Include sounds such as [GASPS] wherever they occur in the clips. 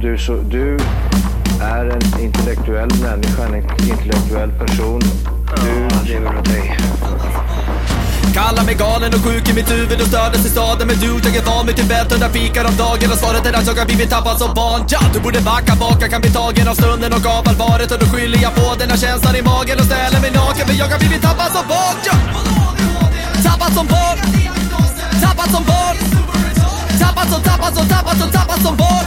du, så, du är en intellektuell människa, en intellektuell person. Du lever av dig. Kallar mig galen och sjuk i mitt huvud och stördes i staden Men du, jag är van vid Tibet och där fikar om dagen Och svaret är att jag har blivit tappad som barn ja, Du borde backa bak, jag kan bli tagen av stunden och av allvaret Och då skyller jag på den här känslan i magen och ställer mig naken För jag har blivit tappad som barn ja. Tappad som barn Tappad som barn Tappad som, tappad som, tappad som, tappad som barn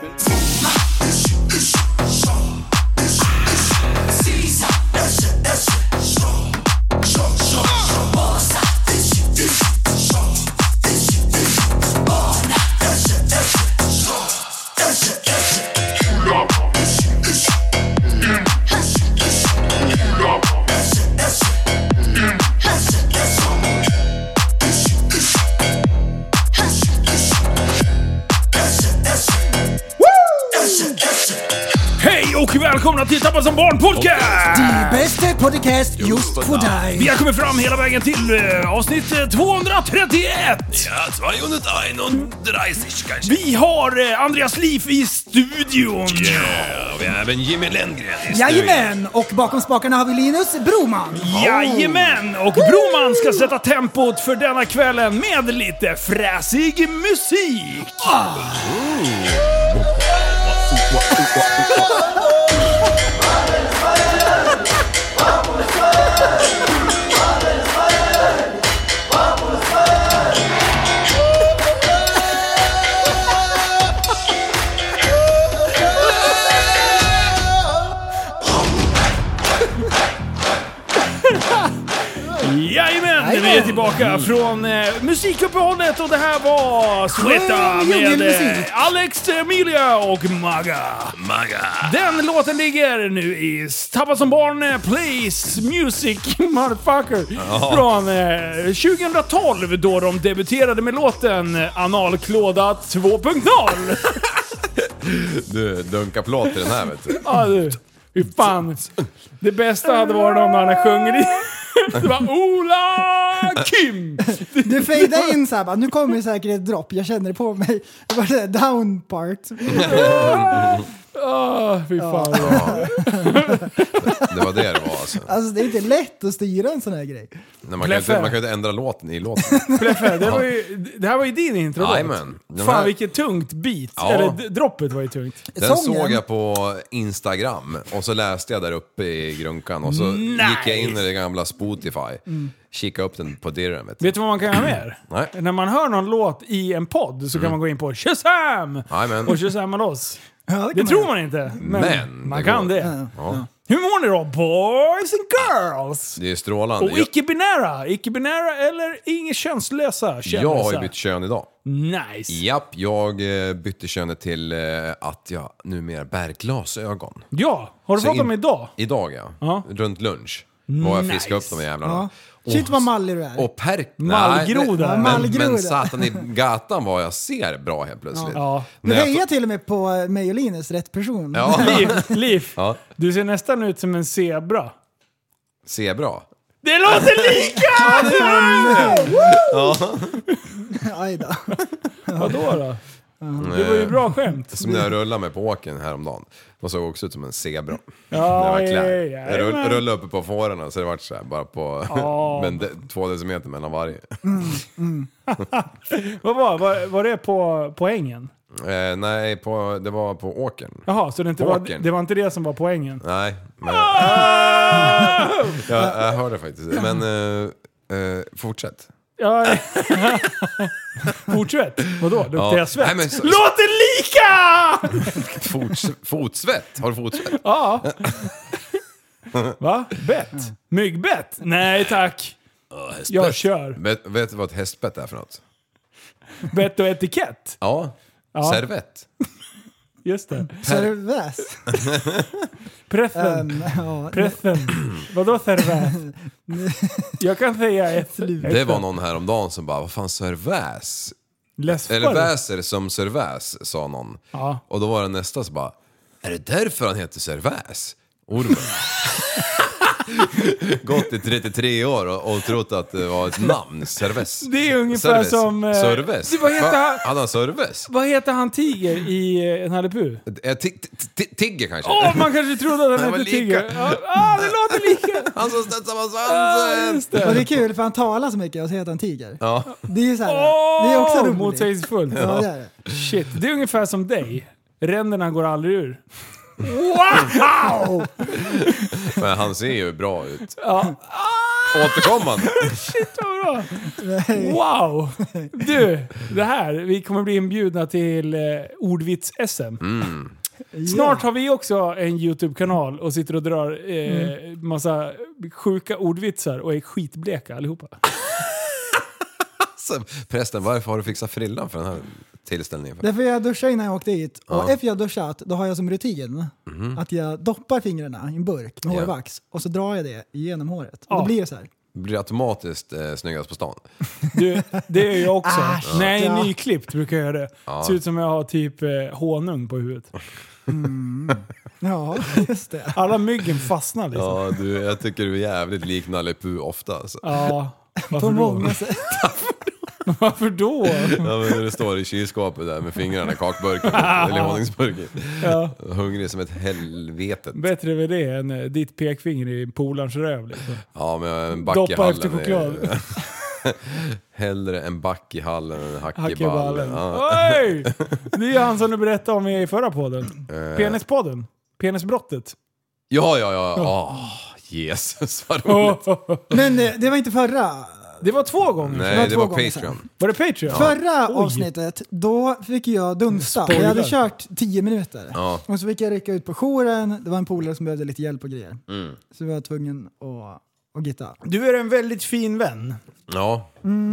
Hej och välkomna till Tappa som barn podcast! Äh. Bästa podcast just för dig. Vi har kommit fram hela vägen till eh, avsnitt eh, 231! Ja, 231 kanske. Vi har eh, Andreas Liv i studion! Ja, och vi har även Jimmy Lenngren i studion. Jajamän! Och bakom spakarna har vi Linus Broman. Jajamän! Och Broman ska sätta tempot för denna kvällen med lite fräsig musik! Jajamän! Vi är tillbaka från eh, musikuppehållet och det här var Sveta Skön med djungelmusik. eh, Alex Emilia och Maga. Maga. Den låten ligger nu i Tappa som barn eh, Plays Music [LAUGHS] Motherfucker från eh, 2012 då de debuterade med låten eh, Analklåda 2.0. Du, dunka plåt i den här vet du. Ja du, fy fan. Det bästa hade varit om han sjunger i... [LAUGHS] Det var Ola Kim! Du fejdade in såhär bara, nu kommer säkert ett dropp, jag känner det på mig. Det var det där down part. Ah, fy fan. Det var det det var alltså. Alltså det är inte lätt att styra en sån här grej. Nej, man, kan ju inte, Pleffe. man kan ju inte ändra låten i [LAUGHS] låten. Pleffe, det, var ju, det här var ju din intro Jajamän. Den Fan här- vilket tungt beat. Ja. Eller d- droppet var ju tungt. Den Sången. såg jag på Instagram och så läste jag där uppe i grunkan och så gick jag in i det gamla Spotify. Kika upp den på dirren vet du. Vet du vad man kan göra mer? [CLEARS THROAT] Nej. Mm. När man hör någon låt i en podd så kan man gå in på Shazam! Jajamän. Och Shazama loss. Ja, Det kan tror göra. man inte, men, Men man det kan går. det. Ja. Hur mår ni då boys and girls? Det är strålande. Och icke-binära, icke-binära eller inget könslösa jag, jag har ju bytt kön idag. Nice. Japp, jag eh, bytte könet till eh, att jag numera bär glasögon. Ja, har du Så fått dem in- idag? Idag ja. Ja. Runt lunch. Var jag fiskade upp de här jävlarna. Och- Shit vad mallig du är. Och perk... Mallgroda. Nej, men, Mallgroda. men satan i gatan vad jag ser bra helt plötsligt. Ja. Du När jag- hejar till och med på eh, mig och Linus, rätt person. Ja, [LAUGHS] Liv, Liv. Ja. Du ser nästan ut som en zebra. ser bra. Det [LAUGHS] låter lika! [LAUGHS] Aj då. Vadå då? Det var ju bra skämt. Som när jag rullade mig på åken häromdagen. De såg också ut som en zebra. Ja, när jag var ja, klar. ja, Jag rull, jajamän. rullade uppe på fårorna så det vart så här, bara på [LAUGHS] men de, två decimeter mellan varje. Vad var, var, var det på poängen? Eh, nej, på, det var på åkern. Jaha, så det, inte var, Åkern. det var inte det som var poängen? Nej, men... Ah! Ah! jag, jag hörde faktiskt. Men eh, eh, fortsätt. Ja. [LAUGHS] Fortsätt. Vadå? Luktar Ja. jag svett? Nej, men så- Låter [LAUGHS] lika! Forts, fotsvett? Har du fotsvett? ja. [LAUGHS] Va? Bett? Myggbett? Nej tack. [LAUGHS] Jag kör. Vet, vet du vad ett hästbett är för något? Bett och etikett. Ja. Servett. Just det. Serväs. Preffen. Mm, ja. Preffen. Vadå servett? Jag kan säga ett. Det var någon häromdagen som bara, vad fan serväs? Läspar. Eller väser som serväs, sa någon. Ja. Och då var det nästa som bara, Är det därför han heter Serväs? Ormen. [LAUGHS] Gått i 33 år och, och trott att det var ett namn, Serves. Det är ungefär Serves. som, eh, Serves? det- vad heter Va? han? Hade han Serves? Vad heter han Tiger i eh, Nalle Puh? Eh, ti- ti- ti- Tigger kanske? Åh, man kanske trodde att Han han var hette lika. Tiger. Ja, ah, det låter [LAUGHS] lika! Han som studsar på Ah, svansen! just det. Och det är kul för han talar så mycket och så heter han tiger. Ja, Det är ju såhär, Åh, det är också roligt. Motsägelsefullt. Ja, det är det. Shit, det är ungefär som dig. Ränderna går aldrig ur. Wow! men han ser ju bra ut. Återkommande. Vad bra. Wow! Du, det här. Vi kommer bli inbjudna till eh, ordvits-SM. Mm. Snart har vi också en YouTube-kanal och sitter och drar eh, Mm. massa sjuka ordvitsar och är skitbleka allihopa. Så, Prästen, varför har du fixat frillan för den här tillställningen? För? Därför jag duschade innan jag åkte hit. Och efter jag duschat, då har jag som rutin att jag doppar fingrarna i en burk med Mhm. Ja. hårvax och så drar jag det genom håret. Ja. Då blir det så här. Blir automatiskt eh, snyggast på stan? Du, det gör jag också. Ah, shit, Nej, ja. nyklippt brukar jag göra det. Ser ut som jag har typ eh, honung på huvudet. Ja, [LAUGHS] just det. Alla myggen fastnar liksom. Ja, Ja, du, jag tycker du är jävligt lik Nalle Puh ofta. Alltså. [LAUGHS] varför På då? många sätt. Varför då? Ja, men när du står i kylskåpet där med fingrarna i kakburken, [LAUGHS] eller honungsburken. Ja. Hungrig som ett helvete. Bättre med det än eh, ditt pekfinger i polarns röv. Liksom. Ja, men en back i Doppa hallen. efter är- choklad. [LAUGHS] Hellre en back i hallen än en hack, Hack i i ballen. ballen. Ja. [LAUGHS] Oj! Det är ju han som du berättade om i förra podden. Eh. Penispodden. Penisbrottet. ja, ja, ja. Åh, Jesus vad roligt. Oh, oh, oh. Men eh, det var inte förra. Det var två gånger. Nej, det två var gånger sedan. Patreon. Var det Patreon? Förra Oj. avsnittet, då fick jag dunsta. Spoiler. Jag hade kört 10 minuter. Ja. Och så fick jag rycka ut på jouren. Det var en polare som behövde lite hjälp och grejer. Mm. Så vi var tvungen att, att gitta. Du är en väldigt fin vän. Ja,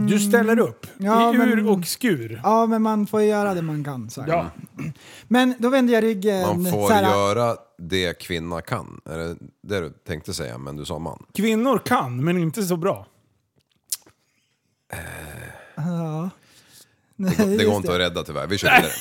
Du ställer upp. Ja, I ur men- och skur. Ja, men man får göra det man kan. Så här. Ja. Men då vände jag ryggen. man får så här, [LAUGHS] göra det kvinna kan. Är det det du tänkte säga, men du sa man? Kvinnor kan, men inte så bra. Det just går inte att rädda tyvärr. Vi [LAUGHS] kör vidare.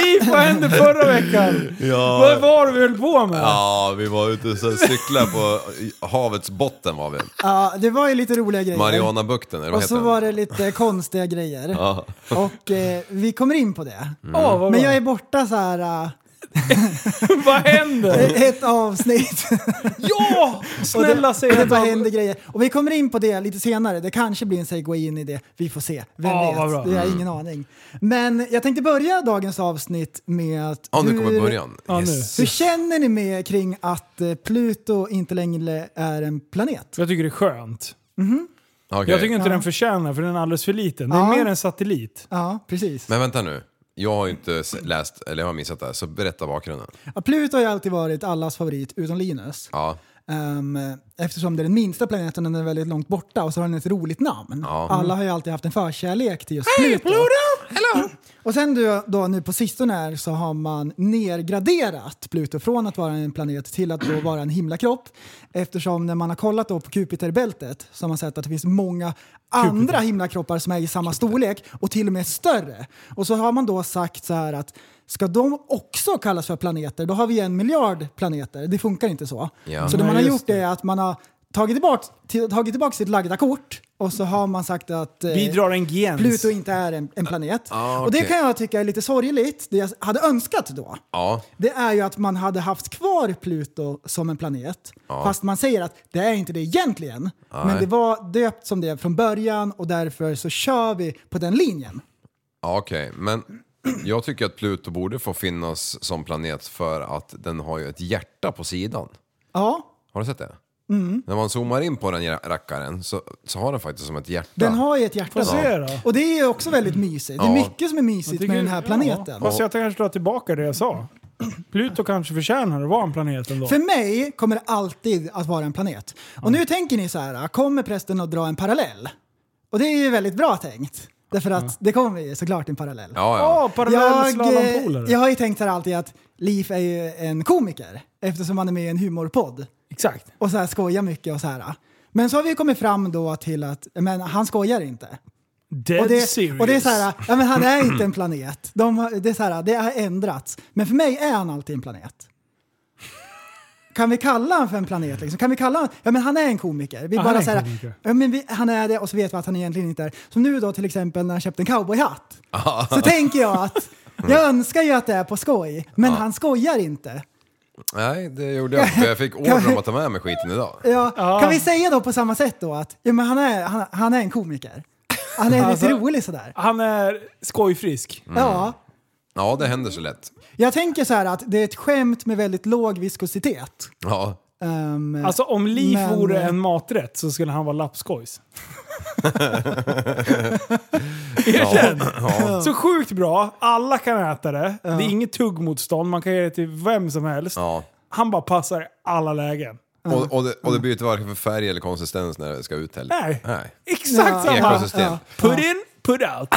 [LAUGHS] Liv, vad hände förra veckan? Ja. Vad var det vi höll på med? Ja, vi var ute och så cyklade på havets botten var vi. Ja, det var ju lite roliga grejer. Marianabukten, eller vad och heter så den? var det lite konstiga grejer. Ja. Och eh, vi kommer in på det. Åh, vad, Men bra. jag är borta så här [LAUGHS] vad eh, händer? ett avsnitt. ja! Snälla säg och det att bara han- händer grejer. Och vi kommer in på det lite senare. Det kanske blir en segway in i det. Vi får se. Vem Ja, vad bra. vet? Det har jag Mm. ingen aning. Men jag tänkte börja dagens avsnitt med att... Ja, nu hur- kommer början. Ja, nu. Hur känner ni med kring att eh, Pluto inte längre är en planet? Jag tycker det är skönt. Okej. Jag tycker inte den förtjänar, för den är alldeles för liten. Det är Ja. mer en satellit. Ja, precis. Men vänta nu. Jag har ju inte s- läst, eller jag har missat det här, så berätta bakgrunden. Ja, Pluto har ju alltid varit allas favorit utom Linus. Ja, Ehm, eftersom det är den minsta planeten och den är väldigt långt borta och så har den ett roligt namn. Ja. Alla har ju alltid haft en förkärlek till just Pluto. Hello! Och sen då, då nu på sistone här så har man nergraderat Pluto från att vara en planet till att då vara en himlakropp. Eftersom när man har kollat då på Jupiterbältet så har man sett att det finns många andra himlakroppar som är i samma storlek och till och med större. Och så har man då sagt så här att ska de också kallas för planeter, då har vi en miljard planeter. Det funkar inte så. Ja. Så det Nej, man har just gjort är att man har tagit tillbaka, tagit tillbaka sitt lagda kort och så har man sagt att... eh, Vi drar en gräns. Pluto inte är en, en planet. Ah, Och det okej. kan jag tycka är lite sorgligt. Det jag hade önskat då, Ja, det är ju att man hade haft kvar Pluto som en planet. Fast man säger att det är inte det egentligen. Men det var döpt som det från början och därför så kör vi på den linjen. ja okej. Men jag tycker att Pluto borde få finnas som planet för att den har ju ett hjärta på sidan. Ja, Har du sett det? När man zoomar in på den ra- rackaren så, så har den faktiskt som ett hjärta. den har ju ett hjärta. Får se då. Och det är ju också väldigt mysigt. Det Ja. är mycket som är mysigt med den här Ja, planeten. fast jag kanske drar tillbaka det jag sa. Pluto kanske förtjänar att vara en planet ändå. För mig kommer det alltid att vara en planet. Och nu tänker ni så här, kommer prästen att dra en parallell? Och det är ju väldigt bra tänkt. Därför att det kommer ju såklart en parallell. Ja, Ja, ja. parallell Jag, slalompolare. eh, jag har ju tänkt så här alltid att Liv är ju en komiker eftersom han är med i en humorpodd Exakt. och så här skojar mycket och så här. Men så har vi kommit fram då till att men han skojar inte. Dead Och det, serious. och det är så här, ja, men han är inte en planet. De, har- det, är så här, det har ändrats. Men för mig är han alltid en planet. Kan vi kalla honom för en planet? Liksom? Kan vi kalla honom? Ja, men han är en komiker. Vi Ja, bara han är en så här, komiker. Ja, men vi, han är det och så vet vi att han egentligen inte är. Som nu då till exempel när han köpte en cowboyhatt. Så tänker jag att jag önskar ju att det är på skoj, men han skojar inte. Nej, det gjorde jag inte. för Jag fick order om att ta med mig skiten idag. Ja, Kan vi säga då på samma sätt då att ja, men han, är, han, han är en komiker? Han är Alltså- lite rolig sådär. Han är skojfrisk. Mm. Ja, Ja, det händer så lätt. Jag tänker så här att det är ett skämt med väldigt låg viskositet. Ja, Ehm, Alltså om Liv Men- eh, vore en maträtt så skulle han vara lappskojs. Erkänn! Så sjukt bra, alla kan äta det. Det är inget tuggmotstånd, man kan ge det till vem som helst. ja. Han bara passar i alla lägen. Och, och, det, och det byter varken för färg eller konsistens när det ska ut heller. Nej. Nej. Exakt Ja. samma! Ekosystem. Put in, put out.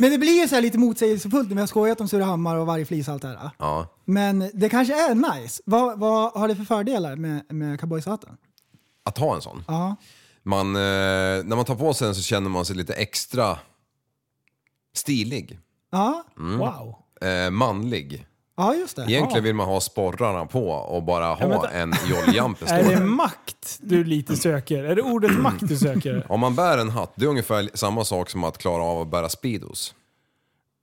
men det blir ju så här lite motsägelsefullt när vi har skojat om Surahammar och vargflis och allt det här. Ja. Men det kanske är nice. Vad, vad har det för fördelar med, med cowboyshatten? Att ha en sån. Ja. Man, eh, när man tar på sig den så känner man sig lite extra stilig. Ja. Wow. Eh, manlig. ja, just det. Egentligen vill man ha sporrarna på och bara ha vänta. en Jolly Jumper Är det stående. makt du lite söker? Är det ordet makt du söker? Om man bär en hatt, det är ungefär samma sak som att klara av att bära Speedos.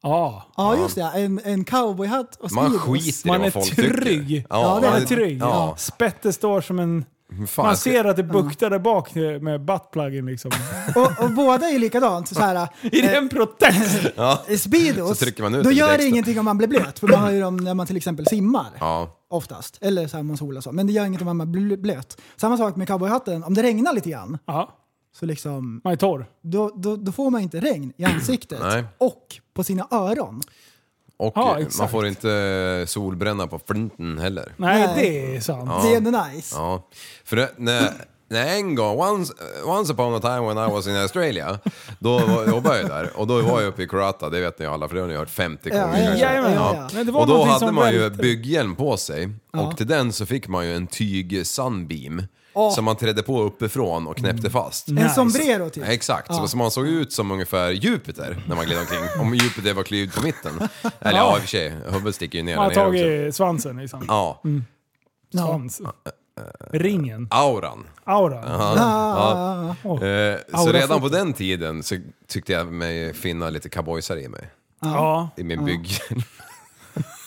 Ja. Ja, just det. En, en cowboyhatt och Man Speedos. skiter i Man är vad folk trygg. tycker. Ja, det Man är är trygg. Ja. Spettet står som en... Fan, Man ska- ser att det buktar där bak med buttpluggen [LAUGHS] liksom. Och, och båda är likadant. Så [LAUGHS] här, I den protest! eh, Speedos, Så trycker man ut då den lite gör det extra. ingenting om man blir blöt. För man har ju dem när man till exempel simmar. Ja. Oftast. Eller så här man solar och så. Men det gör inget om man blir blöt. Samma sak med cowboyhatten. Om det regnar lite grann Ja, så liksom man är torr. då, då, då får man inte regn i ansiktet Nej. och på sina öron. Och Ja, eh, man exakt. får inte eh, solbränna på flinten heller. Nej, Nej. det är sant. Det är ändå nice. Ja, för det, när, när en gång, once, eh, once upon a time when I was in Australia, då var, jobbade jag där och då var jag uppe i Croata, det vet ni alla för det har ni hört 50 Ja, gånger. ja, ja. Jajamän. Ja, ja. Men det var Och då någonting hade som man ju välte. bygghjälm på sig Ja. och till den så fick man ju en tyg sunbeam Åh. Mm. som man trädde på uppifrån och knäppte fast. En Nice. sombrero typ. Exakt, så, så man såg ut som ungefär Jupiter när man gled omkring. Om Jupiter var klyvd [LAUGHS] på mitten. Eller ja, i och för sig, huvudet sticker ju ner Man har där nere också. tagit svansen liksom. Ja, Ja. Svans. Ringen. auran. Auran. Ah, Eh, så Aura redan foto. på den tiden så tyckte jag mig finna lite cowboysare i mig. Ja. I min bygg. [LAUGHS]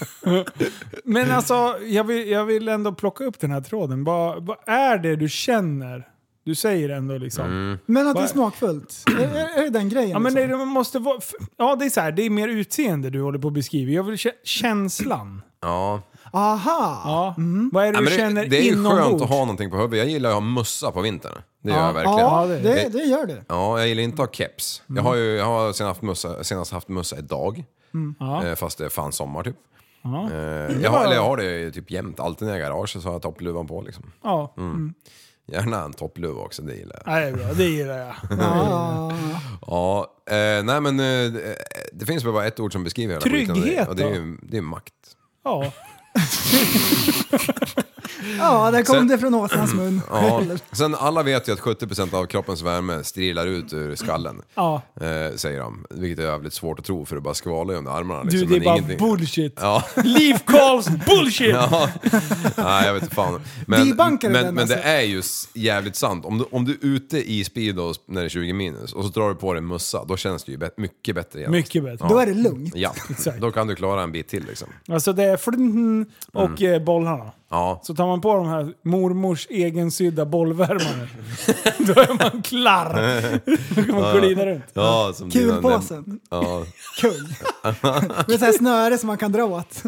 Men alltså, jag vill, jag vill ändå plocka upp den här tråden. Vad, vad är det du känner? Du säger ändå liksom. Mm. Men att det är Vad- smakfullt. är, är är det den grejen? Ja, men det, liksom? det måste vara... f- Ja, det är så här, det är mer utseende du håller på att beskriva. Jag vill kä- känslan. Ja. Aha! Ja. Vad är det Nej, du Mm. men känner det, det är ju inombords? skönt att ha någonting på huvudet. Jag gillar att ha mössa på vintern. Det gör jag verkligen. Ja, Ja, det, det- det, gör du. Ja, jag gillar inte att ha keps. Jag har ju jag har senast haft mössa, senast haft mössa idag. Mm. Eh, Fast det är fan sommar typ. Eh, jag, har, eller jag har det ju typ jämt. Alltid när jag är i garaget så har jag toppluvan på liksom. Ja. Mm. Gärna en toppluva också, det gillar jag. Nej, det är bra. Det gillar [LAUGHS] jag. Ja. Ja, eh, nej men eh, det finns väl bara ett ord som beskriver hela skiten och det- Trygghet Och det är då? ju det är makt. Ja. ja, där kom Sen- det från åsnans mun. Ja, sen alla vet ju att 70% av kroppens värme strilar ut ur skallen. ja. Eh, säger de. Vilket är jävligt svårt att tro för det bara skvalar ju under armarna. Du, liksom, det är men bara ingenting- bullshit. [LAUGHS] Ja, Liv Karls bullshit! [LAUGHS] [LAUGHS] ja. Nej, jag vet inte fan. Men, Debunkar du men, den, men det alltså? är ju s- jävligt sant. Om du, om du är ute i Speedos när det är 20 minus och så drar du på dig en mössa, då känns det ju bet- mycket bättre igen. Mycket bättre. Då är det lugnt. Ja, [LAUGHS] Exakt. då kan du klara en bit till liksom. Alltså det är Mm. flinten och eh, bollarna. Ja. Så tar man på de här mormors egensydda bollvärmare. [LAUGHS] då är man klar! Då kan man glida runt. Ja, som Kulpåsen. Ja. [LAUGHS] Kung. Med så här snöre som man kan dra åt.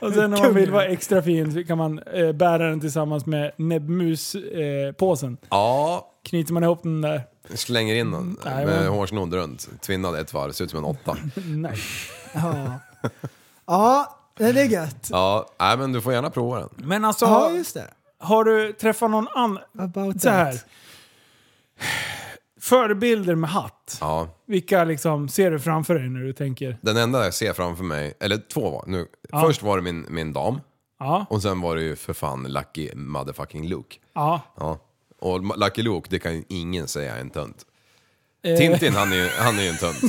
Och sen om man vill vara extra fin så kan man eh, bära den tillsammans med näbbmuspåsen. Eh, påsen. ja, Knyter man ihop den där. slänger in den Nej, med men- hårsnodd runt. Tvinnad ett varv, ser ut som en åtta. Nej. Ja. ja, det är gött. Ja, nej, men du får gärna prova den. Men alltså, Ja, just det. har du träffat någon annan... About Så här. that. Förebilder med hatt. Ja. Vilka liksom ser du framför dig när du tänker? Den enda jag ser framför mig, eller två var nu. Först var det min, min dam Ja, och sen var det ju för fan Lucky motherfucking Luke. ja. Ja. Och Ma- Lucky Luke, det kan ju ingen säga är en tönt. Eh. Tintin, han är ju, han är ju en tönt.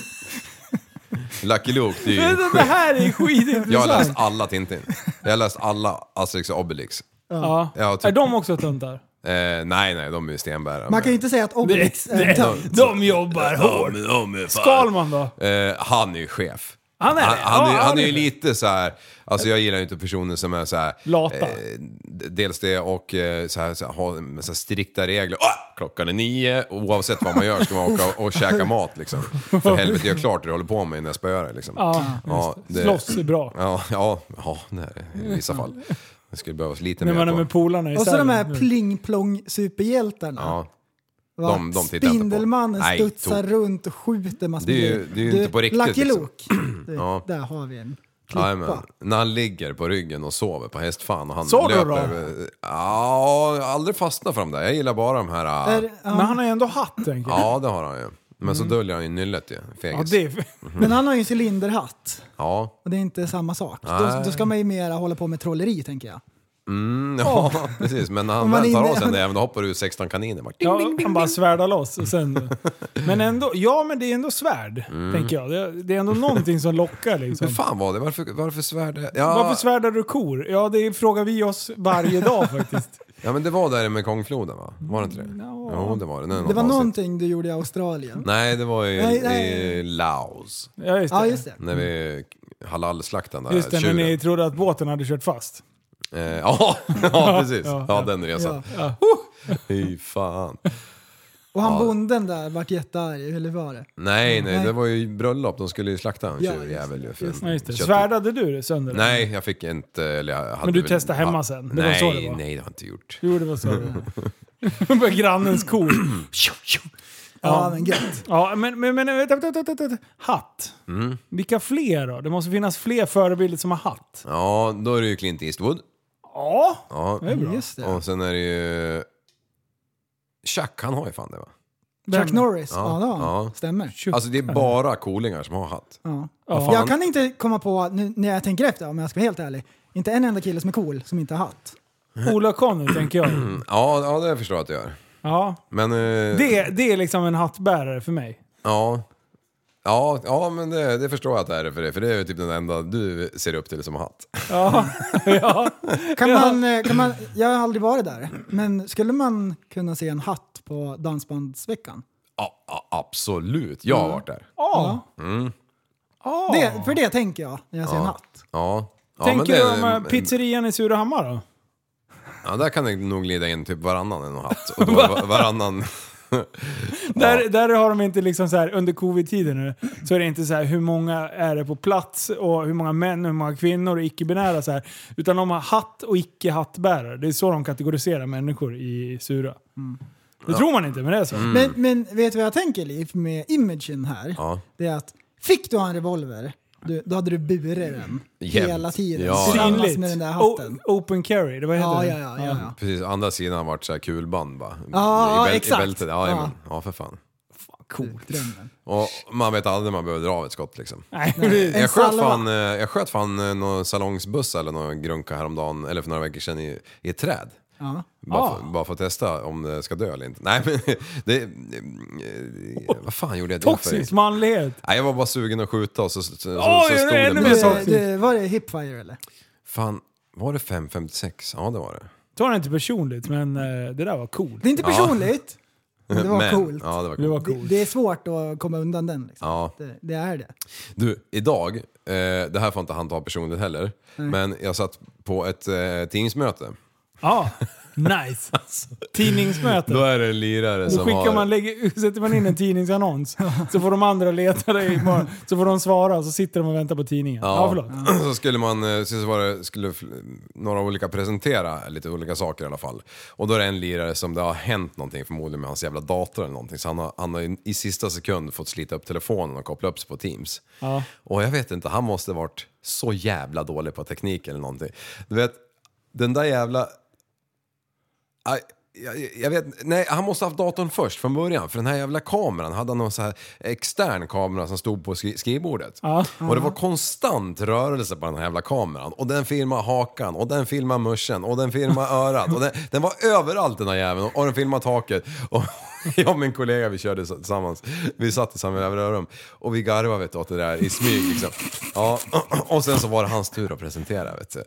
Lucky Luke, det är ju... [LAUGHS] Det här är skitintressant. Jag har läst alla Tintin. Jag har läst alla Asterix och Obelix. Ja. Jag har typ, Är de också töntar? eh, nej, nej, de är ju stenbärare. Man kan ju inte säga att Obelix är en tönt. De jobbar hårt. men de är fan- Skalman då? Eh, han är ju chef. Han är det? han, han, Ja, är, han han är är ju det. lite så här. alltså jag gillar ju inte personer som är så här. eh, Lata. d- dels det och eh, så här, så här, ha med så här strikta regler. Ah! Klockan är nio, oavsett vad man gör ska man åka och, och käka mat liksom. För helvete, jag klart det jag håller på med när jag spöar dig, liksom. Ja, Ja, det- Slåss är bra. Ja, ja, ja nej, i vissa fall. Det skulle behövas lite När mer man är på. med polarna i Och så de här Sälen. pling-plong-superhjältarna. Ja, Va? de- de tittar jag inte på. Spindelmannen Nej, studsar tok. runt och skjuter massor Det är ju- grejer. det är ju Du, inte på riktigt, Lucky liksom. [CLEARS THROAT] Luke. Du, Ja. Där har vi en klippa. Jajamän. När han ligger på ryggen och sover på hästfan och han Såg du löper... då? över- Ja, jag har aldrig fastnat för dem där. Jag gillar bara de här... eh, Är- ja. Men han har ju ändå hatt, tänker jag. Ja, det har han ju. Men så döljer han ju nyllet ju, Ja, fegis. det är... Men han har ju en cylinderhatt. Ja. Och det är inte samma sak. Då, då ska man ju mera hålla på med trolleri tänker jag. Mm, [LAUGHS] ja, precis. Men när han Om man väl tar inne- av sig den där jäveln, då hoppar det ut 16 kaniner. Bara, ding, Ja, ding, ding, han bara svärdar loss. Och [LAUGHS] sen... Men ändå, ja men det är ändå svärd, Mm. tänker jag. Det- Det är ändå någonting som [LAUGHS] lockar liksom. Hur fan var det? Varför, varför svärde... Ja, Varför svärdar du kor? Ja, det frågar vi oss varje [LAUGHS] dag faktiskt. ja, men det var där i Mekongfloden va? Var det inte det? Jo, det var det. Det var någonting du gjorde i Australien. Nej, det var i, Nej, nej. i Laos. Ja, just det. Ja, just det. När vi halalslaktade den där Just det, när tjuren. ni trodde att båten hade kört fast. Eh, ja, [LAUGHS] ja, precis. Ja, den resan. Ja. Mm. Fy fan. Och han Ja. bonden där vart jättearg, eller var det? Nej, nej, Nej. det var ju bröllop. De skulle ju slakta en Ja, tjurjävel ju. för just Ja, just det. kött- Svärdade du det sönder? Nej, jag fick inte... Eller jag hade Men du väl- testade hemma ha- sen? Det var nej, så det var. nej, det har jag inte gjort. Jo, det var [LAUGHS] så. [LAUGHS] På grannens kor. Ja, Ja. men [CLEARS THROAT] gött. Ja, men, men, men vänta, vänta, vänta, vänta. vänta. Hatt. Mm. Vilka fler då? Det måste finnas fler förebilder som har hatt. Ja, då är det ju Clint Eastwood. Ja, Ja. det är bra. Mm, Just det. Och sen är det ju... Chuck, han har ju fan det va? Chuck Norris. Ja, Ja, ja, ja. stämmer. Alltså det är bara coolingar som har hatt. Ja. Ja. Jag kan inte komma på, nu, när jag tänker efter om jag ska vara helt ärlig, inte en enda kille som är cool som inte har hatt. Ola Conny tänker [CLEARS THROAT] jag. Ja, ja det förstår jag att du gör. Ja. Men... eh, Det, det är liksom en hattbärare för mig. Ja. Ja, ja men det, det förstår jag att det är för det, för det är ju typ den enda du ser upp till som har hatt. Ja. ja. Kan Ja. man, eh, kan man, jag har aldrig varit där, men skulle man kunna se en hatt på Dansbandsveckan? Ja, ja, absolut, jag Mm. har varit där. ja. Det, för det tänker jag när jag ser en hatt. Ja. Ja, Tänker men du det- om eh, pizzerian i Surahammar då? Ja, där kan det nog glida in typ varannan en [LAUGHS] och hatt. Och då var, varannan... [LAUGHS] Där, där har de inte liksom så här under covid-tiden nu, så är det inte så här hur många är det på plats och hur många män och hur många kvinnor och icke-binära så här. Utan de har hatt och icke-hattbärare. Det är så de kategoriserar människor i Sura. Det tror man inte, men det är så. Mm. Men, men vet du vad jag tänker Liv, med imagen här? Ja. Det är att fick du ha en revolver, du, då hade du burit den Jämt. hela tiden. Ja. Tillsammans Synligt. med den där hatten. O- open carry, det var heter Ja, det? ja, ja, ja, ja. Precis, andra sidan har varit så här kulband bara. Ja, I bäl- exakt. I bältet. Ja, Ja. ja. ja, för fan. Coolt. Drömmen. Och man vet aldrig när man behöver dra av ett skott liksom. Nej, precis. Jag sköt, salva. fan, eh, jag sköt fan eh, någon salongsbuss eller någon grunka häromdagen, eller för några veckor sedan, i, i ett träd. Ja. Bara, Ah. för, bara för att testa om det ska dö eller inte. Nej [LAUGHS] men, det, eh, vad fan gjorde jag det Toxisk för? manlighet. Nej, jag var bara sugen att skjuta och så, så, så, Oj, så det är stod ännu det mer bara så. toxic. Det, Eh, det, var det hipfire eller? Fan, var det 5.56? Ja det var det. Ta det inte personligt, men eh, det där var coolt. Det är inte personligt, men det var Men, coolt. Ja, det Det var coolt. var Det, coolt. det är svårt att komma undan den. Liksom. Ja. Det, det är det. Du, idag, eh, det här får inte han ta personligt heller, men jag satt på ett eh, teamsmöte. Ja, [LAUGHS] nice. Tidningsmöte. Alltså. Då är det en lirare Då som skickar har... man, lägger, [LAUGHS] sätter man in en tidningsannons, så får de andra leta dig imorgon. Så får de svara, så sitter de och väntar på tidningen. Ja, Ja, förlåt. så skulle man, eh, så var det, skulle fl- några olika presentera lite olika saker i alla fall. Och då är det en lirare som det har hänt någonting förmodligen med hans jävla dator eller någonting. Så han har, han har i, i sista sekund fått slita upp telefonen och koppla upp sig på Teams. Ja. Och jag vet inte, han måste varit så jävla dålig på teknik eller någonting. Du vet, den där jävla... Aj, jag, jag vet, nej, han måste ha haft datorn först från början. För den här jävla kameran hade han någon så här extern kamera som stod på skri- skrivbordet. Och det var konstant rörelse på den här jävla kameran. Och den filmade hakan, och den filmade muschen, och [LAUGHS] den filmade örat. Och den, den var överallt den här jäveln. Och den filmade taket. Och jag och min kollega vi körde så- tillsammans, vi satt i samma jävla rörum och vi garvade vet du, åt det där i smyg liksom. Ja, [CLEARS THROAT] och sen så var det hans tur att presentera vet du.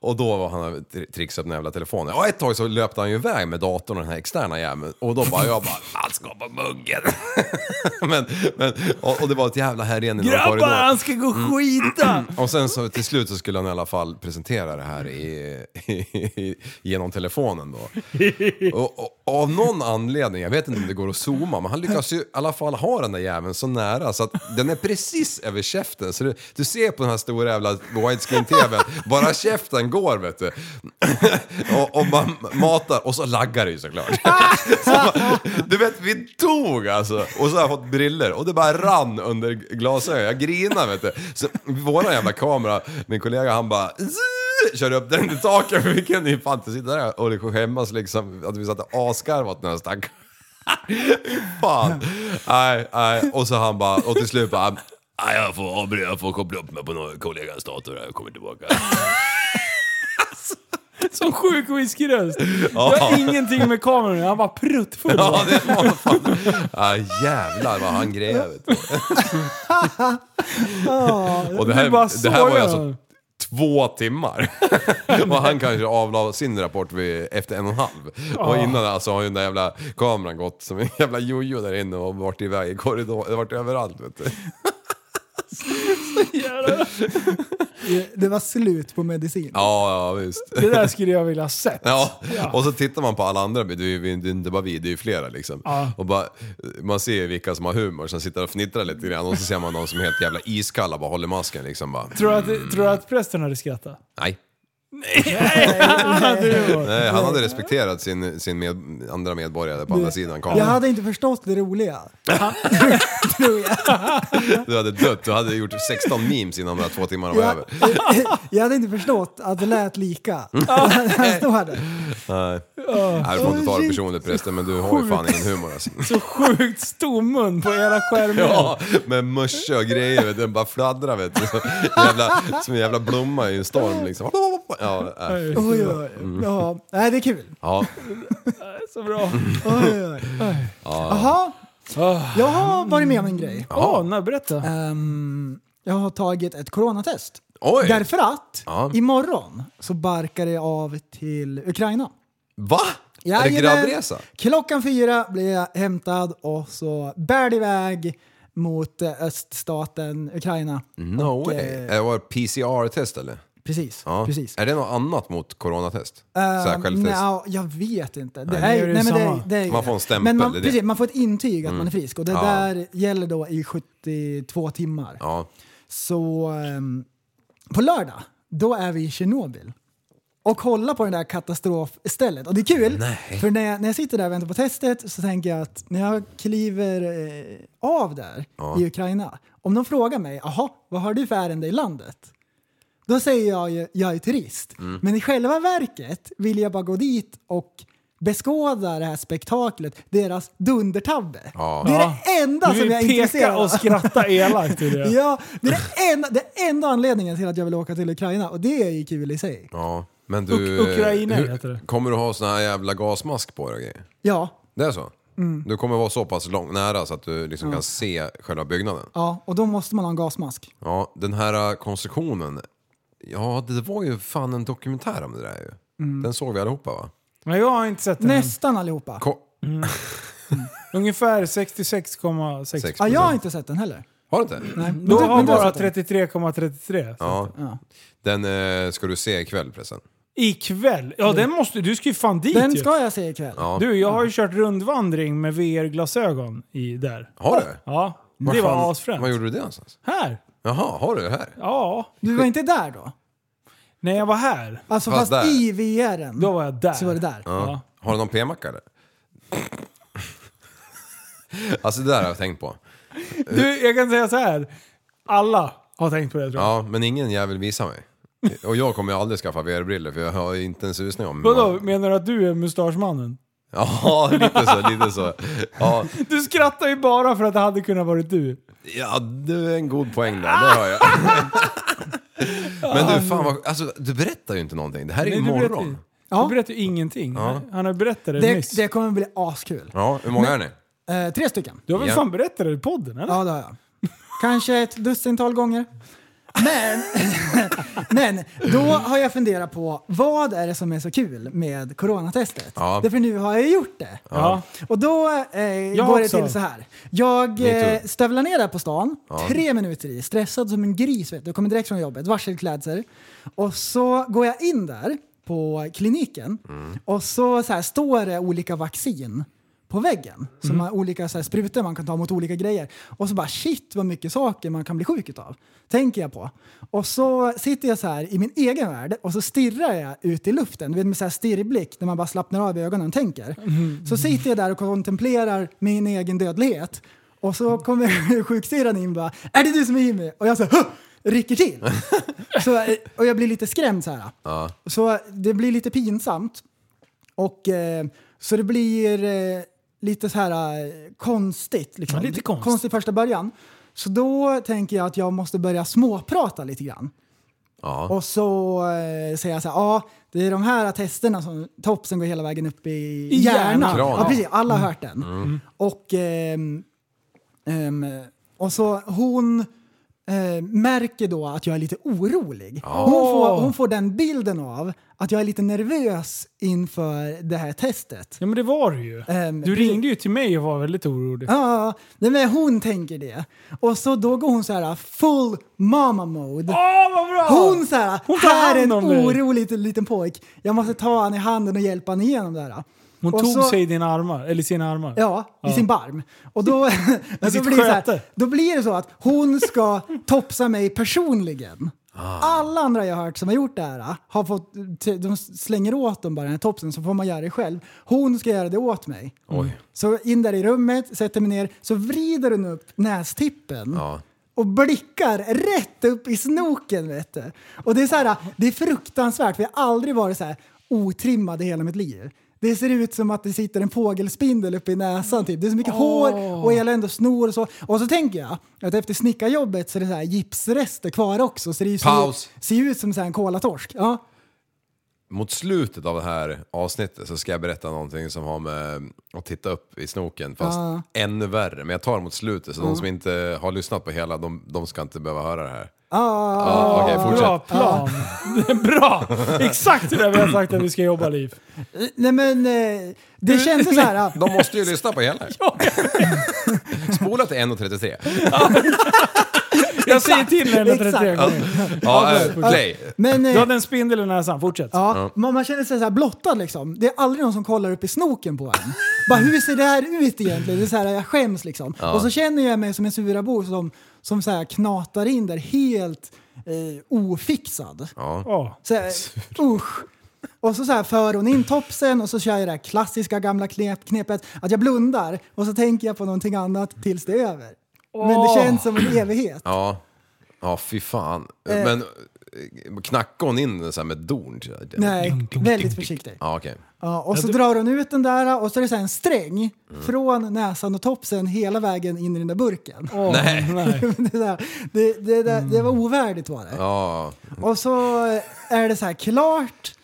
Och då var han tri- trixat med den jävla telefonen. Och ett tag så löpte han ju iväg med datorn och den här externa jäveln och då bara jag bara, han ska på muggen. [LAUGHS] men, men, och, och det var ett jävla härjen i någon korridor. Grabbar, han ska gå och Mm. [CLEARS THROAT] skita! Och sen så till slut så skulle han i alla fall presentera det här i, genom telefonen då. Och, och, och av någon anledning, jag vet inte om det går att zooma, men han lyckas ju i alla fall ha den där jäveln så nära så att den är precis över käften. Så du, du ser på den här stora jävla widescreen-tvn, bara käften går vet du. och, och man matar, och så laggar det ju såklart. så, man- [LAUGHS] du vet, vi dog alltså. Och så har jag fått briller och det bara rann under glasögonen. Jag grinade vet du. Så våran jävla kamera, min kollega han bara "Zzz", körde upp den i taket för vi kunde ju fan inte sitta där och liksom skämmas liksom att vi satt och asgarvade åt den här stackaren. [LAUGHS] fan. Nej, nej. Och så han bara, och till slut bara, "Nej, jag får avbryta, jag får koppla upp mig på någon kollegas dator här, jag kommer tillbaka. Som sjuk whiskyröst. Det har ingenting med kameran Han var pruttfull. Ja, det var fan. Ja, jävlar vad han grejade. vet [LAUGHS] du. Och det Du bara här, det här var sågar ju alltså honom. två timmar. [LAUGHS] och han kanske avlade sin rapport vid, efter en och en halv. Och innan alltså har ju den där jävla kameran gått som en jävla jojo där inne och varit iväg i korridoren, det har varit överallt vet du. Det var slut på medicin. Ja, ja visst. Det där skulle jag vilja ha sett. Ja. och så tittar man på alla andra, det är ju det är inte bara vi, det är ju flera liksom. Ja. Och bara, man ser ju vilka som har humor som sitter och fnittrar lite grann och så ser man någon som är helt jävla iskalla bara håller masken liksom bara. Tror du att, tror du att prästen hade skrattat? Nej. Hade det varit? Nej, han hade respekterat sin, sin med, andra medborgare på andra sidan Jag kameran. hade inte förstått det [LAUGHS] roliga. Tror jag. Du hade dött, du hade gjort 16 memes innan de här två timmarna var över. Jag, jag hade inte förstått att det lät lika. Mm. [LAUGHS] Han står där. Nej. Nej, du får inte ta det personligt förresten, men du har ju fan ingen humor alltså. Så sjukt stor mun på era skärmar. Ja, med mörsa och grejer vet du, den bara fladdrar vet du. Som, jävla, som en jävla blomma i en storm liksom. Ja, Oj, nej. oj, oj. Mm. Ja, nej, det är kul. ja. Så bra. Oj, oj, oj. Jaha, Ah. jag har varit med om en grej. Åh, nej, berätta. Ehm, jag har tagit ett coronatest. Oj! Därför att Ja. imorgon så barkar jag av till Ukraina. Va? är det Jajamän. grabbresa? Klockan fyra blir jag hämtad och så bär det iväg mot eh, öststaten Ukraina. No way. eh, Det var PCR-test eller? Precis, Ja. precis. Är det något annat mot coronatest? Eh, Så här självtest? nja, jag vet inte. Det det är, är ju nej, men samma. det, det är, Man får en stämpel, Men man, det är det. precis, man får ett intyg att man är frisk och det Ja. där gäller då i 72 timmar. Ja. Så ehm, på lördag, då är vi i Tjernobyl och kollar på det där katastrofstället. Och det är kul, för när jag, när jag sitter där och väntar på testet så tänker jag att när jag kliver eh, av där i Ukraina, om de frågar mig “Jaha, vad har du för ärende i landet?” Då säger jag ju “Jag är turist”. Men i själva verket vill jag bara gå dit och beskåda det här spektaklet, deras dundertabbe. Det är det enda Du som vill jag är intresserad peka av. och skratta elakt i det. Ja, det är det enda, det är enda anledningen till att jag vill åka till Ukraina och det är ju kul i sig. Ja, men du... Uk- Ukraina hur- heter det. Kommer du ha sån här jävla gasmask på dig och grejer? Ja, Det är så? Du kommer vara så pass lång, nära så att du liksom kan se själva byggnaden? ja, och då måste man ha en gasmask. Ja, den här äh, konstruktionen. Ja, det var ju fan en dokumentär om det där ju. Mm. Den såg vi allihopa va? Men jag har inte sett den. än. Nästan allihopa. Ko- Ungefär 66,6. Sex. Ja, jag har inte sett den heller. Har du inte? Nej, men Då du- har men du bara sett den. 33,33. Ja. Den eh, ska du se ikväll förresten. Ikväll? Ja, den måste, du ska ju fan dit Mm. Den ju. ska jag se ikväll. Ja. Du, jag har ju kört rundvandring med VR-glasögon i där. Har du? Ja, Var det fan- var Var asfränt. gjorde du det någonstans? Här? Jaha, har du det här? Ja. Du var inte där då? När jag var här, Alltså fast, Fast där. i VR-en. då var jag där. Så var det där. Ja. Har du någon p-macka eller? [LAUGHS] alltså det där har jag tänkt på. Du, jag kan säga så här. Alla har tänkt på det tror jag. Ja, men ingen jävel visar mig. Och jag kommer ju aldrig skaffa VR-briller för jag har ju inte en susning om hur Vadå, man... menar du att du är mustaschmannen? Ja, lite så, lite så. Ja, Du skrattar ju bara för att det hade kunnat varit du. ja det är en god poäng där, det har jag. Men du, fan vad, alltså, du berättar ju inte någonting. Det här är ju Nej, du berättar imorgon. ju. Du Ja, berättar ju ingenting. Han har berättat det, nyss. det, det kommer bli askul. Ja, hur många är ni? Eh, tre stycken. Du har väl Ja. fan berättat det i podden eller? Ja, det har jag. Kanske ett dussintal gånger. Men, [LAUGHS] men då har jag funderat på vad är det som är så kul med coronatestet? Ja. Därför nu har jag gjort det. Ja. Och då eh, Jag går också. det till så här. Jag Me eh, too. stövlar ner där på stan, tre minuter i, stressad som en gris. Vet du. Jag kommer direkt från jobbet, varselklädsel. Och så går jag in där på kliniken och så, så här, står det olika vaccin på väggen. Som har olika så här, sprutor man kan ta mot olika grejer. Och så bara shit vad mycket saker man kan bli sjuk utav. Tänker jag på. Och så sitter jag så här i min egen värld och så stirrar jag ut i luften. Du vet med så här stirrblick när man bara slappnar av i ögonen och tänker. Så sitter jag där och kontemplerar min egen dödlighet. Och så kommer [LAUGHS] sjuksyrran in och bara “Är det du som är Jimmy?” och jag så här, "Huh!" rycker till. så, och jag blir lite skrämd så här. Så eh, det blir lite pinsamt. Och eh, så det blir eh, lite så här eh, konstigt. Liksom. Ja, lite konst. konstigt första början. Så då tänker jag att jag måste börja småprata lite grann. Ja. Och så eh, säger jag så här, ja det är de här testerna som topsen går hela vägen upp i I hjärnan. hjärnan. Kranen. Ja precis, alla har hört den. Och, ehm, ehm, och så hon eh, märker då att jag är lite orolig. Hon, får, hon får den bilden av att jag är lite nervös inför det här testet. Ja men det var du ju. Ehm, du ringde ju till mig och var väldigt orolig. Ja, nej, men hon tänker det. Och så då går hon så här full mama mode. Åh vad bra! Hon så här, Hon tar här är en hand om dig." orolig liten, liten pojk. Jag måste ta han i handen och hjälpa han igenom det här. Hon Och tog så- sig i dina armar, eller sina armar. Ja, i sin barm. [LAUGHS] Och då, [LAUGHS] då, sitt blir det så sköte. här, då blir det så att hon ska topsa mig personligen. Ah. Alla andra jag hört som har gjort det här ah, har fått, de slänger åt dem bara den här topsen så får man göra det själv. Hon ska göra det åt mig. Oj. Så in där i rummet, sätter mig ner, så vrider hon upp nästippen Ja. och blickar rätt upp i snoken. Vet du. Och det är, så här, det är fruktansvärt, för jag har aldrig varit så här otrimmad i hela mitt liv. Det ser ut som att det sitter en fågelspindel uppe i näsan. Typ. Det är så mycket hår och elände och snor och så. Och så tänker jag att efter snickarjobbet så är det så här gipsrester kvar också. Så det är ju så- Paus. ser ju ut som så här en kolatorsk. Ja. Mot slutet av det här avsnittet så ska jag berätta någonting som har med att titta upp i snoken fast ännu värre. Men jag tar det mot slutet så de som inte har lyssnat på hela, de, de ska inte behöva höra det här. Ah, Ja, Okej, Bra fortsätt. plan! [LAUGHS] Bra! Exakt det där vi har sagt att vi ska jobba, Liv. nej men eh, det kändes så här. ah, De måste ju lyssna på hela. Spola till 1.33. Jag säger till henne 33 Exakt. gånger. Ja, eh, play. Men, eh, Du hade en spindel i näsan, fortsätt. Ja, Man, man känner sig så här blottad liksom. Det är aldrig någon som kollar upp i snoken på en. Bara, hur ser det här ut egentligen? Det är så här, jag skäms liksom. Och så känner jag mig som en surabo som, som så här knatar in där helt eh, ofixad. Ja. Så här, usch. Och så, så här för hon in topsen och så kör jag det här klassiska gamla knep, knepet att jag blundar och så tänker jag på någonting annat tills det är över. Men det känns som en evighet. Ja, ja fy fan. Men eh, knackade hon in den så här med dorn? Nej, väldigt försiktig. Ja, okej. Ja, och så drar hon ut den där och så är det så här en sträng från näsan och topsen hela vägen in i den där burken. Åh, nej. [LAUGHS] det, där, det, det, där, det var ovärdigt var det. Ja, Och så är det så här klart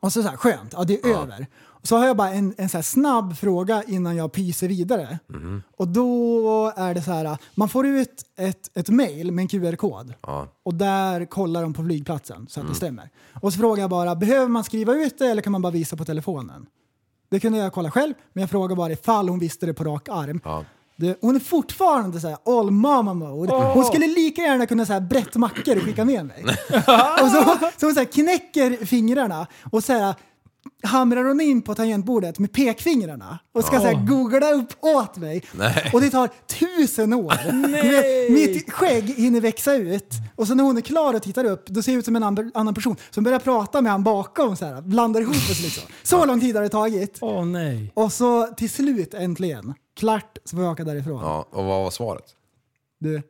och så, så här skönt, ja det är över. Så har jag bara en, en så här snabb fråga innan jag pyser vidare. Mhm. Och då är det så här, man får ut ett, ett mail med en QR-kod. ja. Mm. Och där kollar de på flygplatsen så att det stämmer. Och så frågar jag bara, behöver man skriva ut det eller kan man bara visa på telefonen? Det kunde jag kolla själv, men jag frågar bara ifall hon visste det på rak arm. Ja. Det, hon är fortfarande så här all mama mode. Hon skulle lika gärna kunna så här brett mackor och skicka med mig. och så, så hon så här knäcker fingrarna och så här hamrar hon in på tangentbordet med pekfingrarna och ska så här googla upp åt mig. Nej. Och det tar tusen år. Du vet, Mitt skägg hinner växa ut och så när hon är klar och tittar upp då ser jag ut som en annan- annan person som börjar prata med han bakom så här, blandar ihop oss liksom. Så lång tid har det tagit. Åh nej. Och så till slut äntligen, klart, så får jag åka därifrån. ja. Och vad var svaret? Du,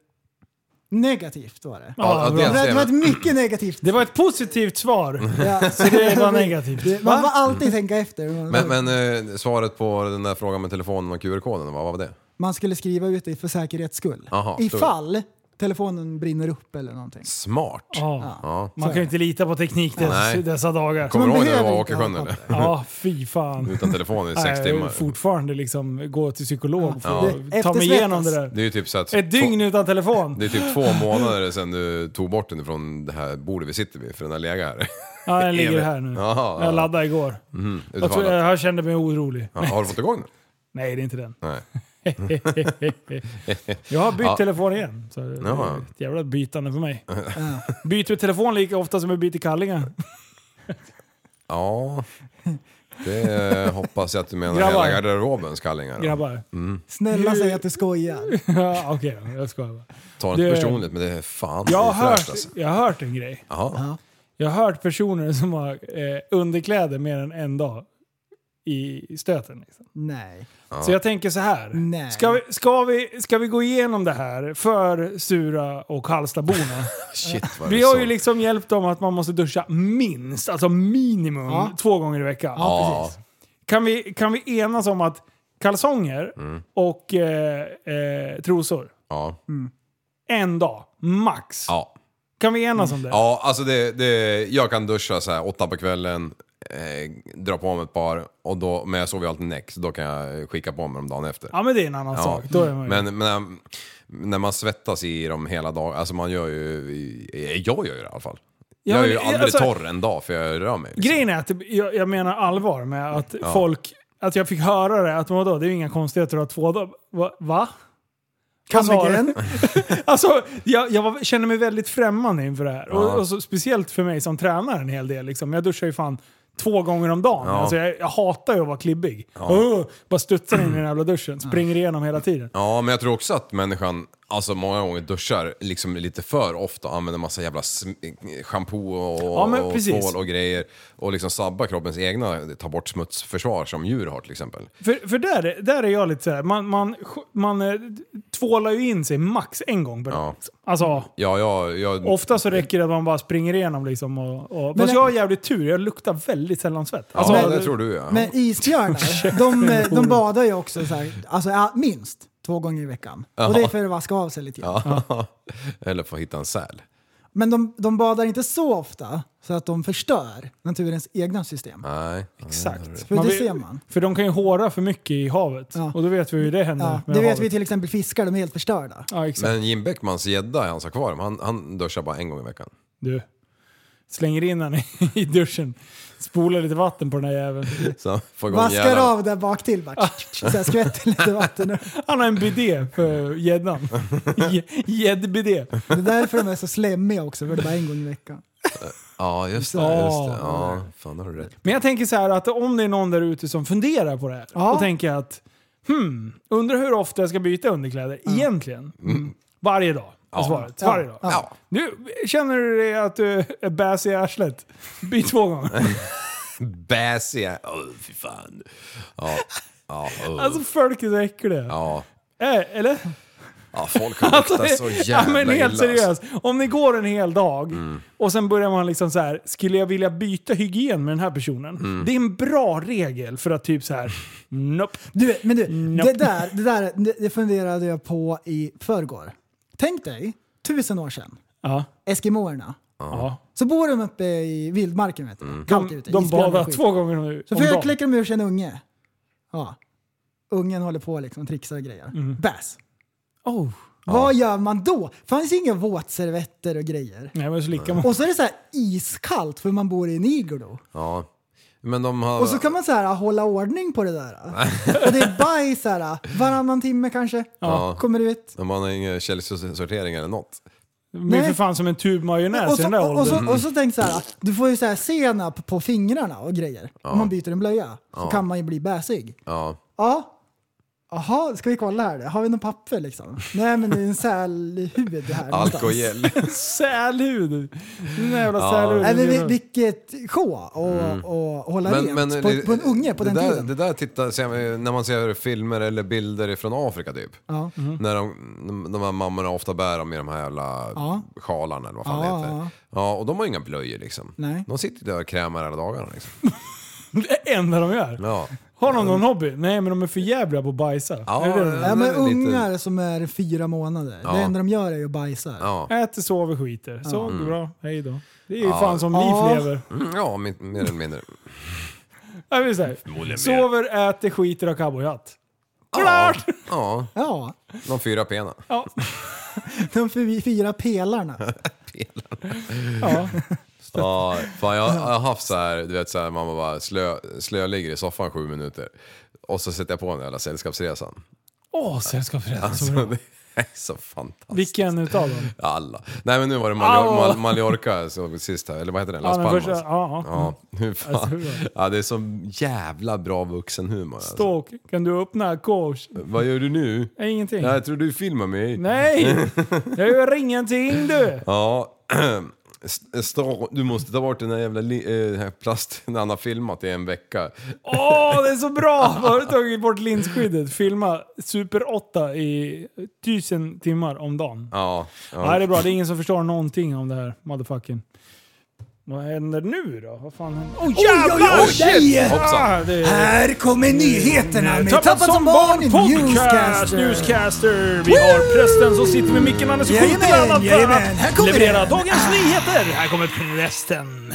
negativt var det. bra. Ja, det Det var, det var ser ett man. mycket negativt. Det var ett positivt svar. Ja, så Det [LAUGHS] var negativt. det- Man får alltid tänka efter. Man, Men, men eh, svaret på den där frågan med telefonen och QR-koden, vad var det? man skulle skriva ut det för säkerhets skull. Aha, Ifall telefonen brinner upp eller någonting. Smart. Ja. Ja. Man kan ju inte lita på teknik dess, Nej. dessa dagar. Kommer du man ihåg när du behöver var i inte Åkersjön ha eller? Ja, fy fan. Utan telefon i sex Nej, jag vill timmar. fortfarande liksom gå till psykolog för Ja. att ta mig Eftersvettas. igenom det där. Det är ju typ så att Ett dygn utan telefon. Det är [LAUGHS] typ två månader sedan du tog bort den från det här bordet vi sitter vid, för den har legat här. Ja, den ligger evigt. här nu. Ja, ja. Jag laddade igår. Mm, Jag, utifrån tror, att- jag, jag kände mig orolig. ja, har du fått igång den? Nej, det är inte den. Nej. [LAUGHS] jag har bytt Ja. telefon igen. Så det Ja. är ett jävla bytande för [LAUGHS] mig. Byter vi telefon lika ofta som vi byter kallingar? Ja, det hoppas jag att du menar Grabbar. hela garderobens kallingar. då. Grabbar. Snälla säg att du skojar. [LAUGHS] Ja, Okej, då, jag skojar bara. Ta det Det- inte personligt, men det är fan Jag har, det är fräscht, hört, alltså. jag har hört en grej. Jaha. Jag har hört personer som har eh, underkläder mer än en dag i stöten. Liksom. Nej. Så jag tänker så här. Nej. Ska vi, ska, vi, ska vi gå igenom det här för Sura och [LAUGHS] Hallstaborna? Shit vad vi det har så- ju liksom hjälpt dem att man måste duscha minst, alltså minimum, Ja. två gånger i veckan. Ja, Kan, vi, kan vi enas om att kalsonger Mm. och eh, eh, trosor, ja, en dag, max. ja. Kan vi enas om det? ja alltså det, det, jag kan duscha så här åtta på kvällen, eh, dra på mig ett par, och då, men jag sover ju alltid näck, så då kan jag skicka på mig dem dagen efter. Ja men det är en annan sak. Då är man ju... men, men eh, när man svettas i dem hela dagen, alltså man gör ju, jag gör ju det i alla fall. Ja, jag är men ju det- aldrig alltså- torr en dag för jag rör mig. liksom. Grejen är att jag, jag menar allvar med att folk, att jag fick höra det, att vadå, det är ju inga konstigheter att ha två dagar. Va? va? Vad sa du? Kammargren. [LAUGHS] Alltså, jag, jag var, känner mig väldigt främmande inför det här. Ja. Och, och så, speciellt för mig som tränar en hel del. Liksom. Jag duschar ju fan två gånger om dagen. Ja. Alltså, jag, jag hatar ju att vara klibbig. Åh, bara studsar in i [CLEARS THROAT] den jävla duschen, springer igenom hela tiden. Ja, men jag tror också att människan, alltså många gånger duschar liksom lite för ofta och använder massa jävla sm- shampoo och, Ja, men och precis. tvål och grejer. Och liksom sabbar kroppens egna, ta bort smutsförsvar som djur har till exempel. För, för där, där är jag lite såhär, man, man, man eh, tvålar ju in sig max en gång per dag. Ja. Mm. liksom. Alltså, Ja, jag... jag Ofta så räcker det att man bara springer igenom liksom. Och, och, fast jag har jävligt tur, jag luktar väldigt sällan svett. ja, Alltså, det tror du ja. Men [LAUGHS] isbjörnar, de, eh, de badar ju också så här, alltså, ja, minst två gånger i veckan. Och det är för att vaska av sig lite grann. [LAUGHS] Eller få hitta en säl. Men de, de badar inte så ofta så att de förstör naturens egna system. Nej. Exakt. För det vill- ser man. För de kan ju håra för mycket i havet. Ja. Och då vet vi hur det händer Ja, med det vet havet. vi till exempel fiskar, de är helt förstörda. Ja, exakt. Men Jim Beckmans gädda i hans akvarium, han, han duschar bara en gång i veckan. Du. Slänger in den i [LAUGHS] duschen. Spolar lite vatten på den här jäveln. Så får igång Vaskar hjärnan. av där bak till bara. Så här skvätter lite vatten upp. Han har en bidé för [LAUGHS] gäddan. Gä- Gäddbidé. Det är därför de är så slemmiga också, för det är bara en gång i veckan. Ja, just det. Ja. Just det. Ja, fan har du rätt. Men jag tänker så här att om det är någon där ute som funderar på det här. Ja. Då tänker jag att hmm, undrar hur ofta jag ska byta underkläder egentligen. Mm. Varje dag är svaret. Varje dag. Mm. Ja. Nu känner du dig att du är bäs i arslet. Byt två gånger. [LAUGHS] Bäsiga. Åh, fy fan. Ja. Ja, oh. Alltså folk är så äckliga. ja. Äh, eller? ja, folk har luktat Alltså, så [LAUGHS] ja, jävla men helt illa. alltså. Mm. seriöst. Om ni går en hel dag och sen börjar man liksom så här, skulle jag vilja byta hygien med den här personen? Mm. Det är en bra regel för att typ så här, [LAUGHS] nope. Du, vet- men du, Nope. det där, det där det- det funderade jag på i förrgår. Tänk dig, tusen år sedan, Ja. Eskimoerna. Ja. Så bor de uppe i vildmarken vet du. Kallt De, ute. de isbjörnar och badar skit. två gånger om, Så om dagen. förkläcker de ur sig en unge. Ja. Ungen håller på liksom, trixar och grejer. Mm. Bäs. Oh. Vad gör man då? Fanns inga våtservetter och grejer. Nej, men så lika många. Och så är det så här iskallt för man bor i en iglo. Ja. Men de har... Och så kan man så här hålla ordning på det där. [LAUGHS] Och det är bajs så här, varannan timme kanske. Ja. Kommer du ut. De har ingen källsortering eller något. De är Nej. för fan som en tub majonnäs Och i den så, där och, och, [LAUGHS] åldern. så, och så tänk så här, du får ju så här senap på fingrarna och grejer. Om man byter en blöja så kan man ju bli bäsig. Ja. Ja. Jaha, ska vi kolla här? Har vi något papper liksom? Nej men det är en sälhud här någonstans. Alkogel. Sälhud! Den där jävla sälhuden. Nej, men vi- vilket sjå och, och hålla rent på, på en unge på Mm. det den där, tiden. Det där tittar, ser man, när man ser filmer eller bilder från Afrika typ. ja. mhm. När de, de här mammorna ofta bär dem i de här jävla Ja. sjalarna eller vad fan Ja, det heter. ja. Ja, och de har inga blöjor liksom. Nej. De sitter där och krämar hela dagarna liksom. Det enda de gör. Ja. Har de någon hobby? Nej, men de är för jävla på att bajsa. Ja, Är det det de- Ja, det men är lite- ungar som är fyra månader, Ja. det enda de gör är ju att bajsa. Ja, Äter, sover, skiter. Så, bra. Hej då. Det är ju Ja. fan som Ja. liv lever. Mm, ja mer, mer eller mindre. Ja, vi säger. Sover, äter, skiter och har cowboyhatt. Ja, ja, Ja, de fyra pena. Ja. de fy- fyra [LAUGHS] pelarna. ja. Ja, fan, jag, jag har haft så här, du vet så här, mamma bara slö, slö ligger i soffan sju minuter. Och så sätter jag på den jävla sällskapsresan. Åh, Sällskapsresan. så Alltså, bra. det är så fantastiskt. Vilken utav dem? Alla. Nej men nu var det Mallor- Au. Mal- Mallorca så sist här, eller vad heter den? Las Ja, den Palmas. första- ja, ja. ja. hur Alltså, fan. hur Ja, det är så jävla bra vuxenhumor. Alltså. Stalk, kan du öppna coach? Vad gör du nu? Nej, Ingenting. Jag tror du filmar mig. Nej! Jag gör ingenting du! Ja. [CLEARS THROAT] st- sta- Du måste ta bort den där jävla li- eh, här plasten han har filmat i en vecka. Åh, det är så bra! Har du tagit bort linsskyddet? Filma Super 8 i tusen timmar om dagen. Ja. Nej, det är bra. Det är ingen som förstår någonting om det här motherfucking. Vad händer nu då? Vad fan händer? Åh oh, jävlar! oj, shit! Ah, Hoppsan. det är... Här kommer nyheterna med Eh, Tappat som barn podcast! Newscaster. Newscaster! Vi har prästen som sitter med micken, Anders Jajamän, Skjutjärn, för jajamän. Här att kommer leverera den. dagens nyheter! Här kommer prästen.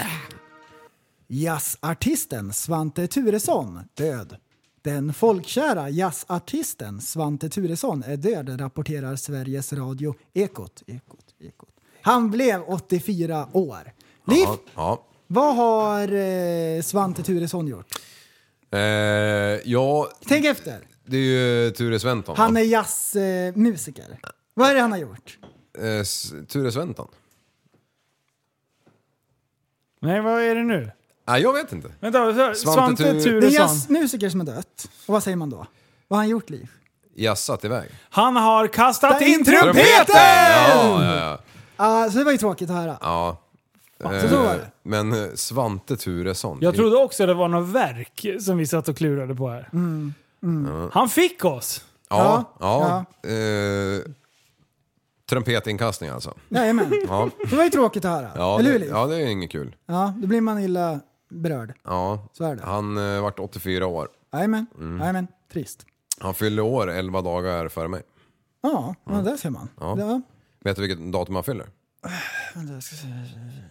Jazzartisten Svante Turesson död. Den folkkära jazzartisten Svante Turesson är död, rapporterar Sveriges Radio Ekot. Ekot, Ekot. Han blev 84 år. Liv, Ja. ja. vad har eh, Svante Turesson gjort? Eh, ja, Tänk efter. det är ju Ture Sventon. Han va? är jazzmusiker. Eh, musiker. vad är det han har gjort? Eh, s- Ture Sventon? Nej, vad är det nu? Nej, jag vet inte. Vänta, Svante, Svante Svante Turesson. Tur- Det är jazzmusiker som är dött. Och vad säger man då? Vad har han gjort, Liv? Jassat iväg. Han har kastat Ta in in trumpeten! trumpeten! Ja, ja, ja. Ah, så det var ju tråkigt att höra. ja. så så var det. Men eh, Svante Turesson. Jag trodde också det var något verk som vi satt och klurade på här. Han fick oss! Ja, ja. Eh, trumpetinkastning alltså. Jajamän. Ja, Det var ju tråkigt att höra. ja, Eller det, hur, Liv? ja det är inget kul. Ja, då blir man illa berörd. Ja. Så är det. Han eh, vart 84 år. Jajamän, jajamän. Trist. Han fyllde år 11 dagar före mig. Ja, ja där ser man. Ja. Ja. Vet du vilket datum han fyller? vänta, jag ska se.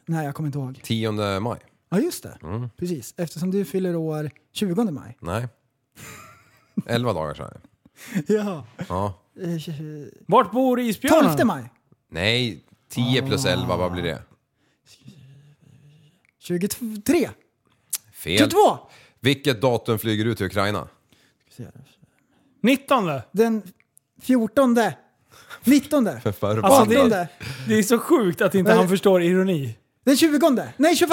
Nej, jag kommer inte ihåg. 10 maj. Ja, just det. Precis. Eftersom du fyller år [LAUGHS] 20 maj. Nej. [LAUGHS] 11 dagar sa jag. Ja. Ja. Eh, tj- Vart bor isbjörnen? 12 maj. Nej, 10 plus Ah. 11, vad blir det? 23. Fel. 22! Vilket datum flyger du till Ukraina? 19! Den 14. 19. Alltså, Förbannat. det, är, det är så sjukt att inte Nej. han förstår ironi. Den 20. Nej, 21.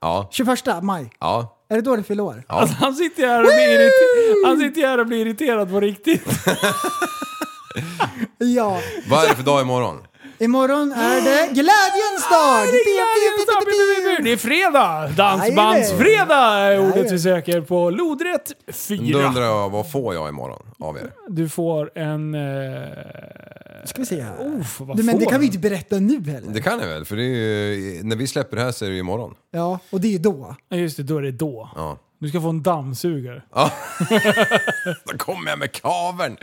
Ja. 21 maj. Ja. Är det då du fyller år? Alltså, han, sitter här och blir irriter- han sitter här och blir irriterad på riktigt. Ja. Vad är det för [LAUGHS] dag imorgon? Imorgon [GASPS] är det glädjens dag! Ah, Det är, det är fredag! Dansbandsfredag är ordet vi söker på lodrätt Då 4. undrar jag, vad får jag imorgon av er? Du får en... Eh, Ska vi se här. uff, vad Du, men det får kan vi han? inte berätta nu heller. Det kan jag väl, för det är ju, när vi släpper det här så är det ju imorgon. Ja, och det är ju då. Ja, Just det, då är det då. Ja. Du ska få en dammsugare. Då kommer jag [LAUGHS] med kaveln!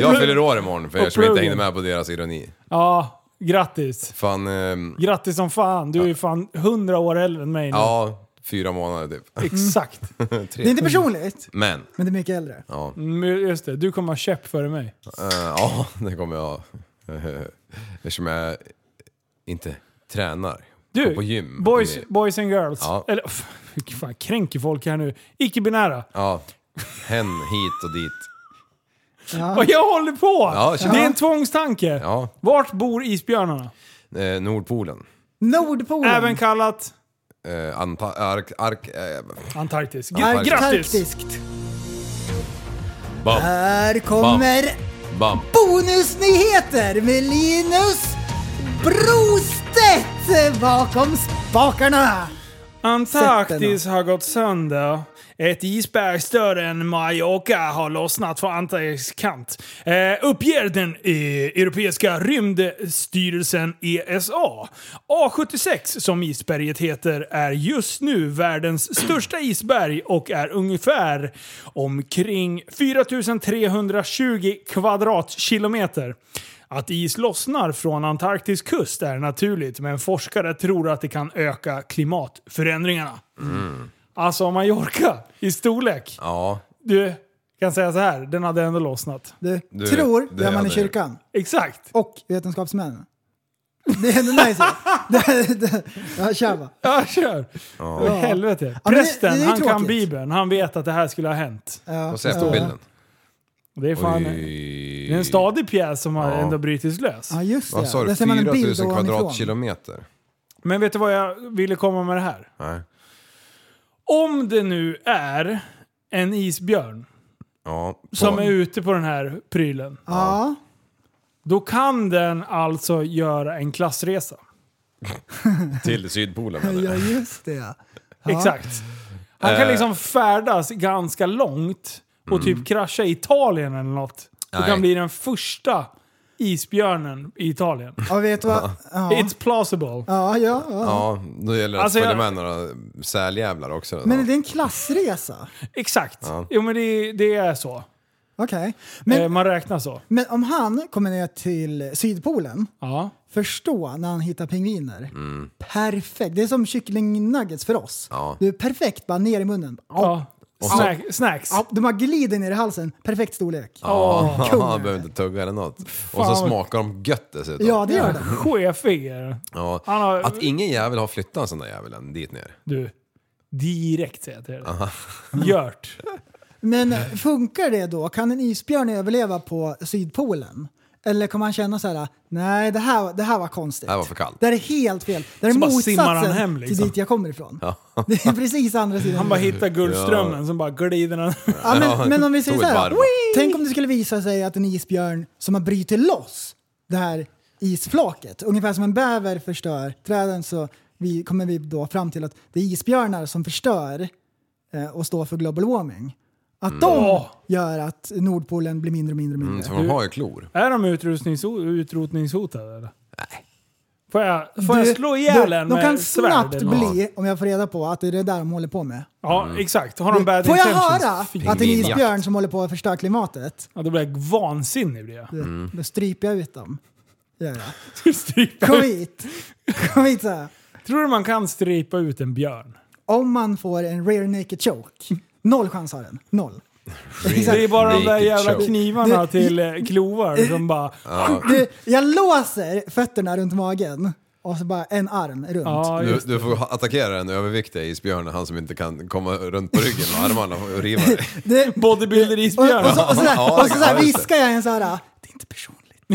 jag fyller år imorgon för er som inte hängde med på deras ironi. Ja, grattis. Fan, ehm, Grattis som fan. Du är ju fan 100 år äldre än mig nu. ja, fyra månader [LAUGHS] typ. Exakt. Det är inte Mm. personligt, Men, men det är mycket äldre. ja, Mm, Just det, du kommer ha käpp före mig. eh, ja [LAUGHS] det kommer jag eh, Eftersom jag inte tränar. Du, Går på gym. Boys, boys and girls. Ja. Eller, pff, hur fan kränker folk här nu. Icke-binära. Ja, hen hit och dit. Vad jag håller på! Ja, kör. det är en tvångstanke. Ja, Vart bor isbjörnarna? eh, Nordpolen. Nordpolen. Även kallat Eh, Anta- ark, ark, eh, Antarktis. Gr- Antarktis. Grattis! Arktiskt. bam, Här kommer bam. bonusnyheter med Linus Brostedt bakom spakarna. Antarktis har gått sönder Ett isberg större än Mallorca har lossnat från Antarktis kant. Eh, uppger den eh, Europeiska rymdstyrelsen E ESA. A76 som isberget heter är just nu världens största isberg och är ungefär omkring 4320 kvadratkilometer. Att is lossnar från Antarktis kust är naturligt, men forskare tror att det kan öka klimatförändringarna. Alltså Mallorca i storlek. Ja, Du, kan säga så här, den hade ändå lossnat. Du, Du, tror det det gör man hade- i kyrkan. Exakt. Och vetenskapsmän. Det är ändå [LAUGHS] nice. det, det, ja, kör va. Ja, kör. Åh, Helvete. men det- Prästen, det är ju han kan tråkigt. bibeln. Han vet att det här skulle ha hänt. Ja, vad sägs det om bilden? Det är fan... Oj. Det är en stadig pjäs som har Ja. ändå brutits lös. ja just det. Vad sa du? Där ser man en bild 4000 ovanifrån. kvadratkilometer? Men vet du vad jag ville komma med det här? Nej. Om det nu är en isbjörn Ja. på- som är ute på den här prylen. Ja, Då kan den alltså göra en klassresa. Till Sydpolen menar ja du? just det. Ja. Exakt. Han kan Eh. liksom färdas ganska långt och typ krascha i Italien eller något. Då Nej. kan bli den första isbjörnen i Italien. Ja, vet du vad? Ja, ja, It's plausible. ja. ja. Ja, då gäller det att Alltså, följa jag- med några säljävlar också. Men Ja. är det en klassresa? Exakt. Ja. Jo men det, det är så. Okej. Men, eh, man räknar så. men om han kommer ner till Sydpolen, Ja. förstå när han hittar pingviner. Perfekt. Det är som kycklingnuggets för oss. Mm. Ja. Du är perfekt, bara ner i munnen. ja. så- Snack, snacks. Ja, De bara glider ner i halsen. Perfekt storlek. [LAUGHS] Ja, kung. han behöver inte tugga eller något. Och så vad- smakar de gött dessutom. Ja, det gör det. Chefig är den. Ja. Han har- Att ingen jävel har flyttat en sån där jäveln dit ner. Du. Direkt säger jag till dig. Gjort. Men eh, funkar det då? Kan en isbjörn överleva på Sydpolen? Eller kommer han känna så här, nej det här, det här var konstigt. Det här var för kallt. Det här är helt fel. Det här är Så bara simmar han motsatsen hem, liksom. till dit jag kommer ifrån. [LAUGHS] Det är precis andra sidan. Han bara hittar Guldströmmen, sen bara glider han. Ja, Ja, men, men om vi säger tog så ett här. varv. "Wii!" Tänk om det skulle visa sig att en isbjörn som har brutit loss det här isflaket, ungefär som en bäver förstör träden så vi, kommer vi då fram till att det är isbjörnar som förstör eh, och står för global warming. Att Mm. de gör att Nordpolen blir mindre och mindre och mindre. Mm, så de har ju klor. Är de utrotnings utrotningshotade eller? Nej. Får jag, får Du- jag slå ihjäl du- en De med kan svärd snabbt eller något? bli, om jag får reda på, att det är det där de håller på med. Ja, Mm. exakt. Har de bad får jag intentions? höra Fy- att det är en Pingvinjakt. isbjörn som håller på att förstöra klimatet, Ja, då blir jag vansinnig. Blir jag. då, då stryper jag ut dem. Gör jag. Strypa Kom ut. hit! Kom hit så här. Tror du man kan strypa ut en björn? Om man får en rear naked choke, noll chans har den. Noll. Det är bara de där Naked jävla choke. knivarna Det- till eh, klovar som bara... Du, jag låser fötterna runt magen och så bara en arm runt. Ja, Du, just. du får attackera den överviktiga isbjörnen, han som inte kan komma runt på ryggen med armarna och riva [LAUGHS] dig. Det, Bodybuilder och, och, isbjörn. så, och så, där, Ja, och så, där ja, just det. viskar jag en så här, det är inte personligt. [LAUGHS]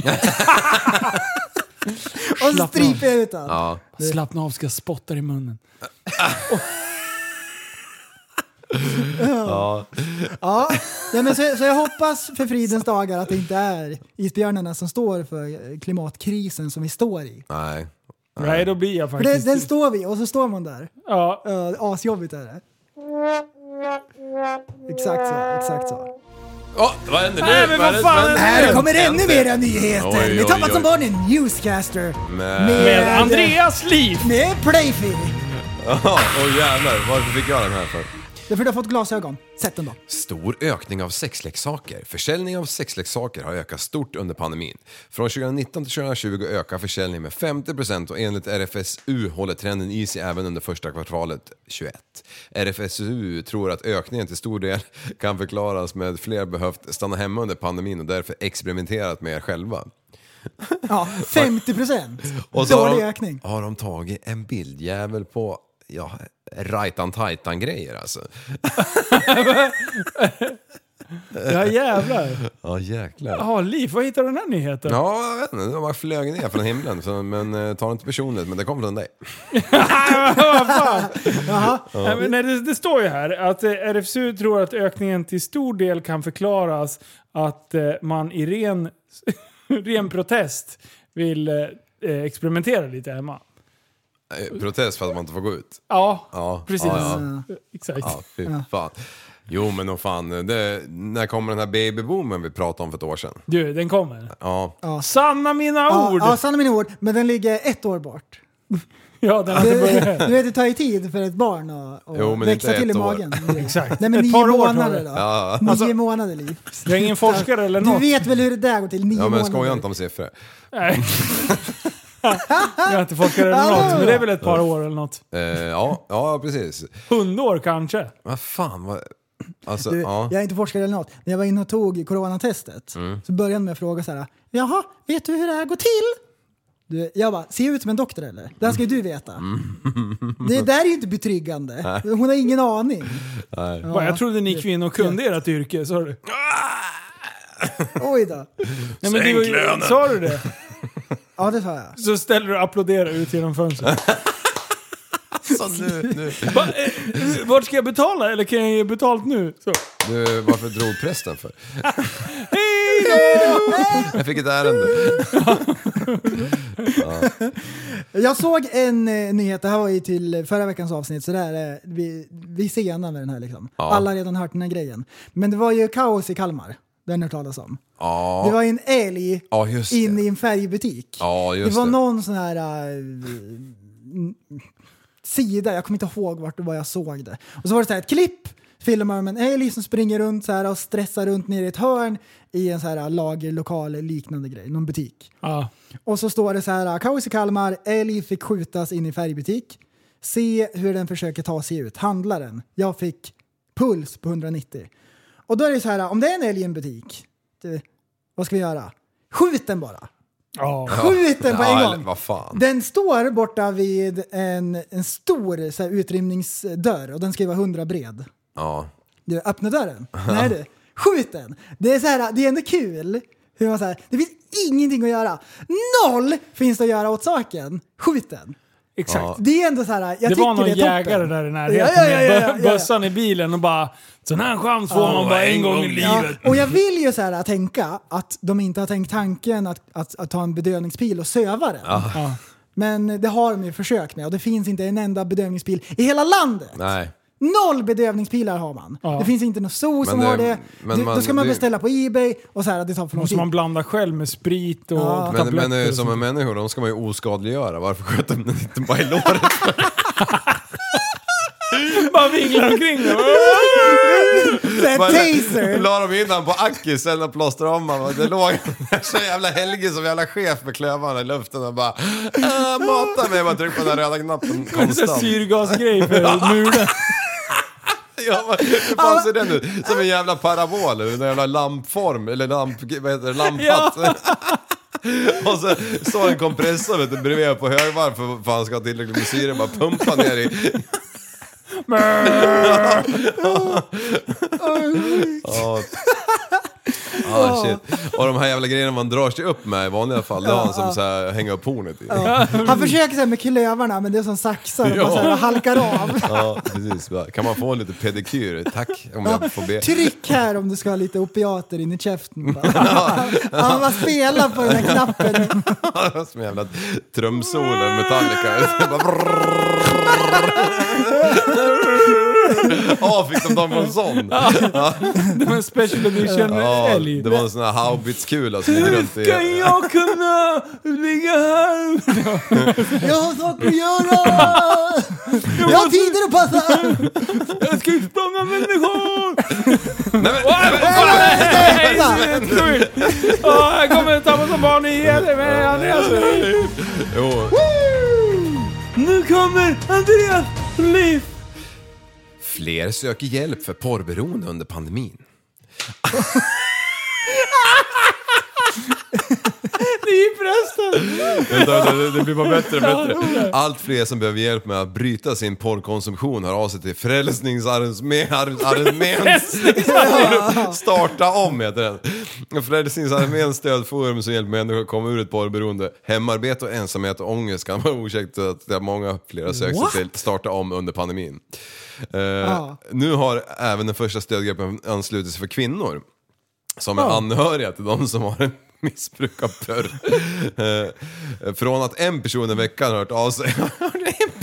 och så stryper jag ut honom. Ja. Slappna av, ska jag spotta dig i munnen. Ja. Nej, men så, så jag hoppas för fridens dagar att det inte är isbjörnarna som står för klimatkrisen som vi står i. Nej. Nej, då blir jag För det, faktiskt... den står vi och så står man där. Ja, Ja, asjobbigt är det. Exakt så, exakt så. Åh, vad händer nu? Nej, men vad fan händer? händer? Här kommer ännu Äntligen. mera nyheter! Oj, Vi oj, tappat som oj. barn i en newscaster! Men- med Andreas liv! Med Playfee! Ja, Åh jävlar, varför fick jag den här för? Därför du har fått glasögon. Sätt den då. Stor ökning av sexleksaker. Försäljning av sexleksaker har ökat stort under pandemin. Från 2019 till 2020 ökar försäljningen med 50% och enligt RFSU håller trenden i sig även under första kvartalet 21. RFSU tror att ökningen till stor del [LAUGHS] kan förklaras med att fler behövt stanna hemma under pandemin och därför experimenterat med er själva. [LAUGHS] Ja, 50 procent! Och Dålig har ökning. de, har de tagit en bildjävel på ja, rajtan tajtan grejer alltså. Ja, jävlar. Ja jäklar. Ja, liv. Var hittar du den här nyheten? Ja, jag vet inte. De bara flög ner från himlen. Så, men eh, ta det inte personligt, men det kom från dig. Nej, men nej, det, det står ju här att eh, RFSU tror att ökningen till stor del kan förklaras att eh, man i ren, [LAUGHS] ren protest vill eh, eh, experimentera lite hemma. Eh, Protest för att man inte får gå ut. Ja, Ja, precis. Eh, ja, Exakt. Ja, fy fan. Jo men och fan, eh, det, när kommer den här babyboomen vi pratade om för ett år sedan? Du, den kommer. Ja, Sanna mina Ja, alltså- ord! ja, sanna mina ord. Men den ligger ett år bort. Ja, den har Du, inte börjat. du vet, det tar ju tid för ett barn att, att Jo, men växa inte till i ett år. [LAUGHS] magen. Exakt. Nej, men Ett nio par år tar månader det. då. Ja. Nio Alltså- många liv. Jag är ingen forskare eller Du något. vet väl hur det där går till? Nio ja men månader. skoja inte om siffror. Nej. jag har inte forskat eller något, men det är väl ett par år eller något. Eh, ja, ja precis. Hundår kanske. Vad fan, vad... Alltså, Du, ja. Mm. Jag är inte forskare eller något, men jag var inne och tog coronatestet. Så började han med att fråga så här, jaha, vet du hur det här går till? Du, jag bara, ser jag ut som en doktor eller? Det här ska ju du veta. Mm. Det där är ju inte betryggande. Hon har ingen aning. Bara, jag trodde ni kvinnor kunde ert yrke, sa du. Ah! Oj då. Nej, men det var Sänk ju, lönen. sa du det? [LAUGHS] Ja, det sa jag. Så ställer du och applåderar ut genom fönstret. Så nu, nu. Va, eh, vart ska jag betala? Eller kan jag ge betalt nu? Så. Du, varför drog prästen för? Hej Jag fick ett ärende. Jag såg en eh, nyhet, det här var ju till förra veckans avsnitt, så där är vi, vi är sena med den här liksom. Ja. Alla har redan hört den här grejen. Men det var ju kaos i Kalmar, den har talas om. Det Ja, var ju en älg ja just in det. i en färgbutik. Ja, det just var det. någon sån här eh, n- sida, jag kommer inte ihåg vart det var jag såg det. Och så var det så här ett klipp, filmar med en älg som springer runt så här och stressar runt nere i ett hörn i en så här eh, lagerlokal liknande grej, någon butik. Ja. Och så står det så här, kaos i Kalmar, älg fick skjutas in i färgbutik. Se hur den försöker ta sig ut, handlaren. Jag fick puls på 190. Och då är det så här, om det är en älg i en butik, du, vad ska vi göra? Skjut den bara! Ja. Skjut den på Ja, eller en gång! vad fan. Den står borta vid en, en stor så här, utrymningsdörr och den ska ju vara 100 bred. Ja. Du, öppna dörren. Nej du, skjut den. Det är, så här, det är ändå kul. Hur man så här, det finns ingenting att göra. Noll finns det att göra åt saken. Skjut den. Exakt. Ja. Det är ändå så här, jag det tycker var någon det är jägare toppen. där i närheten Ja, ja, ja, ja, ja, med bö- ja. bössan i bilen och bara Sån här chans får man bara en gång i Ja, livet. och jag vill ju så här, tänka att de inte har tänkt tanken att, att, att ta en bedövningspil och söva den. Ja. Men det har de ju försökt med och det finns inte en enda bedövningspil i hela landet. Nej. Noll bedövningspilar har man. Ja. Det finns inte någon zoo som det- har det. men Du, då man- ska man det- beställa på Ebay och så här, det tar för lång Måste tid. man blanda själv med sprit och Ja. tabletter? Men, men eh, och som sånt. är människor, de ska man ju oskadliggöra. Varför sköt de den inte bara i [LAUGHS] låret? bara vinglar omkring den. Så här, Bara- taser! [LAUGHS] La de in han på Akis, sen och plåstrade om han. Det låg [LAUGHS] så jävla Helge som jävla chef med klövarna i luften och bara äh, mata mig. Jag bara tryckte på den röda [LAUGHS] knappen En sån här konstant. Syrgasgrej för mulen. Ja, men hur fan ser den ut? Som en jävla parabol, en jävla lampform, eller lamp, vad heter det, lamphatt. [LAUGHS] Och så står en kompressor vet du, bredvid på högvarv för för han ska ha tillräckligt med syre, bara pumpa ner i. Ja. Ah, shit. Och de här jävla grejerna man drar sig upp med i vanliga fall, det har han som så här, hänger upp hornet i. [LAUGHS] Han försöker så här med klövarna men det är som saxar och Ja. bara så här, halkar av. Ja, precis. Bara, Kan man få lite pedikyr? Tack, om jag får be. Tryck här om du ska ha lite opiater in i käften. [LAUGHS] bara. Han bara spelar på den här knappen. [LAUGHS] Som jävla trumsolo, Metallica. [LAUGHS] Bara brrrr. Ja, fick de dem på en sån? Det var en special edition Ja, älg. det var en sån här haubitskula som gick runt Kan i... jag kunna ligga här? Jag har saker att göra! Jag har tider att passa! Jag ska utplåna människor! Nej, men, nej, men, Nej, det är helt sjukt! Åh, Jag kommer tappa som barn i helvete med Andreas. jo. Nu kommer Andreas liv! Fler söker hjälp för porrberoende under pandemin. Det är prästen! Vänta, vänta, det- det blir bara bättre och bättre. Allt fler som behöver hjälp med att bryta sin porrkonsumtion hör av sig till Frälsningsarmén. Starta om heter den. Frälsningsarméns stödforum som hjälper människor att komma ur ett porrberoende. Hemarbete och ensamhet och ångest kan vara orsak att det är många flera sökt sig till Starta om under pandemin. Eh, Nu har även den första stödgruppen anslutit sig för kvinnor som är anhöriga till de som har en missbruk av porr. Eh, Från att en person i veckan har hört av sig. [LAUGHS] en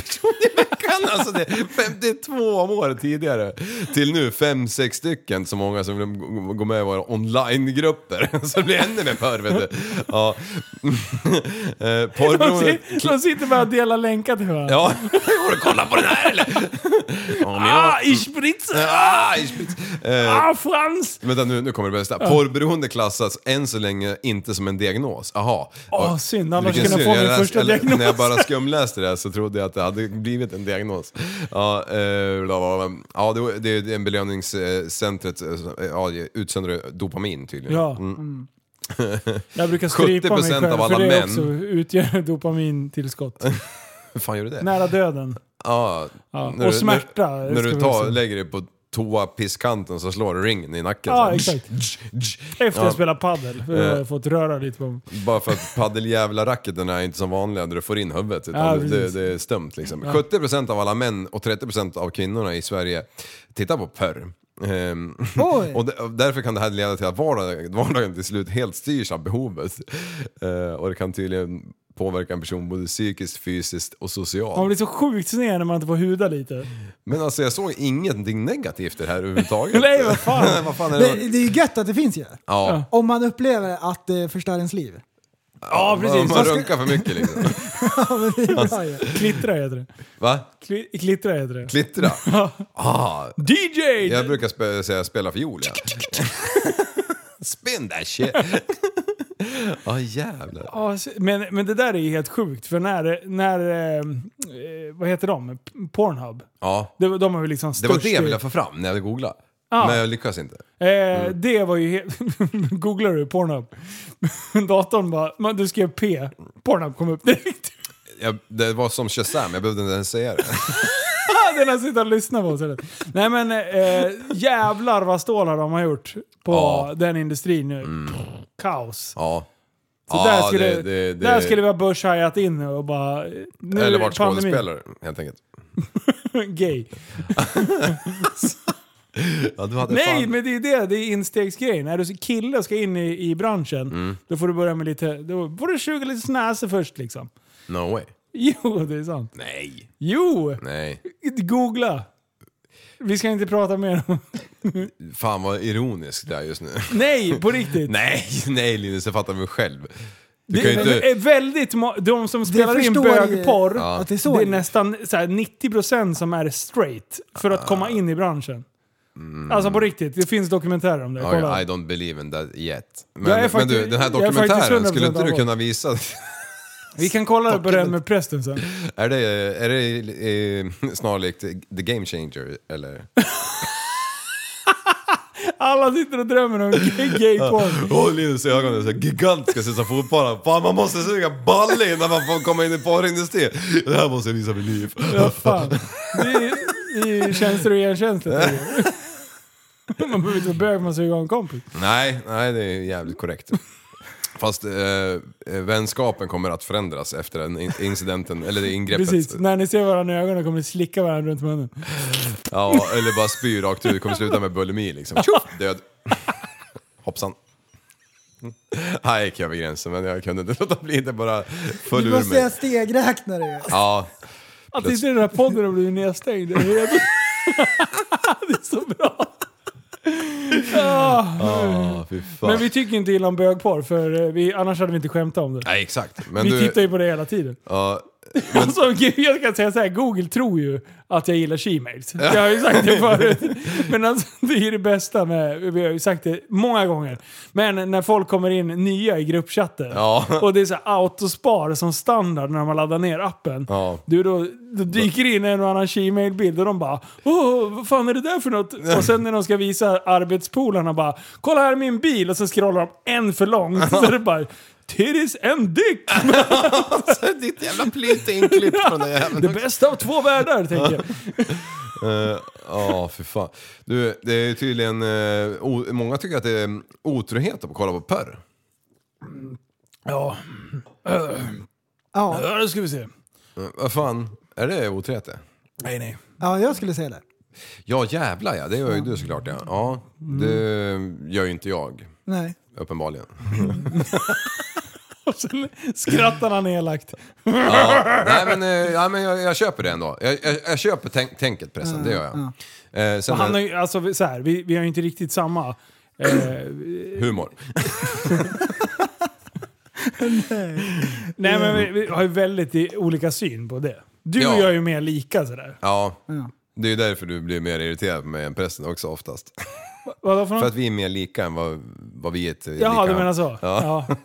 person i veckan alltså! Det är 52 om året tidigare. Till nu fem sex stycken, så många som vill gå- gå med i våra onlinegrupper. [LAUGHS] Så det blir ännu mer porr vet du. Ja. [LAUGHS] Eh, De, Porrberoendet... sit- de sitter bara och delar länkar till varandra. Ja, [LAUGHS] har du kollat på den här eller? Om jag... Ah, ich spritze! Ah, ich spritz. Eh, Ah, Frans! Vänta nu, nu kommer det bästa. Porrberoende klassas än så länge inte som en diagnos. Aha. Åh, synd. Annars Vilken kunde jag få synd. min läste- första eller, diagnos. När jag bara skumläste det här så trodde jag att det hade blivit en diagnos. Ja, eh, bla, bla, bla. ja det, var- det är en belöningscentret eh, som, eh, ja, utsöndrar dopamin tydligen. Ja. Mm. [LAUGHS] Jag brukar strypa mig 70% själv, Mm. av alla för det män. också utgör dopamintillskott. Hur fan gör du det? Nära döden. Ja, Ja, när och du- smärta, När, ska när du vi tar, säga. lägger dig på toapisskanten så slår ringen i nacken. Ja, så här. exakt. Tsch, tsch, tsch. Efter Ja. jag spelar padel. För jag har jag fått röra lite på mig. Bara för att paddeljävla-racketen är inte som vanliga där du får in huvudet utan Ja, det, precis. det är stömt liksom. 70% av alla män och 30% av kvinnorna i Sverige tittar på porr. Ehm, Oj. och, d- och därför kan det här leda till att vardagen, vardagen till slut helt styrs av behovet. Eh, och det kan tydligen påverka en person både psykiskt, fysiskt och socialt. Man blir så sjukt sned när man inte får huda [LAUGHS] lite. Men alltså jag såg ingenting negativt i det här [LAUGHS] överhuvudtaget. Nej, vad fan. vad fan är det? Det, det är ju gött att det finns ju. Ja, Om man upplever att det förstör ens [LAUGHS] liv. Ja, man, precis. man Man ska- runkar för mycket liksom. Ja, men det är bra ju. Klittra heter det. Va? Kli- Klittra heter det. [LAUGHS] Klittra? ah, DJ! Jag brukar spe- säga spela fiol, ja. [LAUGHS] Spin that shit! Ja, jävlar. Ja, s- men, men det där är ju helt sjukt, för när, när eh, eh, vad heter de? P- Pornhub. Ja, De, de har ju liksom det var störst- det jag ville få fram när jag googlade. Ja. Men jag lyckas inte. Eh, Mm. Det var ju helt... [LAUGHS] Googlar du Pornhub? Datorn bara, man, du skrev P. Pornhub kom upp direkt. [LAUGHS] Jag, det var som Shazam, jag behövde inte ens säga det. Den har suttit och lyssnat på oss. eller? Nej men eh, jävlar vad stålar de har gjort på Ja. Mm. den industrin nu. Kaos. Ja. Så där skulle, där skulle vi ha börshajat in nu och bara... Nu är Eller det varit pandemi. skådespelare, helt enkelt. [LAUGHS] Gay. Ja, du hade Nej, fan... men det är det. Det är instegsgrejen. När du som kille ska in i, i branschen, Mm. då får du börja med lite... Då får du suga lite snäse först liksom. [LAUGHS] No way. Jo, det är sant. Nej. Jo! Nej. Googla! Vi ska inte prata mer [LAUGHS] om... Fan vad ironisk det är just nu. [LAUGHS] Nej, på riktigt. Nej, nej Linus, jag fattar mig själv. Du Det kan ju inte... är väldigt må- De som spelar in förstår ju bögporr, det att det är är, så det är. nästan så här, 90% som är straight för Ah. att komma in i branschen. Alltså på riktigt, det finns dokumentärer om det. Mm. Ja, Kolla. I don't believe in that yet. Men, Jag är men faktiskt- du, den här jag är faktiskt dokumentären, skulle inte du 100% kunna visa? [LAUGHS] Vi kan kolla på det med prästen sen. Är det, är det eh, snarlikt The Game Changer eller? Alla sitter och drömmer om gay- [LAUGHS] gayporr. Åh Linus ögon är så gigantiska ser ut som fotbollar. Fan man måste suga balle innan man får komma in i porrindustrin. Det här måste jag visa mitt liv. Ja, fan. Det är, det är tjänster och gentjänster. Man behöver inte vara bög, man suger av en kompis. [LAUGHS] Nej, nej det är jävligt korrekt. Fast eh, vänskapen kommer att förändras efter den in- incidenten, eller det ingreppet. Precis, när ni ser varandra i ögonen kommer ni slicka varandra runt munnen. Ja, eller bara spy rakt ut. Det kommer sluta med bulimi liksom. Tjoff, död. Hoppsan. Mm. Här gick jag över gränsen men jag kunde inte låta bli. Det bara föll Du ur måste säga mig. stegräknare ju. Ja, Att inte den här podden har blivit nedstängd. Det är [LAUGHS] det är så bra. ah, fy fan. Men vi tycker inte illa om bögporr, för eh, vi, annars hade vi inte skämtat om det. Nej exakt. Men Vi du... tittar ju på det hela tiden. Ja, [LAUGHS] Alltså, gud, jag kan säga så här, Google tror ju att jag gillar shemales. Jag har ju sagt det förut. [LAUGHS] Men alltså, det är ju det bästa med, vi har ju sagt det många gånger. Men när folk kommer in nya i gruppchatten Ja. och det är så här autospar som standard när man laddar ner appen. Ja. Du, då, då dyker in en och annan shemale-bild och de bara Åh, vad fan är det där för [LAUGHS] något? Och sen när de ska visa arbetspolarna bara Kolla här är min bil och så scrollar de en för [LAUGHS] långt. Så det bara Titties and dick! alltså, ditt jävla plyt är inklippt från den jäveln. Det bästa av två världar, tänker jag. Eh, Ja, för fan. Du, det är tydligen... eh, o- många tycker att det är otrohet att kolla på porr. Ja, Ja, ja, då ska vi se. Eh, Vad fan, är det otrohet det? Nej, nej. ja, jag skulle säga det. Ja jävlar ja, det gör ju du såklart ja. ja det gör ju inte jag. Nej. uppenbarligen. Och sen skrattar han elakt. [LAUGHS] nej, men, eh, ja, men jag, jag köper det ändå. Jag, jag, jag köper tänk, tänket pressen, det gör jag. Eh, sen Han har är, ju, alltså så här, vi, vi har ju inte riktigt samma... Eh, humor. nej men vi, vi har ju väldigt i- olika syn på det. Du Ja. och jag är ju mer lika sådär. Ja. Det är ju därför du blir mer irriterad på mig än pressen också oftast. Vadå för För något? att vi är mer lika än vad, vad vi är till- Jaha, lika. du menar så? Ja. Ja.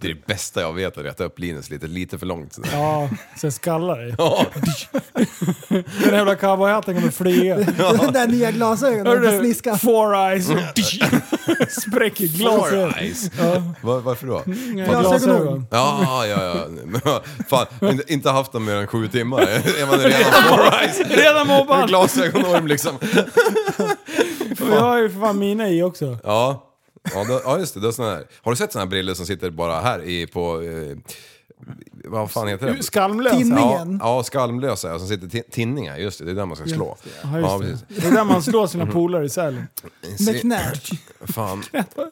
Det är det bästa jag vet, att rätta upp Linus lite, lite för långt. ja sen skallar det. Ja. [LAUGHS] Den jävla cowboyhatten kommer flyga. Den där nya glasögonen på sniskan. Four eyes. [LAUGHS] Spräcker glaset. Four eyes. Var, varför då? Glasögon. Ja, ja, ja. Men vad Fan, inte, inte haft dem mer än sju timmar. Är [LAUGHS] man redan four eyes? Redan Med mobbad. Glasögonorm liksom. Jag har ju för fan mina i också. Ja, ja, då, ja just det. det är såna här. Har du sett såna här briller som sitter bara här i, på... Eh, vad fan heter det? Skalmlösa. Tinning. Ja, Tinningen. ja, skalmlösa ja, som sitter ti- tinningar. Just det, det är där man ska slå. Ja, Ja, just det. det är där man slår sina polare i Sälen. Med knät. Fan,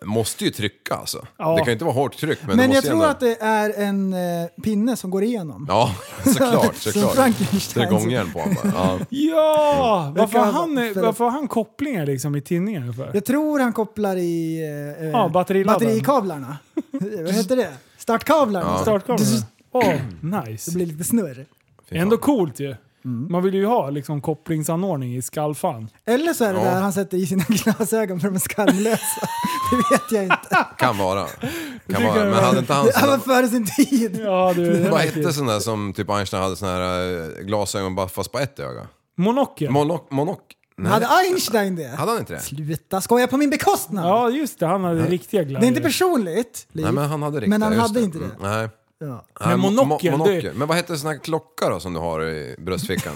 måste ju trycka alltså. Ja. Det kan ju inte vara hårt tryck, men, det Men måste jag tror ju ändå... att det är en eh, pinne som går igenom. Ja, [LAUGHS] såklart, Som såklart. Det Frankenstein. är gångjärn på honom bara. ja. Ja! Varför har, kan han, vara- varför har han kopplingar liksom i tinningar för? Jag tror han kopplar i eh, Ja, batteriladdarna. [LAUGHS] batterikablarna. Vad heter det? Startkablarna. Startkablarna? Åh, Det nice. blir lite snurr. fan. Ändå coolt ju. Man vill ju ha liksom kopplingsanordning i skallfan. Eller så är det Ja. där han sätter i sina [LAUGHS] glasögon för de är [LAUGHS] skamlösa. Det vet jag inte. Kan vara. Kan kan vara. det Men vara. hade inte han Det var såna... före sin tid. Ja, du. det [LAUGHS] Vad är hette kul. sån där som typ Einstein hade såna här eh, glasögon bara fast på ett öga? Monokel. Monoc... Monoc... Nej, Hade Einstein det? hade han inte det? Sluta skoja på min bekostnad! Ja, just det. Han hade riktiga glasögon. Det är inte personligt, Liv. Nej men han hade riktiga, Men han just hade inte det. Mm, nej. Ja. Nej, mo- mo- monokel, monokel. det- Men vad hette sån här klocka då som du har i [LAUGHS] bröstfickan?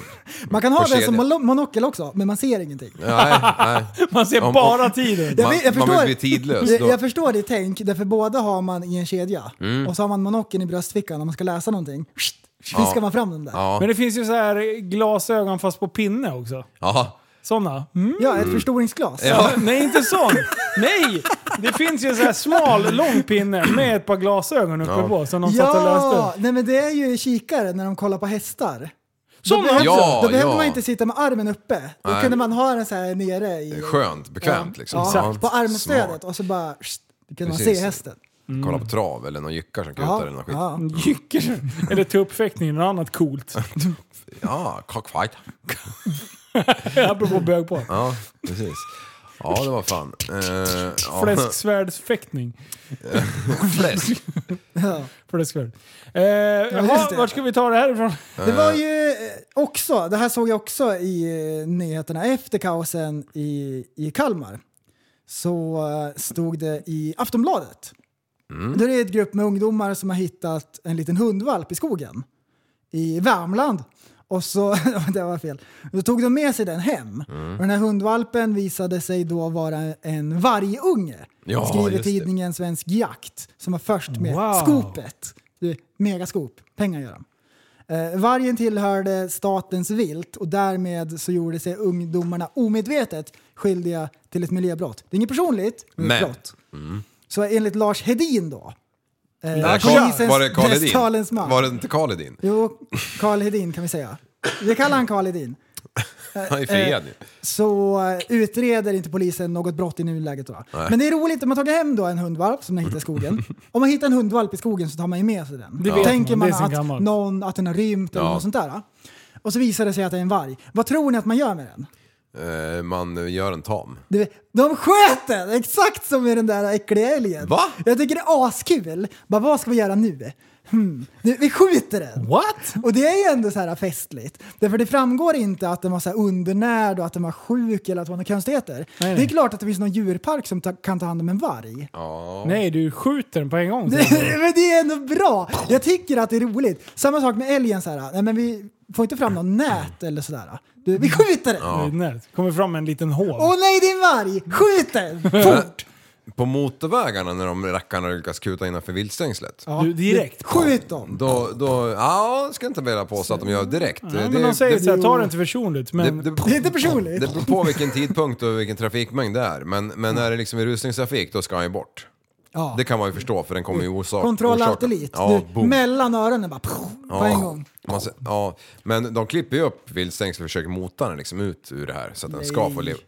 Man kan ha På den som kedja. mono- monokel också, men man ser ingenting. nej, nej. Man ser Om- bara tiden. Jag, Man- vet- jag, man förstår, vill bli tidlös jag, då. Mm. jag förstår ditt tänk, därför båda har man i en kedja. Och så har man monokeln i bröstfickan om man ska läsa någonting. Fiskar man fram den där. Ja, Men det finns ju så här glasögon fast på pinne också. Ja. Sådana. Mm. ett förstoringsglas. Ja. Nej, inte sån. Nej! Det finns ju så här smal, lång pinne med ett par glasögon uppe på som de satt och Ja, läste. nej men det är ju kikare när de kollar på hästar. Sådana Då också! Ja, Då behövde ja. man inte sitta med armen uppe. Då Nej. kunde man ha den så här nere i... Skönt, bekvämt liksom. Ja, Ja. på armstödet Smart. och så bara... Då kunde man Precis. se hästen. Kolla på trav eller någon jyckar som kutar Ja, eller något skit. ja. Jycker. Eller tuppfäktning, något annat coolt. Ja, cockfight. Apropå bög på. Ja, precis. Ja, det var fan. Eh, ja. Fläsksvärdsfäktning. Fläsk. Fläsksvärd. Eh, jaha, det. vart ska vi ta det här ifrån? Det var ju eh, också, det här såg jag också i eh, nyheterna efter kaosen i, i Kalmar. Så eh, stod det i Aftonbladet. Mm. Där är ett grupp med ungdomar som har hittat en liten hundvalp i skogen. I Värmland. Och så, [LAUGHS] det var fel. Då tog de med sig den hem. Mm. Och den här hundvalpen visade sig då vara en vargunge. Ja, skriver just det. tidningen Svensk Jakt. Som var först med Wow. skopet. Du, megaskop. Pengar gör de. Eh, Vargen tillhörde statens vilt och därmed så gjorde sig ungdomarna omedvetet skyldiga till ett miljöbrott. Det är inget personligt, men, ett Men. Mm. brott. Så enligt Lars Hedin då, eh, Var det Karl- Var det Karl presstalens Hedin? man. Var det inte Karl Hedin? Jo, Karl Hedin kan vi säga. Vi kallar han Karl Hedin. Han är eh. friad ju. Så eh, utreder inte polisen något brott i nuläget. Då. Men det är roligt, om man tagit hem då en hundvalp som man hittar i [LAUGHS] skogen. Om man hittar en hundvalp i skogen så tar man ju med sig den. Det Då vet tänker man, man det är sen att, gammalt. någon, att den har rymt eller Ja. något sånt där. då. Och så visar det sig att det är en varg. Vad tror ni att man gör med den? Eh, man gör en tam. Du, de sköt den! Exakt som i den där äckliga älgen. Va? Jag tycker det är askul. Bara, vad ska vi göra nu? Hmm. Du, vi skjuter den. What? Och det är ju ändå så här festligt. Därför det framgår inte att den var så här undernärd och att den var sjuk eller att det var några konstigheter. nej. Det är klart att det finns någon djurpark som ta, kan ta hand om en varg. Nej, du skjuter den på en gång. [LAUGHS] men det är ändå bra! Jag tycker att det är roligt. Samma sak med älgen så här. Nej, men vi får inte fram någon nät eller sådär. Du, vi skjuter den! Åh Nej, Kommer fram en liten håv. nej, det är en varg! Skjut den! Fort! På motorvägarna när de rackarna lyckas kuta innanför viltstängslet. Du, direkt. Skjut dem! Då, då, ja, ska inte vilja påstå att de gör direkt. Nej, men de säger såhär, ta det inte personligt. Men Det är inte personligt. Det beror på vilken tidpunkt och vilken trafikmängd det är. Men, men är det liksom i rusningstrafik, då ska han ju bort. Ja. Mm. Det kan man ju förstå för den kommer ju orsaka. Kontroll alt orsaka- delete. Ja, du, boom. mellan öronen bara pff, på en gång. Man ser- ja, men de klipper ju upp viltstängsel och försöker mota den liksom ut ur det här så att den ska få leva.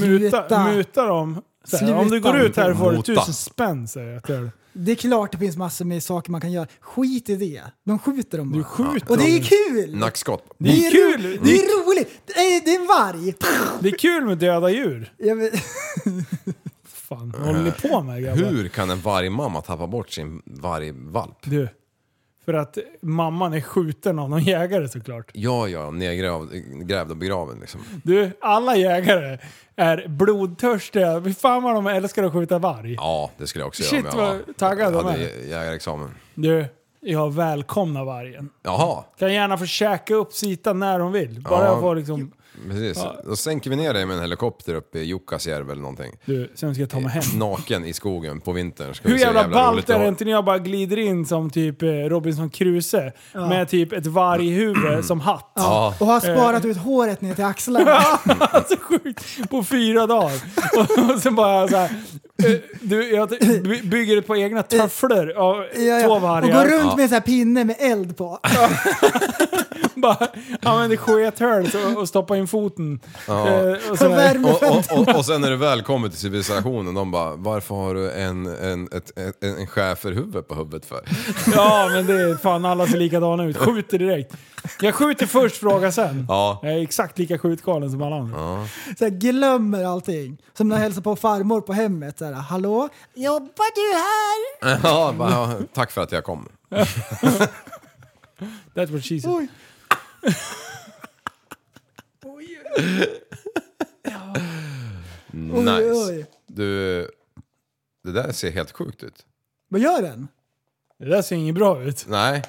Muta, Sluta. muta dem. Så här, Sluta. Om du går ut här får du Mota. tusen spänn säger jag till dig. Det är klart det finns massor med saker man kan göra. Skit i det. De skjuter dem Du bara. skjuter Och det är dem. kul! Nackskott. Det är kul! Det är roligt! Det är, det är en varg! Pff, Det är kul med döda djur. Jag vet, Fan, vad håller ni på med grabbar? Eh, Hur kan en vargmamma tappa bort sin vargvalp? Du. För att mamman är skjuten av någon jägare såklart. Ja, ja, nedgrävd grävd och begraven liksom. Du, alla jägare är blodtörstiga. Fy fan vad de älskar att skjuta varg. Ja, det skulle jag också Shit, göra om jag var- vad taggad de hade är. jä- jägarexamen. Du, jag välkomnar vargen. Jaha, Kan gärna få käka upp sitan när hon vill. Bara Ja. jag får liksom... precis. Då sänker vi ner dig med en helikopter uppe i Jukkasjärvi eller någonting. Du, sen ska jag ta mig hem. Naken i skogen på vintern. Ska Hur vi se jävla ballt roligt är det har. inte när jag bara glider in som typ eh, Robinson Crusoe med typ ett [CLEARS THROAT] varghuvud som hatt? Ja, och har sparat Eh. ut håret ner till [LAUGHS] axlarna. alltså sjukt. På fyra dagar. Och, och sen bara så här, eh, du, jag ty- by- bygger det på egna tofflor av [LAUGHS] Eh, Ja, ja. två Och går vargar. runt med en sån här pinne med eld på. [LAUGHS] [LAUGHS] Bara använder skethörn så- och stoppar in foten. Eh, och så Och här, värmer Och, och, och, och sen när du väl kommer till civilisationen, de bara “Varför har du en, en, ett, en, en schäferhuvud på huvudet för?” [LAUGHS] ja men det är fan alla ser likadana ut. Skjuter direkt. Jag skjuter först, frågar sen. Ja. Jag är exakt lika skjutgalen som alla andra. Så här, glömmer allting. Som när jag hälsar på farmor på hemmet. Så här, Hallå? Jobbar du här? ja, bara, "Ja, “Tack för att jag kom”. That's what Mm. she said. Oj. Oj, nice. oj. Du, det där ser helt sjukt ut. Vad gör den? Det där ser inget bra ut. Nej.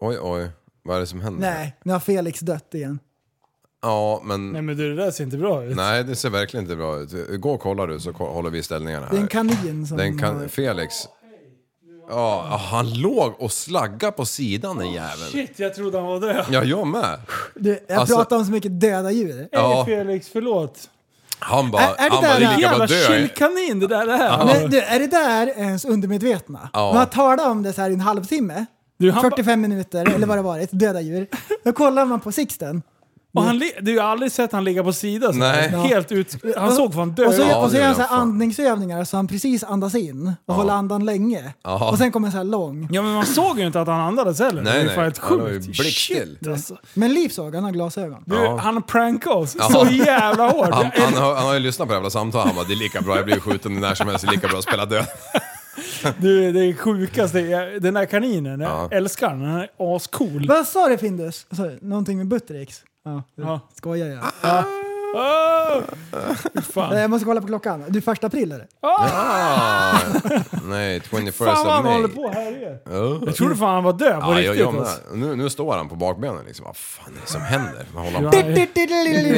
Oj, oj. Vad är det som händer? Nej, nu har Felix dött igen. Ja, men... Nej Nej, men du, det där ser inte bra ut. det ser verkligen inte bra ut. Gå och kolla du så ko- håller vi ställningarna här. Det är en kanin som... Den har- kan... Felix. Ja, han låg och slaggade på sidan den jäveln. Shit, jag trodde han var död. Ja, jag med. Du, jag Alltså- pratar om så mycket döda djur. Hej Ja. Felix, förlåt. Han bara... Är- är det Han där bara, det är en lika bra Jävla att dö. kylkanin det där är. Men, du, är det där ens undermedvetna? Ja. Man talar om det så här i en halvtimme, Du, han, 45. 45 minuter eller vad det varit, döda djur. Då kollar man på Sixten. Och han, li- du har aldrig sett han ligga på sidan så. Nej. Helt ut. Han såg fan död Och så, ut. Ja, och så det gör han gör så här han fan. andningsövningar så han precis andas in och håller andan länge. Ja. Och sen kommer en så här lång. Ja men man såg ju inte att han andades heller. Nej, det är nej. fan helt Han har ju sjukt. blickstill. Shit, alltså. Men Liv såg, han har glasögon. du, Ja. Han prankade oss så jävla hårt. Han, Jag han, har, han har ju lyssnat på det jävla samtalet. Han bara, det är lika bra, jag blir skjuten när som helst, det är lika bra att [LAUGHS] spela död. Du, det är sjukaste. Jag- Den där kaninen, jag älskar den. Den är ascool. Vad sa du Findus? Alltså, någonting med Buttericks? Ja, Ja. skojar jag. Oh! Nej, Fan. Jag måste kolla på klockan. Du, första april är det. Ah, Alltså, nej, 21st fan vad of han May. håller på här är. Oh. Jag trodde fan han var död på Ja, jag, riktigt. jag alltså. med. Nu, nu står han på bakbenen liksom. Vad fan är det som händer? Vad håller han Ja. på?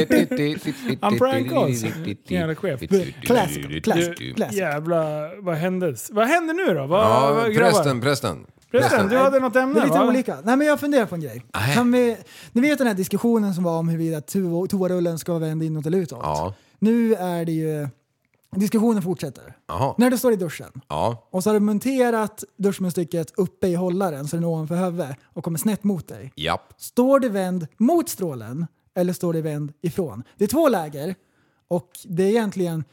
Han prankade oss. Jävla chef. Classic, classic, Du, classic. jävla, vad hände? Vad hände nu då? Vad, Ja, vad, grabbar? prästen, prästen. Prästen, du hade något ämne Det är lite va? olika. Nej, men jag funderar på en grej. Nej. Kan vi, ni vet den här diskussionen som var om huruvida to- toarullen ska vara vänd inåt eller utåt? Ja. Nu är det ju... Diskussionen fortsätter. Jaha. När du står i duschen Ja. och så har du monterat duschmunstycket uppe i hållaren så den är ovanför huvudet och kommer snett mot dig. Japp. Står du vänd mot strålen eller står du vänd ifrån? Det är två läger och det är egentligen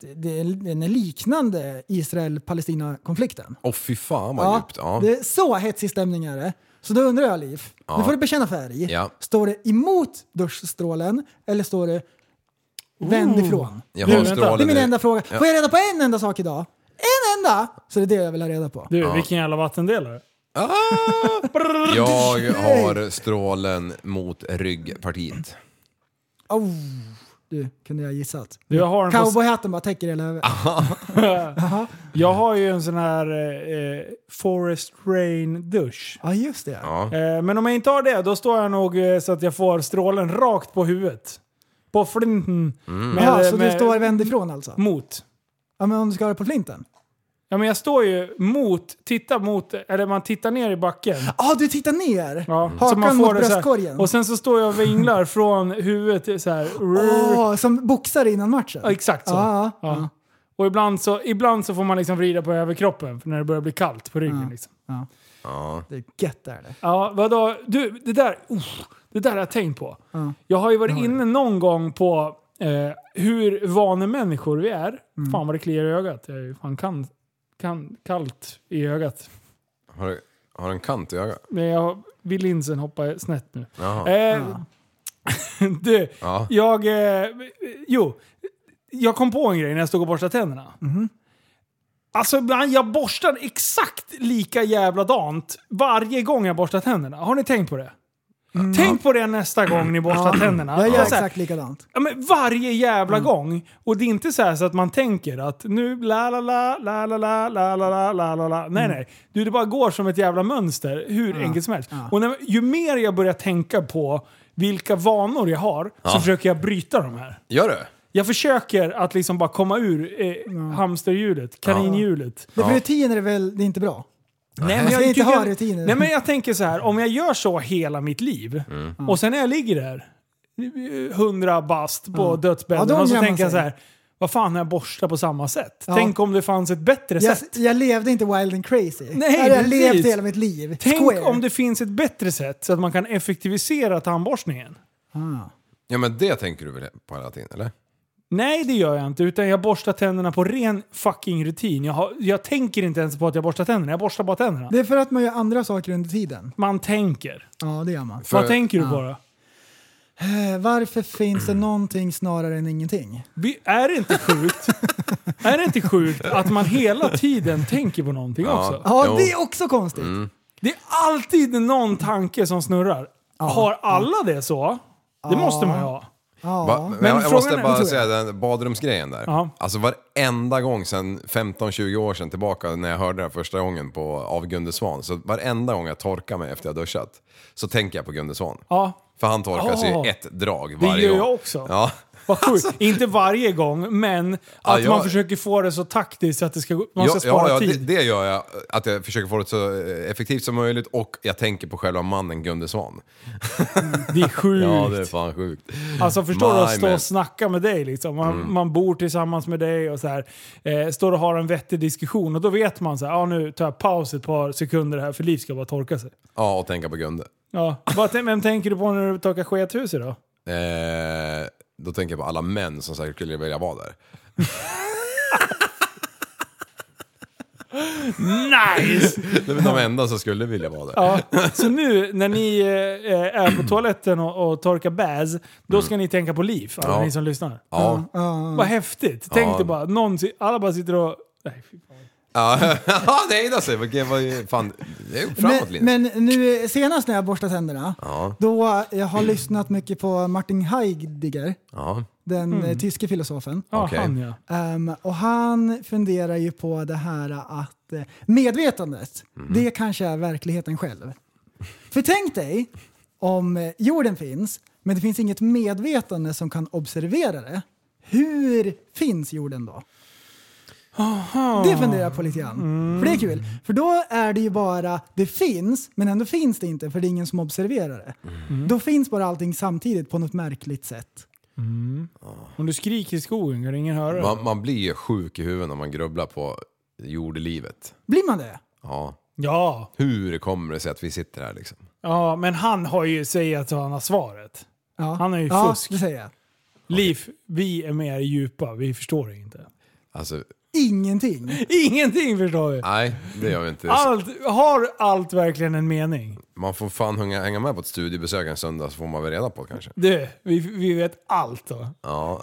det- det är, den är liknande Israel-Palestina-konflikten. Åh fy fan vad djupt. Ja. Det är så hetsig stämning är det. Så då undrar jag Liv, nu får du bekänna färg. Ja. Står det emot duschstrålen eller står det vänd ifrån? Jag Du, har vänta. Det är strålen min i- enda fråga. Får jag reda på en enda sak idag? En enda! Så det är det jag vill ha reda på. Du, vilken jävla vattendelare. Ah! Jag har strålen mot ryggpartiet. Oh, du, kunde jag gissat. Jag har, en på, Cowboyhatten bara täcker hela huvudet. Ah. jag har ju en sån här eh, eh, Forest Rain-dusch. Ja, just det. Ja. Eh, men om jag inte har det, då står jag nog eh, så att jag får strålen rakt på huvudet. På flinten. Med, eh, Jaha, så med, du står vänd ifrån alltså? Mot. Ja, men om du ska ha det på flinten? Ja, men jag står ju mot, tittar mot, eller man tittar ner i backen. Ah, du tittar ner! Ja, så Hakan man mot får det så här, bröstkorgen. och sen så står jag och vinglar från huvudet till så här. Åh, som boxare innan matchen. Ja, Exakt så. Ja, ja, Ja. ja. Och ibland så, ibland så får man liksom vrida på överkroppen för när det börjar bli kallt på ryggen. Ja, Ja. liksom. Det är gött där det. ja vadå? Du, det där, uff, det där har jag tänkt på. Ja. Jag har ju varit inne någon gång på eh, hur vanemänniskor vi är. Fan vad det kliar i ögat. Jag är ju fan kan, kan, kallt i ögat. Har, du- har du en kant i ögat? Men jag vill linsen hoppa snett nu. Jaha. Eh, [LAUGHS] du, Ja. jag... Eh, jo. Jag kom på en grej när jag stod och borstade tänderna. Alltså ibland, jag borstar exakt lika jävla dant varje gång jag borstar tänderna. Har ni tänkt på det? Tänk på det nästa gång ni borstar tänderna. Jag gör Mm. Ja. Så här, exakt likadant. Ja, men varje jävla gång. Och det är inte så, här så att man tänker att nu la la la, la la la, la la la, la la la. Nej nej. Du, det bara går som ett jävla mönster hur enkelt som helst. Och när, ju mer jag börjar tänka på vilka vanor jag har så Ja. försöker jag bryta de här. Gör du? Jag försöker att liksom bara komma ur eh, hamsterhjulet, kaninhjulet. Det, för rutiner är väl det är inte bra? Nej, Man ska inte tycker- ha rutiner. Nej men jag tänker så här, om jag gör så hela mitt liv och sen när jag ligger där, hundra bast på dödsbädden Ja, då och så ångrar man tänker jag så sig. här, vad fan har jag borstat på samma sätt? Ja. Tänk om det fanns ett bättre Jag, sätt? jag levde inte wild and crazy. Nej, jag hade precis. levt hela mitt liv. Tänk Square. om det finns ett bättre sätt så att man kan effektivisera tandborstningen. Ja men det tänker du väl på hela tiden eller? Nej, det gör jag inte. Utan jag borstar tänderna på ren fucking rutin. Jag, har, jag tänker inte ens på att jag borstar tänderna. Jag borstar bara tänderna. Det är för att man gör andra saker under tiden. Man tänker. Ja, det gör man. För- Vad tänker du på då? Eh, Varför finns Mm. det någonting snarare än ingenting? Vi- Är det inte sjukt? är det inte sjukt att man hela tiden tänker på någonting Ja. också? Ja, Jo. Mm. det är också konstigt. Det är alltid någon tanke som snurrar. Har alla det så? Det måste man ju ha. Ja. Va? Men men jag, jag frågan måste är- bara tror jag. säga den badrumsgrejen där. Ja. Alltså varenda gång sedan 15-20 år sedan tillbaka när jag hörde det här första gången på, av Gunde Svan. Så varenda gång jag torkar mig efter jag duschat så tänker jag på Gunde Svan. Ja. För han torkar sig Ja. i ett drag Det varje gör jag gång. också. Ja. Vad sjukt. Inte varje gång, men att Ja, jag- man försöker få det så taktiskt att det ska, gå- man ska Ja, spara ja, ja, tid. Det, det gör jag. Att jag försöker få det så eh, effektivt som möjligt och jag tänker på själva mannen Gunde Svan. Det, är sjukt. [LAUGHS] Ja, det är fan sjukt. Alltså förstår du att My stå man. Mm. och snacka med dig liksom. Man, man bor tillsammans med dig och så här. Eh, står och har en vettig diskussion och då vet man så här, ja nu tar jag paus ett par sekunder här för Liv ska bara torka sig. Ja, och tänka på Gunde. Ja. Vad tän- Vem tänker du på när du torkar skethuset då? Eh, då tänker jag på alla män som säkert skulle vilja vara där. Nice! Det är väl de enda som skulle vilja vara där. Ja. [LAUGHS] Så nu när ni eh, är på toaletten och, och torkar bäs, då ska ni tänka på Liv, alla Mm. Ja. ni som lyssnar. Ja. Vad häftigt! Tänk Ja. dig bara, någon, si- alla bara sitter och... Nej, fy fan. Ja, [LAUGHS] ja det hejdar sig. Vilket var ju fan... Det är ju framåt Linus. men, men nu senast när jag borstade tänderna, då jag [CLEARS THROAT] har lyssnat mycket på Martin Heidegger, Ja, den Mm. eh, tyske filosofen. Ja, Okej. han ja. Ehm, och han funderar ju på det här att eh, medvetandet, Mhm. det kanske är verkligheten själv. För tänk dig om eh, jorden finns, men det finns inget medvetande som kan observera det. Hur finns jorden då? Det funderar jag på lite grann. För det är Mm. kul. För då är det ju bara, det finns, men ändå finns det inte för det är ingen som observerar det. Mm. Då finns bara allting samtidigt på något märkligt sätt. Om du skriker i skogen kan ingen höra det. man, man blir ju sjuk i huvudet när man grubblar på jordelivet. Blir man det? Ja. Ja. Hur kommer det sig att vi sitter här liksom? Ja, men han har ju säger att han har svaret. Ja. Han är ju ja, fusk. det säger jag. Liv, vi är mer djupa, vi förstår inte. Alltså, Ingenting. Ingenting förstår vi. nej, det gör vi inte. Allt, har allt verkligen en mening? Man får fan hänga, hänga med på ett studiebesök en söndag så får man väl reda på det, kanske. Du, vi, vi vet allt då. Ja.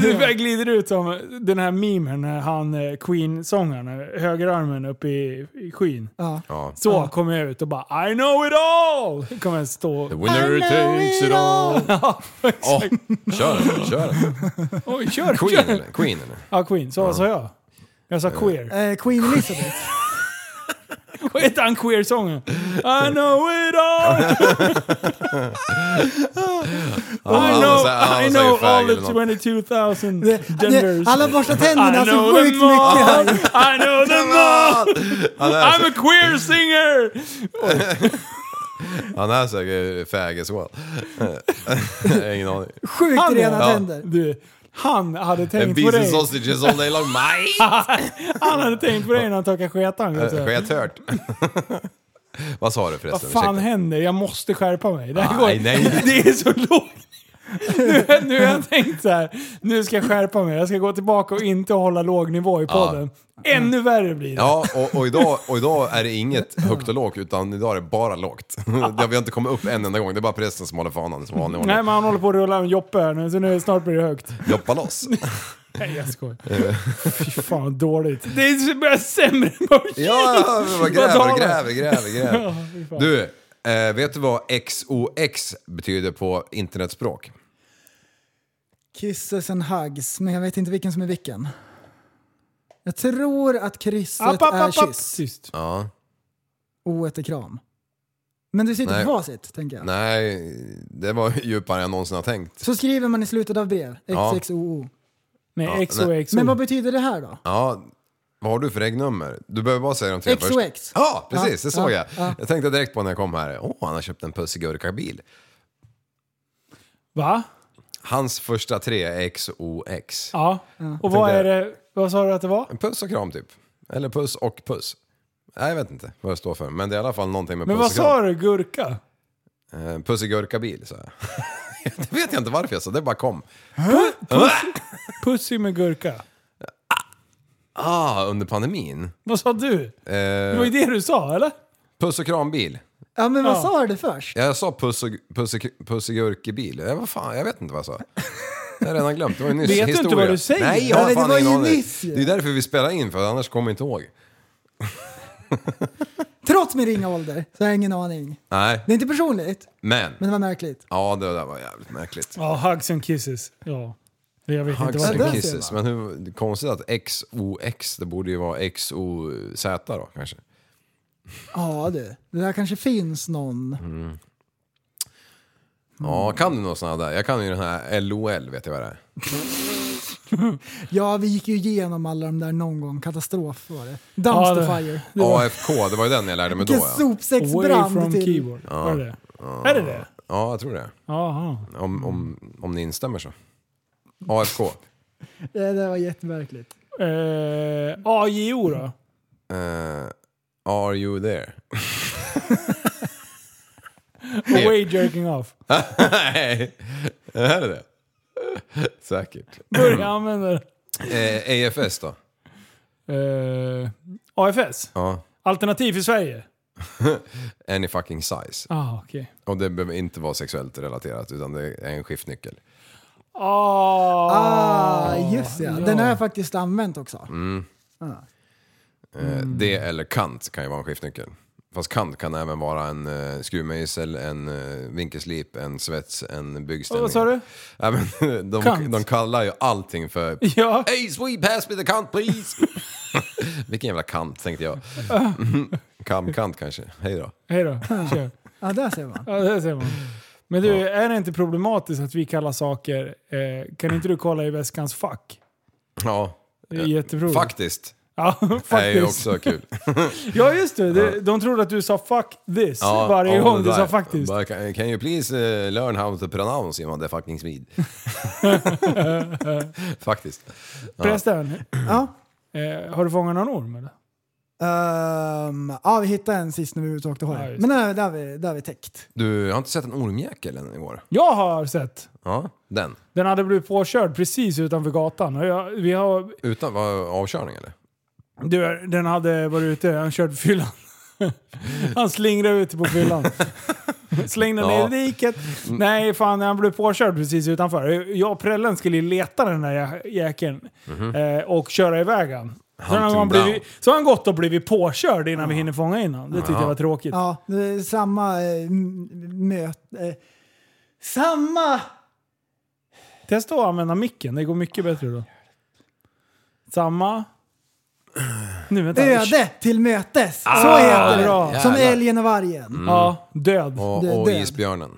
Du börjar glider ut som den här memen när han eh, Queen-sångaren, eh, högerarmen upp i, i skyn. Ja. ja. Så kommer jag ut och bara I know it all! Kommer jag stå. The winner takes it all. Ja, kör, kör. [LAUGHS] Oj, kör, Queen kör! eller? Queen eller? Ja, Queen. Så sa jag. Jag sa queer. [LAUGHS] Eh, Queen Elizabeth. Vad heter han queer-sången? I know it all! I know, I know all the 22,000 genders. Alla borstar I tänderna så know sjukt them mycket all! här. I know them [LAUGHS] all! [LAUGHS] Han är, I'm så, a queer singer! han är säkert fag as well. Jag har [LAUGHS] ingen aning. Sjukt Han är- rena Ja. tänder. Du, han hade En tänkt på beef and dig. sausages all day long. [LAUGHS] My! Han hade tänkt på dig när han torkade sketan. kan jag säga. Skethört. [LAUGHS] Vad sa du förresten? Vad fan Ursäkta. händer? Jag måste skärpa mig. Det, här Aj, går, nej. [LAUGHS] det är så lågt. Nu, nu har jag tänkt så här. nu ska jag skärpa mig. Jag ska gå tillbaka och inte hålla låg nivå i podden. Ännu värre blir det. Ja, och, och, idag, och idag är det inget högt och lågt, utan idag är det bara lågt. [LAUGHS] Det har vi inte kommit upp en enda gång, det är bara prästen som håller fanan som vanlig Nej ordning. men han håller på att rulla en joppe här nu, så nu snart blir det högt. Joppa loss. [LAUGHS] Nej jag skojar. Eh. Fy fan vad dåligt. Det är så börjar sämre än vad vi- Ja, ja, man Vad gräver talar? och gräver, gräver, [LAUGHS] Ja, gräver. fy fan. Du, eh, vet du vad XOX betyder på internetspråk? Kisses and hugs, men jag vet inte vilken som är vilken. Jag tror att krysset App, app, är app, app. kyss. Tyst. Ja. O är kram. Men du sitter Nej. på facit, tänker jag. Nej, det var djupare än jag någonsin har tänkt. Så skriver man i slutet av brev. Ja. XXOO. Nej, nej. XOXO. Men vad betyder det här då? Ja, vad har du för regnummer? Du behöver bara säga de tre första. XOX. Ja, precis. Ja, det ja, såg jag. ja. Jag tänkte direkt på när jag kom här. Åh, han har köpt en pussigurka-bil. Va? Hans första tre är XOX. Ja. Och vad Tänkte- är det? Vad sa du att det var? En Puss och kram typ. Eller puss och puss. Nej, jag vet inte vad det står för, men det är i alla fall någonting med Men vad puss och kram. sa du? Gurka? Eh, Puss och gurka-bil, sa jag. [LAUGHS] det vet jag inte varför jag sa, det bara kom. Pussy med gurka. Ah, under pandemin. Vad sa du? Det var ju Eh, det du sa, eller? puss och kram-bil. Ja, men vad Ja. sa du först? Ja, jag sa puss och, puss och, puss och gurkebil. Eh, vad fan, jag vet inte vad jag sa. Jag har redan glömt, det var ju nyss Vet du inte historia. vad du säger? Nej, jag har Nej, det fan var ingen ju aning. nyss ju. Det är därför vi spelar in, för annars kommer jag inte ihåg. Trots min ringa ålder så har jag ingen aning. Nej, Det är inte personligt, men. men det var märkligt. Ja, det där var jävligt märkligt. Ja, hugs and kisses. Ja. Jag vet Hugs inte där and vad det ser kisses. Men hur det är konstigt att XOX, det borde ju vara XOZ då kanske. Ja du, det där kanske finns någon. Mm. Ja, kan du något sånt där? Jag kan ju den här LOL, vet jag vad det är. Ja, vi gick ju igenom alla de där någon gång. Katastrof var det. Ja, Dumpster det- fire. AFK, det var ju den jag lärde mig då Vilken ja. Away from sopsäcksbrand till. keyboard. Var det det? Är det det? Ja, jag tror det. Jaha. Om, om, om ni instämmer så. AFK. Det där var jättemärkligt. Eh, AJO då? Mm. Eh, are you there? Away jerking off. Nej, är det det? Säkert. Börja använda det. Eh, AFS då? Eh, AFS? Ja. Alternativ i Sverige? Any fucking size. Ah, okej. Och det behöver inte vara sexuellt relaterat utan det är en skiftnyckel. Ah, Ah, just det. ja. Den har jag faktiskt använt också. Mm. Eh, Det eller kant kan ju vara en skiftnyckel. Fast kant kan även vara en uh, skruvmejsel, en eh, vinkelslip, en svets, en byggställning. Vad sa du? Ja, men, [LAUGHS] de, Kant. de kallar ju allting för... Ja. Hey sweet pass me the [LAUGHS] kant please! Vilken jävla kant tänkte [LAUGHS] jag. Kamkant kanske, hej då. Hej då. Kör. Ja, där ser man. Ja, det ser man. Men du, är det inte problematiskt att vi kallar saker... Eh, kan inte du kolla i väskans fack? Ja, Det är jätteroligt. faktiskt. Ja, [LAUGHS] Det Eh, är ju faktiskt. [LAUGHS] också kul. Ja, just det. De, de trodde att du sa 'fuck this' varje all gång the du sa time. 'faktiskt'. But Can, can you please eh, learn how to pronounce in the fucking [LAUGHS] speed? faktiskt. Prästen, Ja. eh, har du fångat någon orm eller? Ehm, ja, vi hittade en sist när vi var ute och åkte Ja, hoj. just Men där, där, har vi, där har vi täckt. Du, jag har inte sett en ormjäkel än igår. Jag har sett. Ja, den. Den hade blivit påkörd precis utanför gatan. Och jag, vi har, Utan, var avkörning eller? du, den hade varit ute, han körde fyllan. Mm. Han slingrade ut på fyllan. Slängde den Ja. Mm. ner i diket. Nej, fan han blev påkörd precis utanför. Jag och prällen skulle ju leta den där jä- jäkeln eh, och köra iväg han. Så har, Mhm. Hunting han blivit, down. så har han gått och blivit påkörd innan vi hinner fånga in honom. Det tyckte jag var tråkigt. Ja, det är samma eh, m- möte. Eh, samma! Testa att använda micken, det går mycket bättre då. Samma. nu, vänta. Öde till mötes. så heter Ah, det. bra. Som Jävlar. Mm. älgen och vargen. Ja, död. Och, Det är och den. isbjörnen.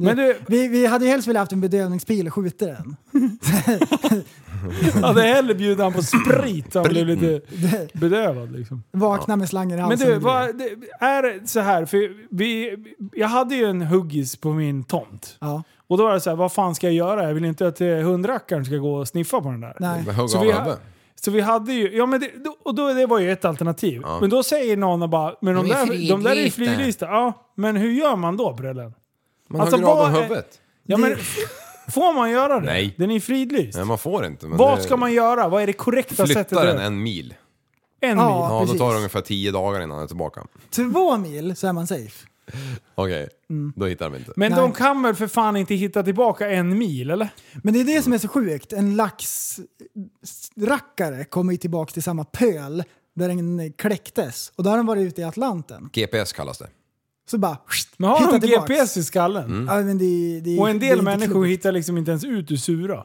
Men du, Vi, vi hade ju helst velat haft en bedövningspil och skjutit den. jag hade hellre bjudit han på sprit. Han blev lite Mm. bedövad liksom. [LAUGHS] Vakna med slangen i Men halsen. du, och grejer. vad, det är det så här, för vi, jag hade ju en huggis på min tomt. Ja. Och då var det så här, vad fan ska jag göra? Jag vill inte att eh, hundrackaren ska gå och sniffa på den där. Nej. Med hugg Så av vi, huvudet. så vi hade ju, ja men det, då- och då, det var ju ett alternativ. Men då säger någon och bara, men de, De är där, de där är ju fridlysta. flyglista. Ja, men hur gör man då Brellen? Man Alltså, hugger av vad dem är- huvudet. Ja men, får man göra det? Nej. Den är ju fridlyst. Nej, man får inte. Men Vad det- ska man göra? Vad är det korrekta sättet? Flytta att- den en mil. En mil. Ja. Ja, då tar det precis. ungefär tio dagar innan den är tillbaka. Två mil så är man safe. Okej, då hittar de inte. Men Nej. de kan väl för fan inte hitta tillbaka en mil eller? Men det är det som är så sjukt. En laxrackare kommer ju tillbaka till samma pöl där den kläcktes. Och då har den varit ute i Atlanten. GPS kallas det. Så bara... skjt, Men har hitta de tillbaks. GPS i skallen? Mm. Ja, men det, det, Och en det är del inte människor klokt. hittar liksom inte ens ut ur [LAUGHS] sura.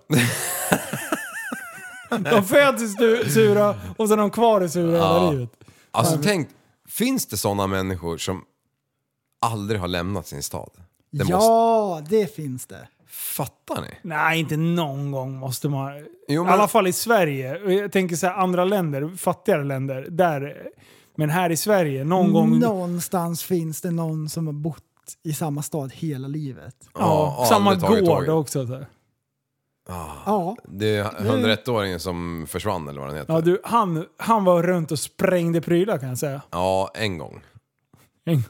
de föds i stu- sura och sen är de kvar i sura hela livet. Alltså tänk, finns det sådana människor som aldrig har lämnat sin stad? Det måste, Ja, det finns det. fattar ni? Nej, inte någon gång måste man... Jo, I men- alla fall i Sverige. Och Jag tänker så här, andra länder, fattigare länder, där... Men här i Sverige, någon Mm, gång... Någonstans finns det någon som har bott i samma stad hela livet. Ja, Ja, samma aldrig tagit gård tåget. också. Så här. Ja, Det är 101-åringen som försvann eller vad den heter. Ja, du, han, han var runt och sprängde prylar kan jag säga. Ja, en gång. En-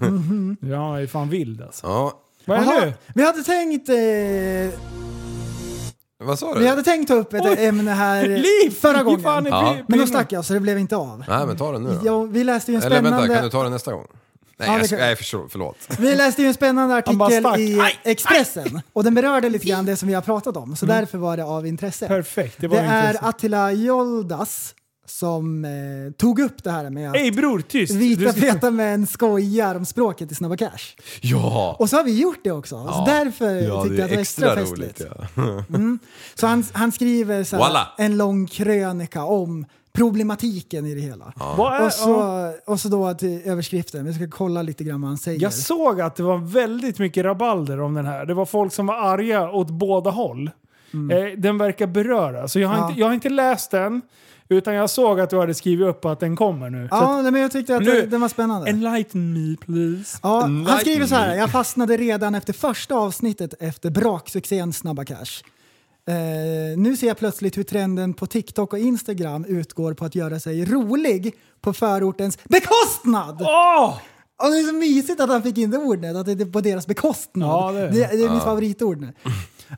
Mm. Ja, han är ju fan vild alltså. Ja, Vad är det Jaha, nu? vi hade tänkt... Eh, vad sa du? vi hade tänkt ta upp ett Oj. ämne här eh, Liv! förra Ge fan i gången. Ja. pry- Men då prylar. stack jag så det blev inte av. Nej, men ta den nu då. Ja, vi läste ju en Eller spännande... vänta, kan du ta den nästa gång? Nej, Ja, det jag, ska- kan- nej förlåt. förlåt. Vi läste ju en spännande bara stack. artikel i Aj, Expressen och den berörde lite grann det som vi har pratat om, så därför var det av intresse. Mm. Perfekt, det Det, var är intressant. Attila Joldas som eh, tog upp det här med att Ey bror, tyst! vita Du ska- feta män skojar om språket i Snabba Cash. Ja! Och så har vi gjort det också, så därför ja, tyckte jag det är att det var extra, extra festligt. roligt. Ja. Så han, han skriver så här, Voila. en lång krönika om problematiken i det hela. [LAUGHS] Vad är, Och, ja. så, och så då till överskriften, vi ska kolla lite grann vad han säger. Jag såg att det var väldigt mycket rabalder om den här. Det var folk som var arga åt båda håll. Eh, den verkar beröra, så jag har, Mm. Ja. inte, jag har inte läst den. Utan jag såg att du hade skrivit upp att den kommer nu. Så Ja, nej, men jag tyckte att Nu- det- den var spännande. att, enlighten me please. Ja, Enlighten han skriver så här. me. Jag fastnade redan efter första avsnittet efter braksuccén Snabba Cash. Eh, nu ser jag plötsligt hur trenden på TikTok och Instagram utgår på att göra sig rolig på förortens bekostnad! Åh! Och det är så mysigt att han fick in det ordet, att det är på deras bekostnad. Ja, det är det. det är mitt favoritord nu.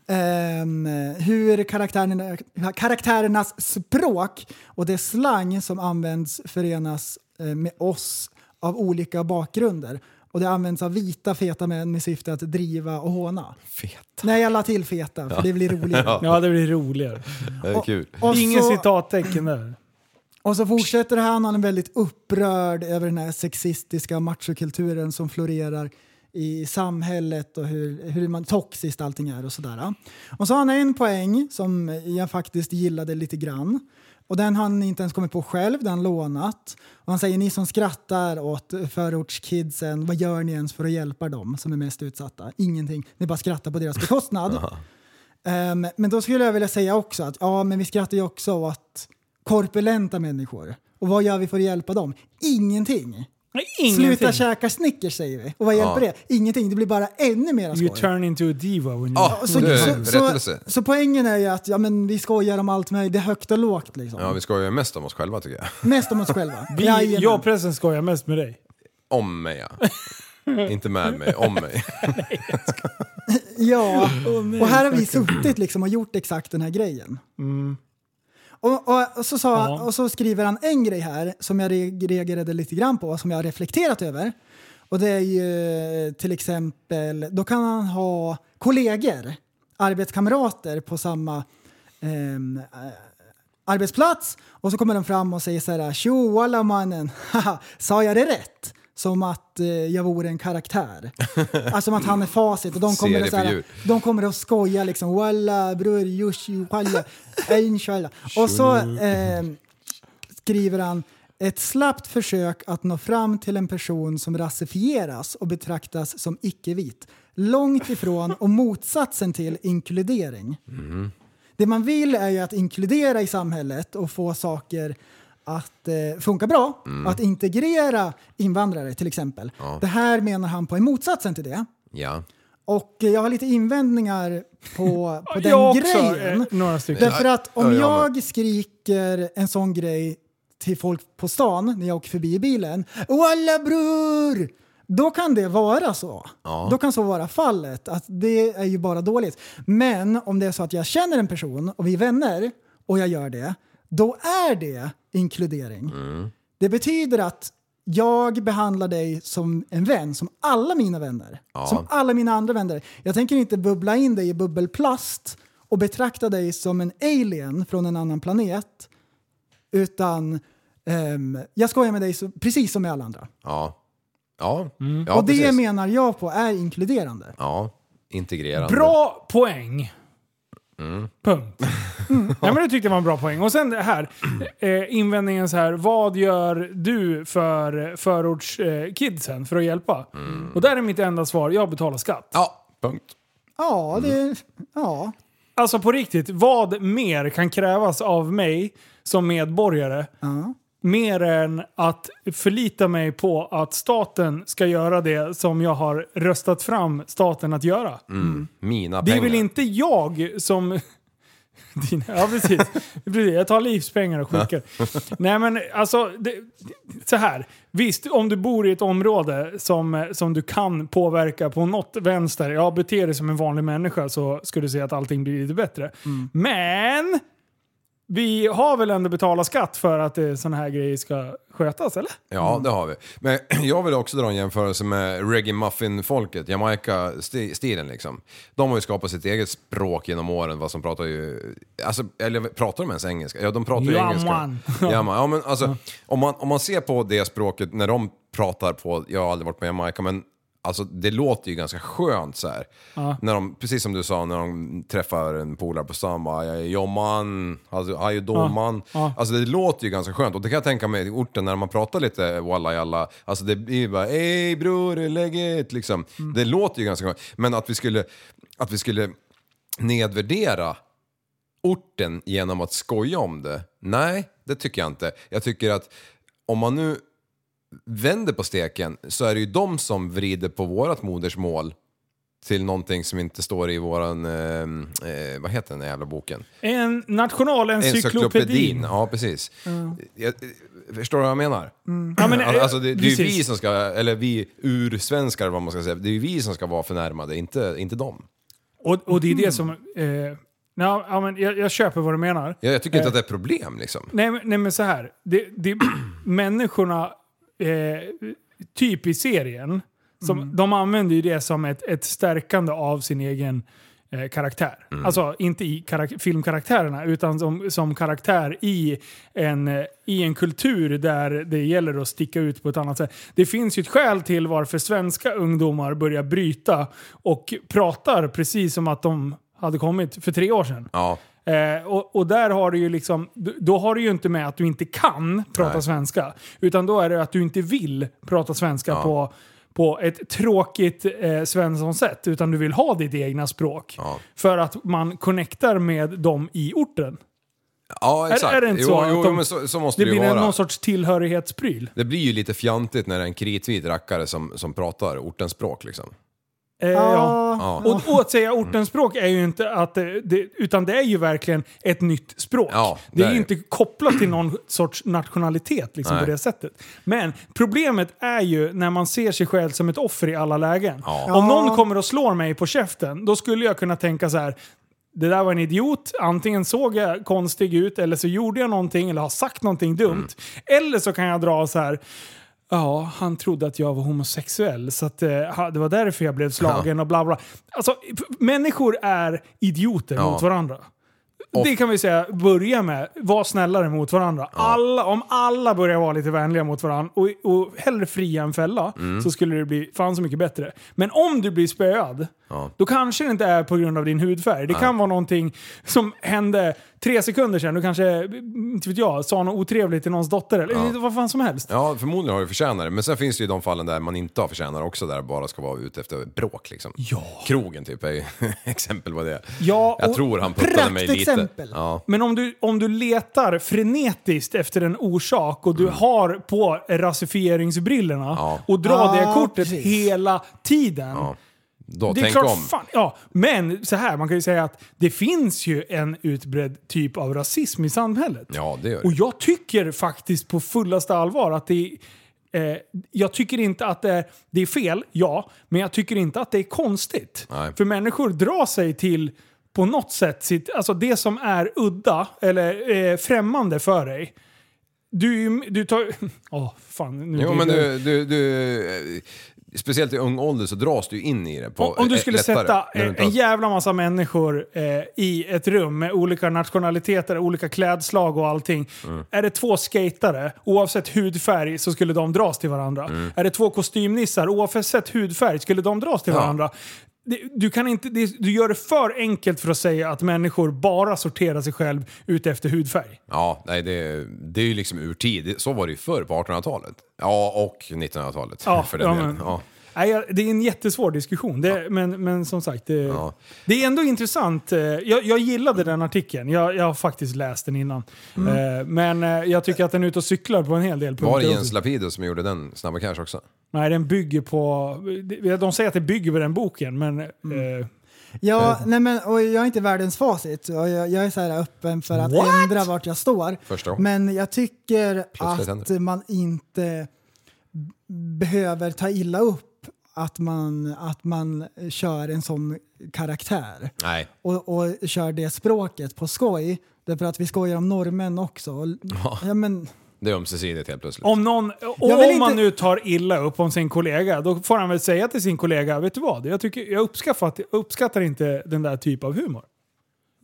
Ehm, hur karaktärerna, karaktärernas språk och det slang som används förenas eh, med oss av olika bakgrunder. Och det används av vita feta män med syfte att driva och håna. Fet. Nej, jag la till feta för det blir roligare. [LAUGHS] Ja, det blir roligare. Det är kul. Och Ingen så- citattecken där. Och så fortsätter han, han är väldigt upprörd över den här sexistiska machokulturen som florerar i samhället och hur, hur man toxiskt allting är och sådär. Och så har han en poäng som jag faktiskt gillade lite grann. Och den har han inte ens kommit på själv, den har han lånat. Och han säger ni som skrattar åt förortskidsen, vad gör ni ens för att hjälpa dem som är mest utsatta? Ingenting, ni bara skrattar på deras bekostnad. Ehm, men då skulle jag vilja säga också att ja, men vi skrattar ju också åt korpulenta människor. Och vad gör vi för att hjälpa dem? Ingenting. Sluta käka Snickers säger vi. Och vad hjälper Ja. det? Ingenting. Det blir bara ännu mer You skoj. turn into a diva when you... Ja, Så, Ah, du, så, så, rättelse. så poängen är ju att ja, men vi skojar om allt möjligt. Det är högt och lågt liksom. Ja, vi skojar ju mest om oss själva tycker jag. [LAUGHS] Mest om oss själva. Vi, Jajamän. jag och pressen skojar mest med dig. Om mig [LAUGHS] ja. Inte med mig, om mig. Ja, och här har vi suttit liksom och gjort exakt den här grejen. Och, och, och, så sa, Ja. och så skriver han en grej här som jag re- reagerade lite grann på, som jag har reflekterat över. Och det är ju eh, till exempel, då kan han ha kollegor, arbetskamrater på samma ehm, eh, arbetsplats och så kommer de fram och säger så här “Tjo walla mannen, [LAUGHS] Haha, sa jag det rätt?” Som att eh, jag vore en karaktär. alltså som att han är facit och de kommer, att, så här, Seriefigur. de kommer att skoja liksom “Walla bror, josh, walla, inshallah”. Och så eh, skriver han ett slappt försök att nå fram till en person som rasifieras och betraktas som icke-vit. Långt ifrån och motsatsen till inkludering. Det man vill är ju att inkludera i samhället och få saker att eh, funka bra. Mm. Att integrera invandrare till exempel. Det här menar han på är motsatsen till det. Ja. Och eh, jag har lite invändningar på, på den jag också, grejen. eh, några stycken. Alltså, Därför att om Ja, jag jag skriker en sån grej till folk på stan när jag åker förbi i bilen. Walla bror! Då kan det vara så. Då kan så vara fallet. Att det är ju bara dåligt. Men om det är så att jag känner en person och vi är vänner och jag gör det, då är det inkludering. Mm. Det betyder att jag behandlar dig som en vän, som alla mina vänner. Som alla mina andra vänner. Jag tänker inte bubbla in dig i bubbelplast och betrakta dig som en alien från en annan planet. Utan ehm, jag skojar med dig så, precis som med alla andra. Ja. Ja. ja Mm. och det precis. menar jag på är inkluderande. Ja. Integrerande. Bra poäng. Punkt. Ja, men det tyckte jag var en bra poäng. Och sen det här, eh, invändningen så här, vad gör du för förortskidsen eh, kidsen för att hjälpa? Och där är mitt enda svar, jag betalar skatt. Ja. Punkt. Ja, det... Mm. Ja. Alltså på riktigt, vad mer kan krävas av mig som medborgare? Mer än att förlita mig på att staten ska göra det som jag har röstat fram staten att göra. Mm. Mina Det pengar. är väl inte jag som... [LAUGHS] Dina, ja, precis. Precis, Jag tar livspengar och skickar. Nej, men alltså, det, så här. Visst, om du bor i ett område som, som du kan påverka på något vänster, ja, bete dig som en vanlig människa så ska du se att allting blir lite bättre. Men vi har väl ändå betalat skatt för att sådana här grejer ska skötas, eller? Ja, det har vi. Men [CLEARS THROAT] jag vill också dra en jämförelse med reggae muffin-folket, Jamaica-stilen liksom. De har ju skapat sitt eget språk genom åren, vad som pratar ju... Alltså, eller pratar de ens engelska? Ja, de pratar ju Ja, engelska. man. Ja, man. Ja, men alltså, om man, om man ser på det språket när de pratar på, jag har aldrig varit med i Jamaica, men Alltså det låter ju ganska skönt så här. När de, precis som du sa, när de träffar en polare på stan bara "Jag är “Jomman”, alltså “Hajo domman”. Alltså det låter ju ganska skönt och det kan jag tänka mig i orten när man pratar lite walla jalla. Alltså det blir ju bara “Ey bror, hur är läget?” liksom. Det låter ju ganska skönt. Men att vi skulle, att vi skulle nedvärdera orten genom att skoja om det? Nej, det tycker jag inte. Jag tycker att om man nu vänder på steken så är det ju de som vrider på vårat modersmål till någonting som inte står i våran, eh, eh, vad heter den där jävla boken? En nationalencyklopedin. Ja, precis. Jag, eh, förstår du vad jag menar? Ja, men, eh, Alltså, det, det är ju vi precis. som ska, eller vi ursvenskar vad man ska säga, det är ju vi som ska vara förnärmade, inte, inte dem. Och, och det är det som... Eh, ja, ja, men jag, jag köper vad du menar. Jag, jag Eh. tycker inte att det är ett problem liksom. Nej, men- nej men så här. Det, det, [CLEARS THROAT] människorna, eh, typ i serien, som, de använder ju det som ett, ett stärkande av sin egen eh, karaktär. Alltså inte i karak- filmkaraktärerna, utan som, som karaktär i en, eh, i en kultur där det gäller att sticka ut på ett annat sätt. Det finns ju ett skäl till varför svenska ungdomar börjar bryta och pratar precis som att de hade kommit för tre år sedan. Ja, Eh, och, och där har du ju liksom, d- då har du ju inte med att du inte kan prata Nej. svenska. Utan då är det att du inte vill prata svenska på, på ett tråkigt eh, Svensson-sätt. Utan du vill ha ditt egna språk. Ja. För att man connectar med dem i orten. ja exakt. är det inte jo, så Jo, att de- men så, så måste Det det, ju blir vara. någon sorts tillhörighetspryl. Det blir ju lite fjantigt när det är en kritvit rackare som, som pratar ortens språk liksom. Eh, ja. Ja. Och, och att säga ortens språk är ju inte att det, det, utan det är ju verkligen ett nytt språk. Ja, det är det ju är inte kopplat till någon sorts nationalitet liksom, på Nej. det sättet. Men problemet är ju när man ser sig själv som ett offer i alla lägen. Ja. Om någon kommer och slår mig på käften, då skulle jag kunna tänka så här. Det där var en idiot. Antingen såg jag konstig ut eller så gjorde jag någonting eller har sagt någonting dumt. Mm. Eller så kan jag dra så här. Ja, han trodde att jag var homosexuell så att, eh, ha- det var därför jag blev slagen och bla bla. Alltså, f- människor är idioter Ja. mot varandra. Och- Det kan vi säga, börja med. Var snällare mot varandra. Alla, om alla börjar vara lite vänliga mot varandra och, och hellre fria än fälla Mm. så skulle det bli fan så mycket bättre. Men om du blir spöad, då kanske det inte är på grund av din hudfärg. Det kan vara någonting som hände tre sekunder sedan, du kanske, mm, inte vet jag, sa något otrevligt till någons dotter eller vad fan som helst. Ja, förmodligen har du förtjänare. Men sen finns det ju de fallen där man inte har förtjänare också, där det bara ska vara ute efter bråk liksom. Ja. Krogen typ är ju [LAUGHS] exempel på det. Ja, Jag och tror han puttade mig lite. praktexempel. Ja. Men om du, om du letar frenetiskt efter en orsak och du har på rasifieringsbrillorna Mm. Ja. och drar det Ah, kortet precis. hela tiden. Då, Det är tänk klart, om. fan, ja, men så här, man kan ju säga att det finns ju en utbredd typ av rasism i samhället. Ja, det gör Och det. jag tycker faktiskt på fullaste allvar att det är, eh, jag tycker inte att det är, det är fel, ja, men jag tycker inte att det är konstigt. Nej. För människor drar sig till på något sätt, sitt, alltså det som är udda eller eh, främmande för dig. Du, du tar... [LAUGHS] Åh, fan. Nu Jo, blir men det- du, du, du, eh, speciellt i ung ålder så dras du in i det. På, Om, om du eh, skulle lättare, sätta när du inte eh, en har- jävla massa människor eh, i ett rum med olika nationaliteter, olika klädslag och allting. Mm. Är det två skatare, oavsett hudfärg, så skulle de dras till varandra. Mm. Är det två kostymnissar, oavsett hudfärg, skulle de dras till Ja. varandra. Det- Du, kan inte, det- du gör det för enkelt för att säga att människor bara sorterar sig själv ut efter hudfärg. Ja, nej, det, det är ju liksom ur tid. Så var det ju förr på 1800-talet. Ja, och 1900-talet Ja, för den ja, delen. men- Ja. Nej, jag- det är en jättesvår diskussion, det, men, men som sagt. Det, Ja. det är ändå intressant. Eh, Jag, jag gillade den artikeln. Jag, jag har faktiskt läst den innan. Eh, Men eh, jag tycker att den är ute och cyklar på en hel del punkter. Var det Jens också. Lapidus som gjorde den Snabba Cash också? Nej, den bygger på... de- De säger att det bygger på den boken, men... Eh, Ja, nej men, och jag är inte världens facit. Och jag, jag är så här öppen för att What? ändra vart jag står. Första gången. Men jag tycker Plötsligt att händer. man inte b- behöver ta illa upp att man, att man kör en sån karaktär Nej. och, och kör det språket på skoj. Därför att vi skojar om norrmän också. Och- Ja, men, Det är ömsesidigt helt plötsligt. Om, någon, och Jag om vill man inte- nu tar illa upp om sin kollega, då får han väl säga till sin kollega, vet du vad? Jag, tycker, jag uppskattar, jag uppskattar inte den där typen av humor.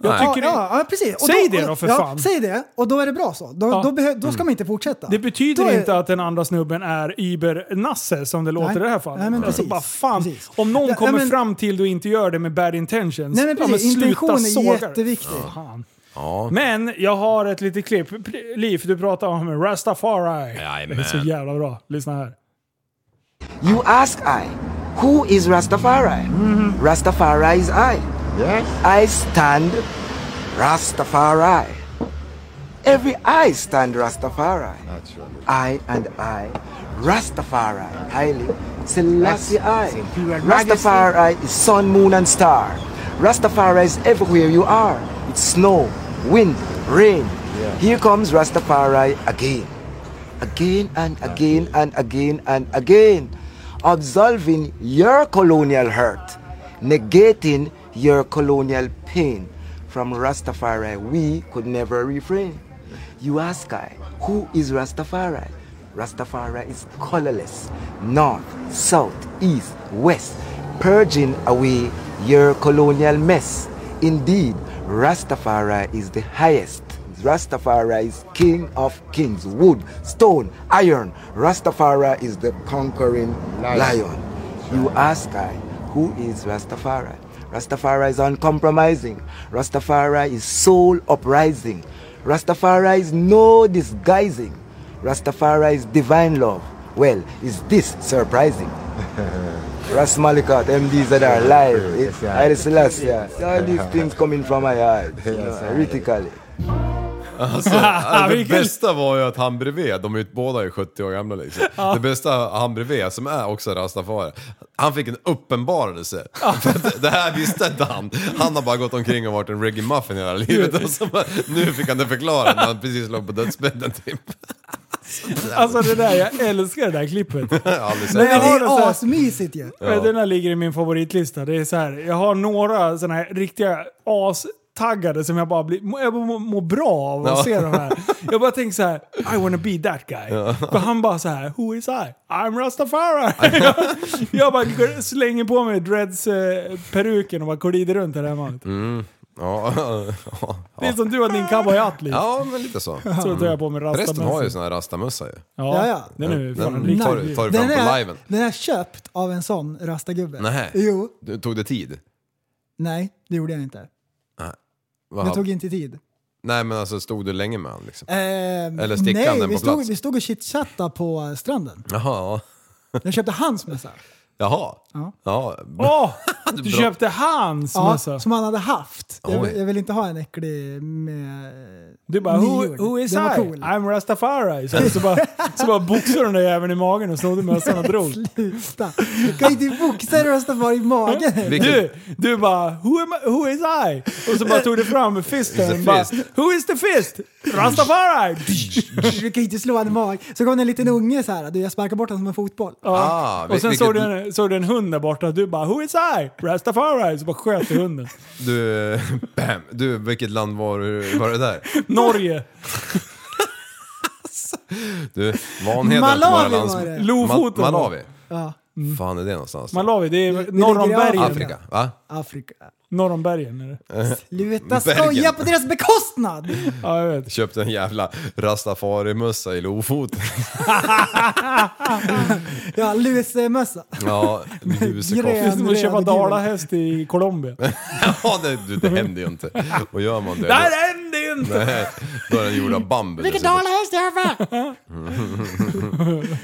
Jag Nej. tycker ja, ja, precis. Säg det då, för ja, fan. Säg det och då är det bra så. Då, Ja. då, behö- då Mm. ska man inte fortsätta. Det betyder Då är- inte att den andra snubben är Uber-Nasse som det låter Nej. i det här fallet. Nej, men alltså, precis. bara fan, Precis. om någon Ja, kommer nej, men- fram till du inte gör det med bad intentions, Nej, men ja, precis. sluta Intention är såga det. jätteviktig. Fan. Ja. Men jag har ett litet klipp. P- Liv, du pratar om Rastafari. Jajamän. Det är så jävla bra. Lyssna här. You ask I, who is Rastafari? Rastafari is I. Yes. I stand Rastafari. Every I stand Rastafari. Naturally. I and I. Rastafari. Highly. Selassie I. Rastafari is sun, moon, and star. Rastafari is everywhere you are. It's snow, wind, rain. Here comes Rastafari again again and again and again and again, absolving your colonial hurt, negating your colonial pain. From Rastafari, we could never refrain. You ask I, who is Rastafari? Rastafari is colorless, north, south, east, west, purging away your colonial mess. Indeed, Rastafari is the highest Rastafari is king of kings, wood, stone, iron. Rastafari is the conquering lion. You ask I, who is Rastafari? Rastafari is uncompromising. Rastafari is soul uprising. Rastafari is no disguising. Rastafari is divine love. Well, is this surprising? Ras Malikat, MDs that are alive. It's Haile Selassie. All these things coming from my heart, you know, critically. Alltså, alltså, det Vilken- bästa var ju att han bredvid, de är ju båda är 70 år gamla liksom. Det bästa han bredvid, som är också rastafari, han fick en uppenbarelse. För att det här visste inte han. Han har bara gått omkring och varit en reggae muffin hela livet. Och så bara, nu fick han det förklarat när han precis låg på dödsbädden typ. Alltså det där, jag älskar det där [LAUGHS] klippet. Jag har aldrig sett Men jag Det har en sån är här- asmysigt ju. Ja. Den här ligger i min favoritlista. Det är så här, jag har några såna här riktiga astaggade som jag bara blir, må- jag mår må bra av att Ja. se de här. Jag bara tänker så här, I wanna be that guy. För han bara så här, who is I? I'm Rastafari. [LAUGHS] jag, jag bara går- slänger på mig dreads-peruken och bara glider runt här hemma. Mm, Ja, ja, Det är ja. som du har din cowboyhatt lite. ja, men lite så. Så tar jag på mig Resten har ju rastamössa. sån här rastamössa ju. Ja, Ja, ja. Den är ju fan Den riktigt tar, grym. tar du fram Den på är, liven. den är köpt av en sån rastagubbe. Nej. Jo. Du- Tog det tid? Nej, det gjorde jag inte. Vad- Det tog inte tid. Nej men alltså stod du länge med han liksom? Äh. Ehm, Eller stickade han den vi på stod, plats? vi stod och chitchattade på stranden. Jaha. Jag köpte hans [LAUGHS] mössa. Jaha. Ja. Ja. Åh! Du köpte hans Ja, mössa. som han hade haft. Oj. Jag, jag vill inte ha en äcklig med... Du bara who, who is I? Den var cool. I'm Rastafari. Så, så bara, så bara boxade den där jäveln i magen och snodde mössan och drog. Sluta! Du kan inte boxa Rastafari i [LAUGHS] magen. Vilket- Du, du bara who, am I, who is I? Och så bara tog du fram It's fisten. a Bara, fist. who is the fist? Rastafari! Du kan inte slå han i magen. Så kom det en liten unge så här. Du, jag sparkar bort honom som en fotboll. Ah, och sen vilket- såg du, en, såg du en hund där borta. Du bara who is I? Rastafari. Så bara sköt du hunden. Du, [LAUGHS] bam. du, vilket land var, du- var det där? Norge. Du, Vanheden Malawi våra lands- var det. Lofoten. Mm. Ma- Malawi? Ja, fan är det någonstans? Malawi, det är det norr om ligger i bergen. Afrika, va? Afrika. Norr om bergen är det. Sluta Bergen. skoja på deras bekostnad! Ja, jag vet. Köpte en jävla rastafari-mössa [LAUGHS] i Lofoten. Ja, [LAUGHS] lusemössa. Ja, Det är lusekofta. som att köpa Röd, dalahäst i Colombia. [LAUGHS] Ja, det, du, det händer ju inte. Och gör man det... Det här händer inte! [LAUGHS] Nej, då är den gjord av bambu. Vilken dessutom. dalahäst jag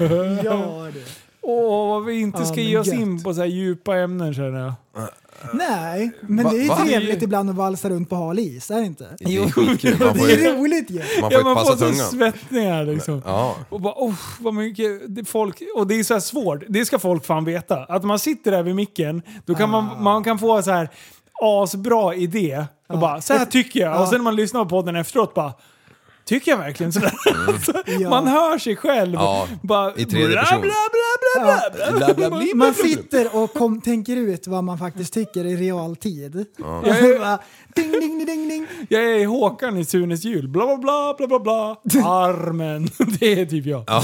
har Ja du. Åh, vad vi inte ska Ja, ge men oss gött. in på så här djupa ämnen känner jag. Nej, men Va- det är ju va? trevligt ibland att valsa runt på hal is, är det inte? Det är skitkul. Man får Det ju, är roligt ju. man får Ja, ju man passa får så tungan. svettningar liksom. Ja. Och bara oh, vad mycket det folk... Och det är så här svårt, det ska folk fan veta. Att man sitter där vid micken, då kan Ah. man, man kan få så här asbra idé. Och bara så här tycker jag. Och sen när man lyssnar på podden efteråt bara Tycker jag verkligen sådär? [LAUGHS] Ja. Man hör sig själv. Mm. Ja, bara, i tredje bla, person. bla, bla, bla, bla, bla. Bla, bla, bla. Man sitter och kom, tänker ut vad man faktiskt tycker i realtid. Och så bara, ding, ding, ding, ding, ding. Jag är Håkan i Sunes jul. Bla, bla, bla, bla, bla, bla. [LAUGHS] Armen. [LAUGHS] Det är typ jag. Ja,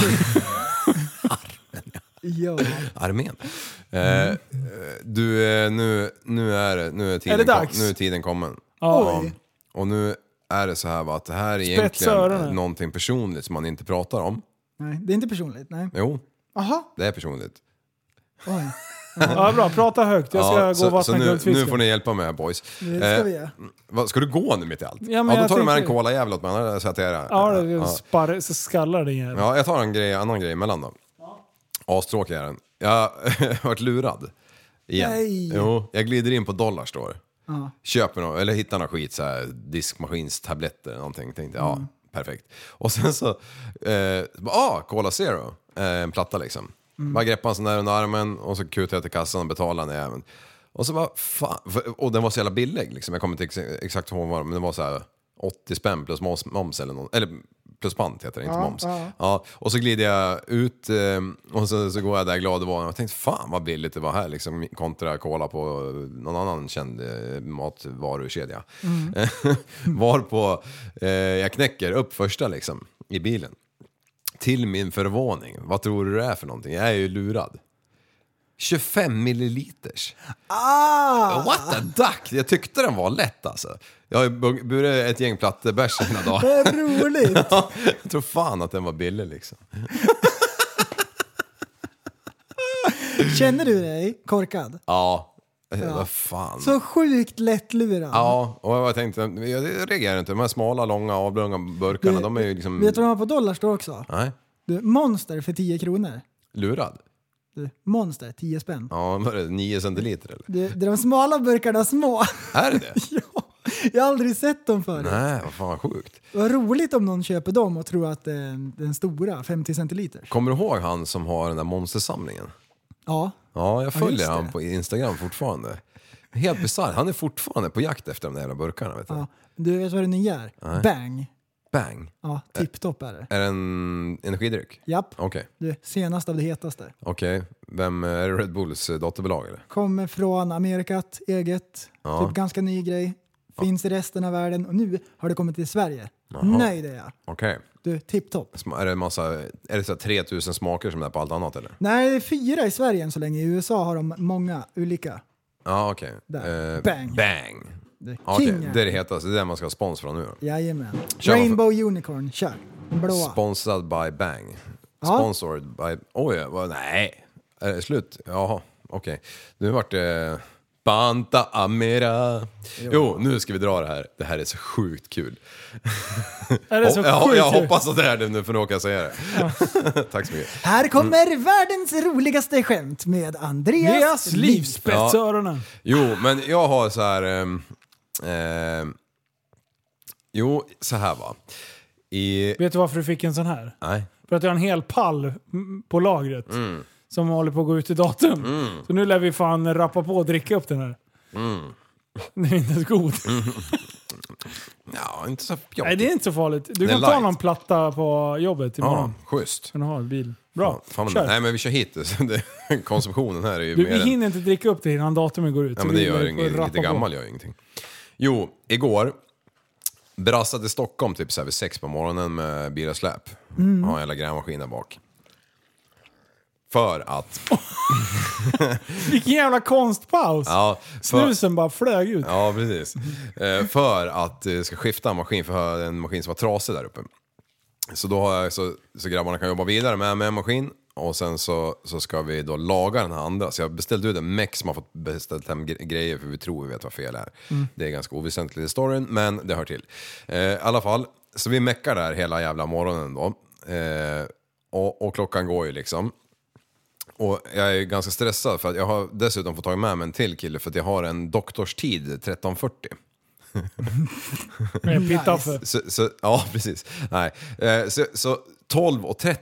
Ja. armén. Eh, eh, du, eh, nu, nu, är, det- nu, är tiden Mm. Är det kom- dags? nu är tiden kommen. Ja. Oj. Och nu är det så här va, att det här är Spetsa egentligen öronen. någonting personligt som man inte pratar om. Nej, det är inte personligt. Nej. Jo, Jaha. det är personligt. Oj. Ja, bra. Prata högt. Jag ska Ja, gå och så, så vattna nu, nu får guldfisken. ni hjälpa mig här boys. Eh, Det ska vi göra. vad, ska du gå nu mitt i allt? Ja, men men ja då jag tar du med en tänker- colajävel åt mig, annars sätter jag det. Ja, det sparr, så skallar det igen. Ja, jag tar en grej, annan grej emellan då. Astråkig är den. Jag [LAUGHS] har varit lurad. Igen. Nej. Jo, jag glider in på Dollar Store. Köper något, eller hittar något skit, så här, diskmaskinstabletter eller någonting. Tänkte ja, perfekt. Och sen så, eh, bara, ah, Cola Zero, eh, en platta liksom. Bara greppade en sån där under armen och så kutade jag till kassan och betalade den även. Och så bara, fan, för- och den var så jävla billig liksom. Jag kommer inte ex exakt ihåg vad den var, men den var så här 80 spänn plus moms, moms eller någon, eller plus pant heter det, inte moms. Ja. och så glider jag ut eh, och så, så går jag där glad och van. Jag tänkte fan vad billigt det var här liksom kontra cola på eh, någon annan känd eh, matvarukedja. Mm. [LAUGHS] Varpå eh, jag knäcker upp första liksom i bilen. Till min förvåning, vad tror du det är för någonting? Jag är ju lurad. 25 milliliters. Ah! What the duck! Jag tyckte den var lätt alltså. Jag har ju bu- burit ett gäng plattor bärs hela [LAUGHS] dagen. Vad roligt! Ja, jag tror fan att den var billig liksom. Känner du dig korkad? Ja, eh, vad fan. Så sjukt lättlurad. Ja, och jag tänkte, jag reagerar inte. De här smala, långa, avlånga burkarna, de är ju liksom... Vet du vad de har på Dollarstore också? Nej, Du, monster för 10 kronor. lurad. Du, monster, 10 spänn. Ja, vad är det, 9 centiliter eller? Du, det är de smala burkarna små. [LAUGHS] Är det det? ja, jag har aldrig sett dem förut. Nej, vad fan vad sjukt. Vad roligt om någon köper dem och tror att det är den stora, 50 centiliter. Kommer du ihåg han som har den där monstersamlingen? Ja. Ja, jag just följer det. han på Instagram fortfarande. Helt bisarrt, han är fortfarande på jakt efter de där jävla burkarna vet du. ja. Du vet vad det nya är? Bang! Bang! Ja, tipptopp är det. Är det en energidryck? Japp. Okej, Du, senast av det hetaste. okej. Vem, är det Red Bulls dotterbolag eller? Kommer från Amerikat, eget. Ja. Typ ganska ny grej. Finns i resten av världen och nu har det kommit till Sverige. Jaha. Nöjd är jag. Okej. Du, tipptopp. Sma- Är det massa, är det så här 3000 smaker som det är på allt annat eller? Nej, det är fyra i Sverige än så länge. I USA har de många olika. Ja, okej. Där. Eh, Bang. Bang! Du, Ja, okej. King Det är det hetaste, det är det man ska ha spons från nu då. Jajamän. Kör man för- Rainbow Unicorn, kör. Blåa. Sponsrad by Bang. Ja. Sponsored by... Oj, vad, nej. Är det slut? Jaha, okej. Nu vart det Banta Amira. Jo, nu ska vi dra det här. Det här är så sjukt kul. Är det så jag, sjukt jag kul? hoppas att det är det nu för nu råkar jag säga det. [LAUGHS] Tack så mycket. Här kommer världens roligaste skämt med Andreas, Deras Livs. livspetsöronen. Jo, men jag har så här... ehm, ehm, jo, så här va. I... Vet du varför du fick en sån här? Nej. För att jag har en hel pall mm, på lagret. Som håller på att gå ut i datum. Mm. Så nu lär vi fan rappa på och dricka upp den här. [LAUGHS] Den är inte ens god. Mm. Ja, inte så Nej, pjottigt. det är inte så farligt. Du är kan ta light. någon platta på jobbet Ja, imorgon. schysst. Kan du ha i bil. Bra, Fan, kör. nej men vi kör hit. [LAUGHS] Så det- Konsumtionen här är ju du, mer vi än... hinner inte dricka upp det innan datumet går ut. Ja, så men det vi gör får inget, rappa lite på. gammal gör ju ingenting. Jo, igår brassade Stockholm typ så här vid sex på morgonen med bil och släp. Mm. Har en jävla grävmaskin där bak. För att... Vilken jävla konstpaus! Ja, för, Snusen bara flög ut. [LAUGHS] Ja, precis. Eh, för att eh, ska skifta en maskin, för jag har en maskin som var trasig där uppe. Så då har jag, så, så grabbarna kan jobba vidare med, med en maskin och sen så, så ska vi då laga den här andra. Så jag beställde ut en meck som har fått beställt hem gre- grejer för vi tror vi vet vad fel är. Det är ganska oväsentligt i storyn, men det hör till. Eh, I alla fall, så vi meckar där hela jävla morgonen då. Eh, och, och klockan går ju liksom. Och jag är ganska stressad för att jag har dessutom fått tag med mig en till kille för att jag har en doktorstid 1340. Med pittaffe. Så, så, ja, [LAUGHS] precis. Nej. Eh, Så, så 12.30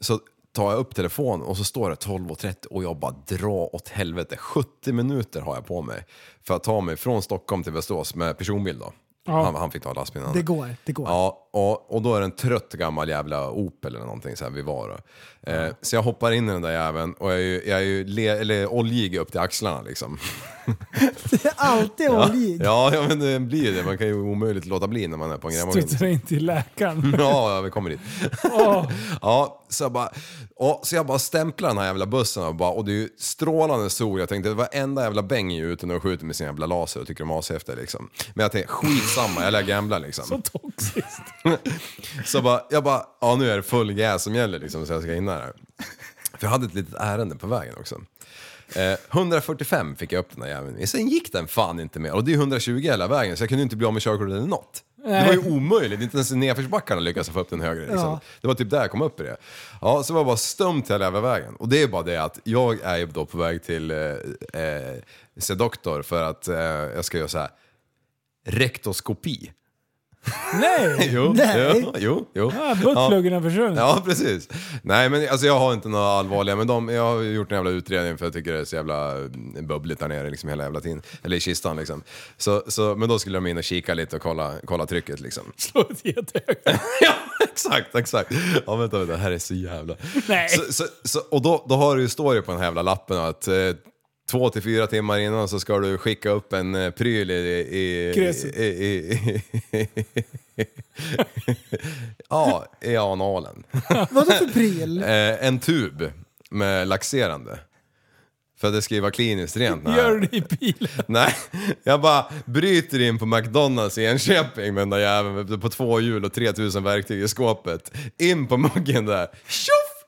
så tar jag upp telefonen och så står det 12.30 och jag bara dra åt helvete. 70 minuter har jag på mig för att ta mig från Stockholm till Västerås med personbil då. Han, han fick ta lastbilen. Det går, det går. Ja, och, och då är det en trött gammal jävla Opel eller någonting så här vid Vara. Eh, så jag hoppar in i den där jäveln och jag är ju, jag är ju le, eller oljig upp till axlarna liksom. Det är [LAUGHS] alltid oljig. Ja, ja men det blir ju det. Man kan ju omöjligt låta bli när man är på en grävmaskin. Studsade in till läkaren. [LAUGHS] Ja, ja, vi kommer dit. Mm. Ja, så, jag bara, ja, så jag bara stämplar den här jävla bussen och, bara, och det är ju strålande sol. Jag tänkte varenda jävla bäng är ju ute nu och skjuter med sin jävla laser och tycker de är ashäftiga liksom. Men jag tänkte skitsamma, jag lär gambla liksom. Så toxiskt. Så jag bara, jag bara, ja nu är det full gas som gäller liksom så jag ska hinna det här. För jag hade ett litet ärende på vägen också. Eh, 145 fick jag upp den där jäveln i. Sen gick den fan inte mer. Och det är 120 hela vägen så jag kunde ju inte bli av med körkortet eller något. Det var ju omöjligt. Inte ens i nedförsbackarna lyckades jag få upp den högre. Liksom. Ja. Det var typ där jag kom upp i det. Ja, så var jag bara stumt hela jävla vägen. Och det är bara det att jag är ju då på väg till eh, eh, se doktor för att eh, jag ska göra så här rektoskopi. Nej! [LAUGHS] Jo, Nej. jo, jo. jo. Ah, Buttpluggen har försvunnit. Ja, precis. Nej, men alltså jag har inte några allvarliga, men de, jag har gjort en jävla utredning för jag tycker det är så jävla mm, bubbligt där nere liksom hela jävla tiden. Eller i kistan liksom. Så, så, men då skulle de in och kika lite och kolla, kolla trycket liksom. Slå ett jättehögt. [LAUGHS] ja, exakt, exakt. Ja, vänta, vänta, det här är så jävla... Nej. Så, så, så, och då, då har du ju, står det på den här jävla lappen att eh, Två till fyra timmar innan så ska du skicka upp en eh, pryl i... i, Kräset. i, i, i [LAUGHS] ja, i analen. Vadå för pryl? Eh, en tub med laxerande. För att det ska ju vara kliniskt rent. när- Gör det i bilen. [LAUGHS] Nej, jag bara bryter in på McDonalds i Enköping med den där jäveln på två hjul och 3000 verktyg i skåpet. In på muggen där, tjoff!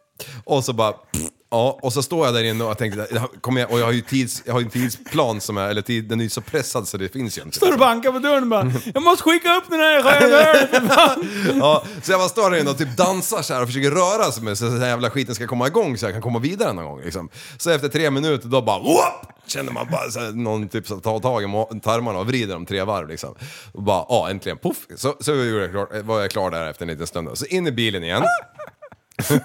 Och så bara... pff, Ja, och så står jag där inne och jag tänkte, det här- kommer jag, och jag har ju tids, jag har ju en tidsplan som är, eller tid, den är ju så pressad så det finns ju inte. Står och bankar på dörren och bara Mm. Jag måste skicka upp den här röda [LAUGHS] Ja, så jag bara står där inne och typ dansar så här och försöker röra sig med så att den här jävla skiten ska komma igång så jag kan komma vidare någon gång liksom. Så efter tre minuter då bara whoop! Känner man bara så här, någon typ så tar tag i ma- tarmarna och vrider dem tre varv liksom. Och bara ja, äntligen poff! Så, så gjorde jag klar, var jag klar där efter en liten stund. då. Så in i bilen igen. [LAUGHS]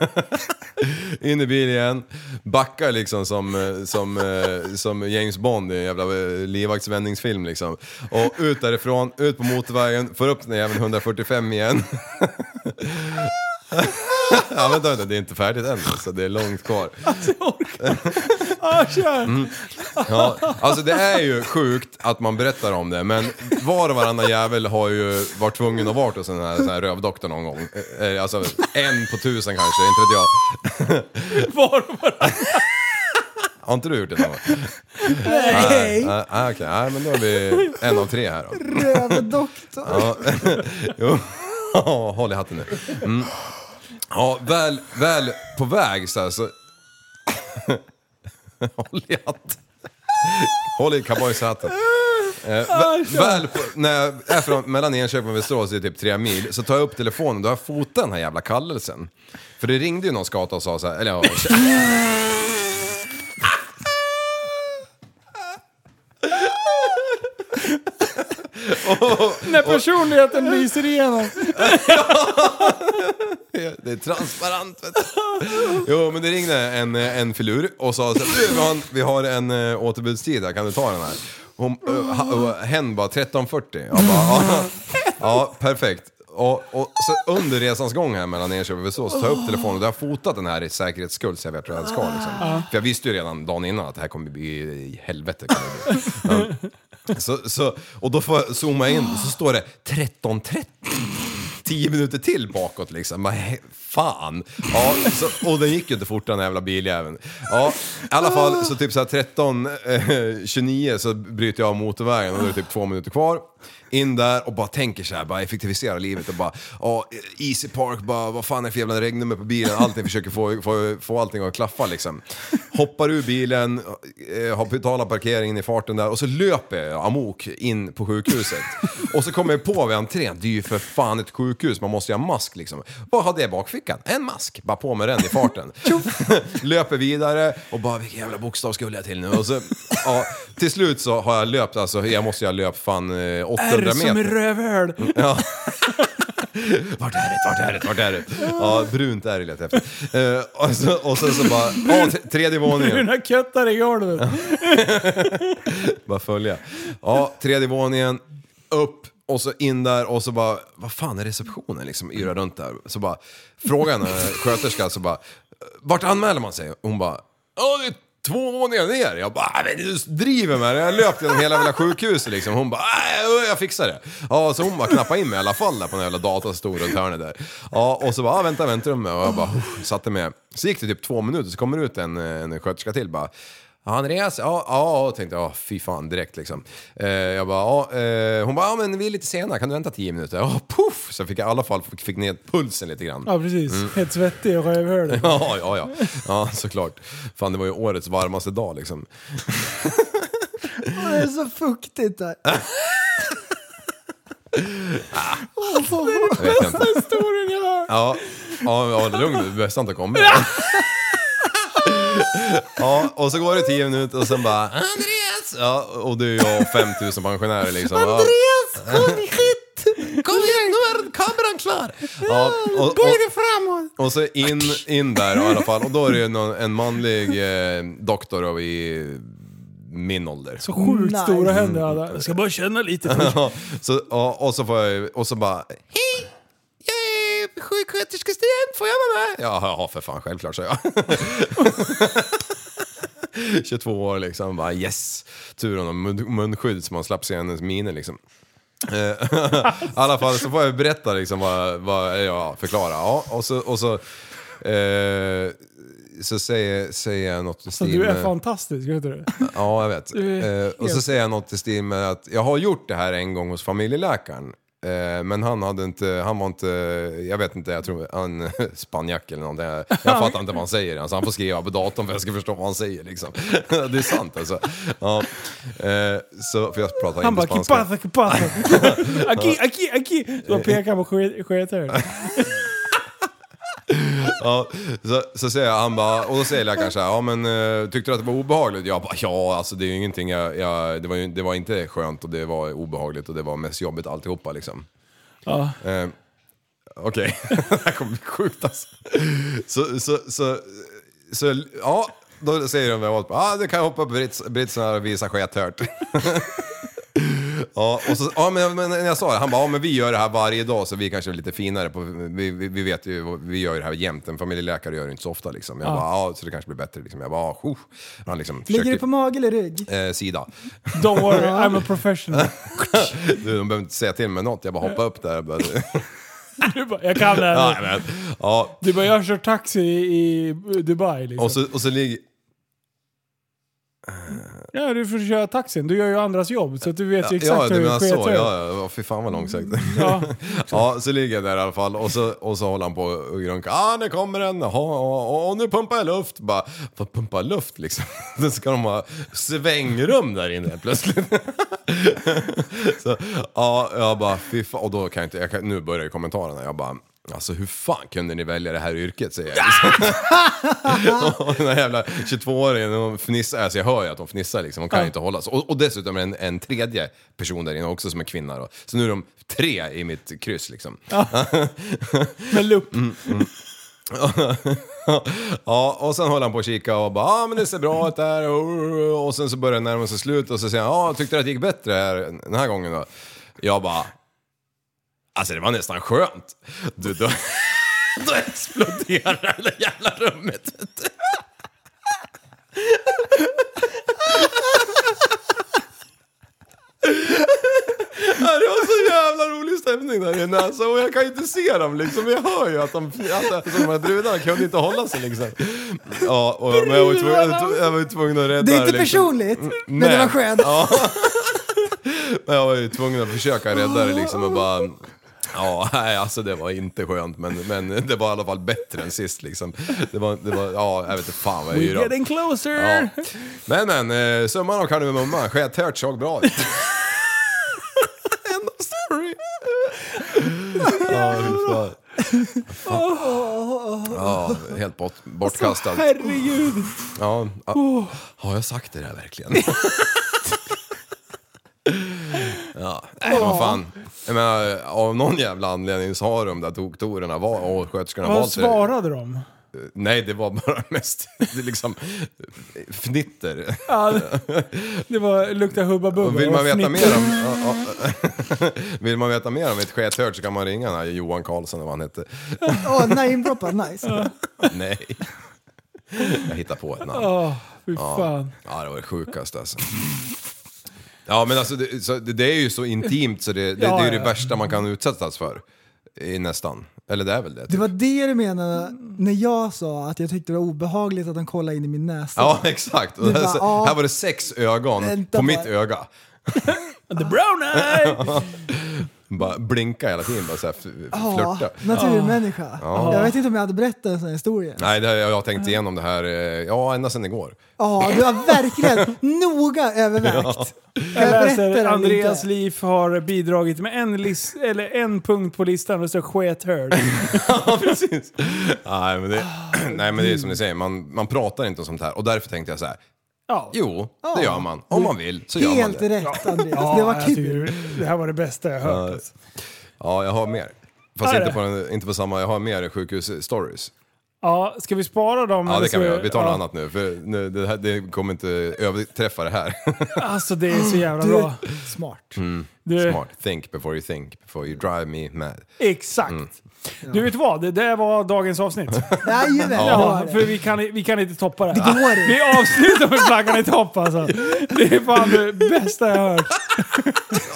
In i bilen igen, backar liksom som, eh, som, eh, som James Bond i en jävla eh, livvaktsvändningsfilm liksom. Och ut därifrån, ut på motorvägen, får upp den där jäveln 145 igen. Ja vänta, vänta, det är inte färdigt än så det är långt kvar. ah, kör. Mm. Ja, alltså det är ju sjukt att man berättar om det men var och varannan jävel har ju varit tvungen att vara hos en sån här, sån här rövdoktor någon gång. Eh, eh, Alltså en på tusen kanske, inte vet jag. Var och varannan. Har inte du gjort det någon gång? Nej! Nej, nej, okej. Nej, men då är vi en av tre här då. Rövdoktor. Ja. Jo. Ja, Håll i hatten nu. Mm. Ja, väl, väl på väg så här så... Håll i hatten. Håll i cowboyhatten. Eh, vä- väl på, när jag är från, mellan Enköping och Västerås, det är typ tre mil, så tar jag upp telefonen, då har jag fotat den här jävla kallelsen. För det ringde ju någon skata och sa så här, eller ja... När personligheten lyser igenom. Det är transparent vet du. Jo men det ringde en, en filur och sa så här, "Du, vi har en, vi har en eh, återbudstid här, kan du ta den här? Hon, eh, ha- och hen bara 13.40. Jag bara, ja, ja perfekt. Och, och så under resans gång här mellan Enköping och Västerås tar jag upp telefonen och då har jag fotat den här i säkerhetsskull så jag vet hur jag ska liksom. För jag visste ju redan dagen innan att det här kommer bli helvete. Kommer det bli. Ja. Så, så, och då får jag zooma in så står det 13.30 tio minuter till bakåt liksom. Bara, he- fan! Ja, så, och den gick ju inte fortare den jävla biljäveln. Ja, i alla fall så typ så här 13, eh, 29 så bryter jag av motorvägen och då är det typ två minuter kvar. In där och bara tänker så här, bara effektivisera livet och bara, ja, Easy Park, bara vad fan är det för jävla regnummer på bilen? Allting försöker få, få, få allting att klaffa liksom. Hoppar ur bilen, eh, har betalat parkeringen i farten där och så löper jag amok in på sjukhuset. Och så kommer jag på vid entrén, det är ju för fan ett sjukhus, man måste ju ha mask liksom. Vad hade jag i bakfickan? En mask! Bara på med den i farten. [LAUGHS] löper vidare och bara vilken jävla bokstav skulle jag till nu? Och så, ja, till slut så har jag löpt, alltså jag måste ju ha löpt fan eh, 800 R som i meter. Mm. rövhål. [LAUGHS] Vart är det? Vart är det? Vart är det? Ja, brunt är det lite efter. Eh, och, så, och sen så bara, ja, t- tredje våningen. Bruna köttar i golvet. Mm. bara följa. Ja, tredje våningen, upp och så in där och så bara, vad fan är receptionen liksom? Yra runt där. Så bara, frågan är sköterska så bara, vart anmäler man sig? Hon bara, ja det är två våningar ner. Jag bara, men du driver med det. Jag har löpt genom hela jävla sjukhuset liksom. Hon bara, "Nej, jag fixar det. Ja, så hon bara knappade in mig i alla fall där på den jävla datorn som stod runt hörnet där. Ja, och så bara, "Ah, vänta väntrummet. Och jag bara, "Uff", satte mig. Så gick det typ två minuter, så kommer det ut en, en sköterska till bara, Ja, Andreas, ja, ja, ja, tänkte jag, fy fan direkt liksom. Eh, jag bara, ja, eh, hon bara, ja men vi är lite sena, kan du vänta tio minuter? Ja, puff! Så fick jag i alla fall fick, fick ner pulsen lite grann. Ja, precis. Mm. Helt svettig i rövhålet. Ja, ja, ja, ja, såklart. Fan, det var ju årets varmaste dag liksom. Det är så fuktigt där. Jag vet inte. Historien jag har. Ja, ja, ja lugn nu, bästa inte kommer. Ja, och så går det tio minuter och sen bara Andreas! Ja, och det är jag och 5000 pensionärer liksom. Andreas! Alltså, Kom hit! Kom igen, nu är kameran klar! Ja, och, och, framåt! och så in, in där i alla fall. Och då är det ju någon, en manlig eh, doktor av i min ålder. Så sjukt Nej. stora händer jag hade. Jag ska bara känna lite först. Mm. Ja, så, ja, och så får jag och så bara Hej! Jag är sjuksköterskestudent, får jag vara med? Ja, ja för fan, självklart så jag. [LAUGHS] 22 år liksom, bara yes! Turen om mun- munskydd så man slapp se hennes miner liksom. Eh, [LAUGHS] I alla fall så får jag berätta liksom vad, vad ja, förklara. Ja, och så, och så, eh, så säger, säger jag något i Så stil du är med- fantastisk, vet du det? Ja, jag vet. Du är Eh, och så helt- säger jag något i stil med att jag har gjort det här en gång hos familjeläkaren. Eh, men han hade inte, han var inte, jag vet inte, jag tror han [LAUGHS] spanjack eller någonting. Jag, jag fattar inte vad han säger ens. Han får skriva på datorn för att jag ska förstå vad han säger liksom. [LAUGHS] det är sant alltså. Ja, eh, så, för jag pratar Han inte bara spanska. kipata, [LAUGHS] kipata. Aki, aki, aki. Så bara pekar på sk- skötaren. Ja, så, så säger jag, han bara, och då säger läkaren så här, ja men eh, tyckte du att det var obehagligt? Jag bara, ja alltså det är ju ingenting, jag, jag, det, var ju, det var inte skönt och det var obehagligt och det var mest jobbigt alltihopa liksom. Ja. Eh, Okej, [LAUGHS] det här kommer bli sjukt alltså. Så, så, så, så, ja, då säger de väl åt mig, ah, du kan hoppa på brits, britsen här och visa skethört. [LAUGHS] Ja, och så, ja men, men när jag sa det, han bara, ja men vi gör det här varje dag så vi kanske är lite finare på, vi, vi, vi vet ju, vi gör ju det här jämt, en familjeläkare gör det inte så ofta liksom. Jag bara, ja så det kanske blir bättre liksom. Jag bara, ja, oh. Han liksom Ligger försöker- det på mage eller rygg? eh, sida. [LAUGHS] Don't worry, I'm a professional. Du, de behöver inte säga till mig något, jag bara [LAUGHS] hoppar upp där. och bara- Du bara, jag kan det Ja, här. nu. men, ja, Du bara, jag kör taxi i Dubai liksom. Och så, och så ligger... Ja, du får köra taxin. Du gör ju andras jobb, så att du vet ju exakt ja, hur du det menar sker. så. Ja, ja, ja, fy fan vad långsökt. Mm, Ja. [LAUGHS] ja, så ligger jag där i alla fall och så, och så håller han på och grunkar. Ah, nu kommer den! Jaha, och, och nu pumpar jag luft. Bara, vad pumpar luft liksom? [LAUGHS] Då ska de ha svängrum där inne helt plötsligt. [LAUGHS] så, ja, jag bara, fy fan. Och då kan jag inte, jag kan, nu börjar ju kommentarerna. Jag bara, Alltså hur fan kunde ni välja det här yrket säger jag. [LAUGHS] Och den här jävla 22-åringen, hon fnissar, alltså jag hör ju att hon fnissar liksom, hon kan ju inte hålla sig. Och, och dessutom är det en, en tredje person där inne också som är kvinna då. Så nu är de tre i mitt kryss liksom. Med lupp. [LAUGHS] Mm, ja, och sen håller han på och kika och bara ja ah, men det ser bra ut där och, och sen så börjar det närma sig slut och så säger han ja ah, tyckte du att det gick bättre här den här gången då? Jag bara alltså det var nästan skönt. Du, då, [LAUGHS] då exploderar det jävla rummet. vet du. Ja, Det var så jävla rolig stämning där inne alltså, och jag kan ju inte se dem liksom. Jag hör ju att de, att de här brudarna kunde inte hålla sig liksom. Ja, och, men jag var ju tvungen, jag var ju tvungen att rädda Det är inte liksom. personligt, men det var skönt. Ja. [LAUGHS] Men jag var ju tvungen att försöka rädda det liksom och bara... Ja, nej alltså det var inte skönt men, men det var i alla fall bättre än sist liksom. Det var, det var ja jag vet inte fan vad jag We're yr getting closer! Ja. Men men, eh, summan av kardemumman, skethört såg bra [LAUGHS] ut. End of story. ja, fy [LAUGHS] fan. Ja, helt bort, bortkastad. Herregud! Ja, Oh. ja. Har jag sagt det där [LAUGHS] verkligen? ja, nej, vad fan. Jag menar, av någon jävla anledning så har de där doktorerna var, och sköterskorna Vad valt det. svarade de? Nej, det var bara [LAUGHS] mest det liksom fnitter. Ja, det- det var lukta hubba bubba. Och vill man och veta fnitt- mer om... ja, ja. [LAUGHS] Vill man veta mer om ett skethört så kan man ringa den här Johan Karlsson eller vad [LAUGHS] han hette. Åh, nej, inbroppad, nice. Nej. Jag hittar på ett namn. Åh, fy fan. Ja, det var det sjukaste alltså. Ja, men alltså det, så, det, det är ju så intimt så det, det, Ja, det är det ja. värsta man kan utsättas för. I nästan. Eller det är väl det. Det Typ. var det du menade när jag sa att jag tyckte det var obehagligt att de kollade in i min näsa. Ja, [LAUGHS] exakt. Och Det var- här- ja. Här var det sex ögon Vänta på bara. mitt öga. The brown [LAUGHS] eye! Bara blinka hela tiden, bara så här f- Ja, flörta. naturmänniska. Jag vet inte om jag hade berättat en sån här historia. Nej, det, har jag har tänkt igenom det här, eh, ja, ända sedan igår. Ja, du har verkligen noga övervägt. Jag Jag berättar läser den Andreas inte. Liv har bidragit med en, list, eller en punkt på listan och det står sket hörd. Ja, precis. Nej, men det, [CLEARS THROAT] nej, men det är som ni säger, man, man pratar inte om sånt här. Och därför tänkte jag så här, Ja. [LAUGHS] jo, det gör man. Om man vill så gör man Helt det. rätt Andreas, det var jag kul. tycker alltså, Det här var det bästa jag hört. alltså. Ja, jag har mer. Fast Är det? inte på, den, inte på samma, jag har mer sjukhus-stories. Ja, ska vi spara dem? Ja, eller det kan vi ska göra. Vi tar ja. något annat nu, för nu, det, här, det kommer inte överträffa det här. Alltså det är så jävla Du bra. Mm. är smart. Du, [LAUGHS] Smart. Think before you think, before you drive me mad. Exakt. Du vet vad? Det där var dagens avsnitt. Jajamän, det [LAUGHS] Ja, var för det. vi kan, vi kan inte toppa det. Det går inte. Vi avslutar med flaggan i topp alltså. Det är fan det bästa jag har hört.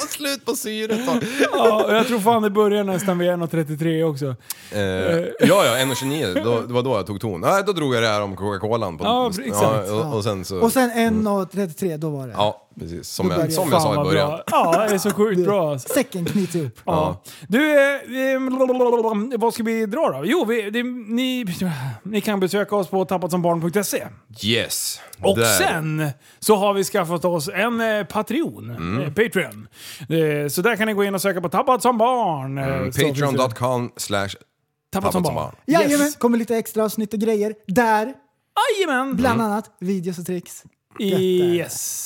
Slut på syret då. Ja, och jag tror fan det börjar nästan vid 1.33 också. [LAUGHS] Eh, ja, ja, 1.29, då- det var då jag tog ton. Nej, då drog jag det här om Coca-Colan. På, Ja, exakt. och, och sen så... Och sen Mm. 1.33, då var det. ja, precis. Som började jag, jag. som jag sa Fan, i vad början. Bra. Ja, det är så sjukt bra [LAUGHS] alltså. Säcken [LAUGHS] knyts ihop. Ja. Du, eh, eh, vad ska vi dra då? Jo, vi, det, ni, [LAUGHS] ni kan besöka oss på tappatsombarn.se. Yes. Och Där. sen så har vi skaffat oss en eh, Patreon. Mm. Eh, Patreon. Eh, så där kan ni gå in och söka på Tappat som barn. Mm, Eh, så finns det- Patreon.com slash... Tappat som Tappat som barn. Jajamän, kommer lite extra avsnitt och grejer. Där, Jajamän! bland annat, videos och tricks. Yes.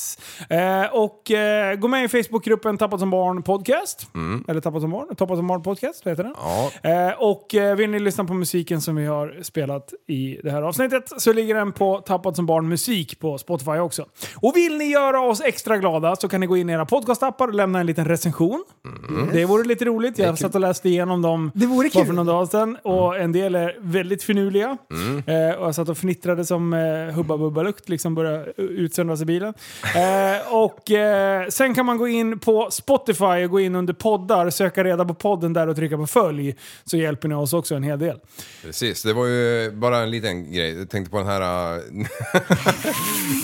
Eh, och eh, gå med i Facebookgruppen Tappat som barn podcast. Eller Tappat som barn, Tappat som barn podcast, vad heter den? Mm. Ja. Eh, och eh, vill ni lyssna på musiken som vi har spelat i det här avsnittet så ligger den på Tappat som barn musik på Spotify också. Och vill ni göra oss extra glada så kan ni gå in i era podcastappar och lämna en liten recension. Det vore lite roligt. Jag satt och läste igenom dem Det vore bara kul. för någon dag sedan och en del är väldigt finurliga. Eh, och jag satt och fnittrade som eh, Hubba Bubba Lukt liksom började eh, utsöndras i bilen. Eh, och eh, sen kan man gå in på Spotify och gå in under poddar, söka reda på podden där och trycka på följ. Så hjälper ni oss också en hel del. Precis, det var ju bara en liten grej. Jag tänkte på den här... äh, [LAUGHS]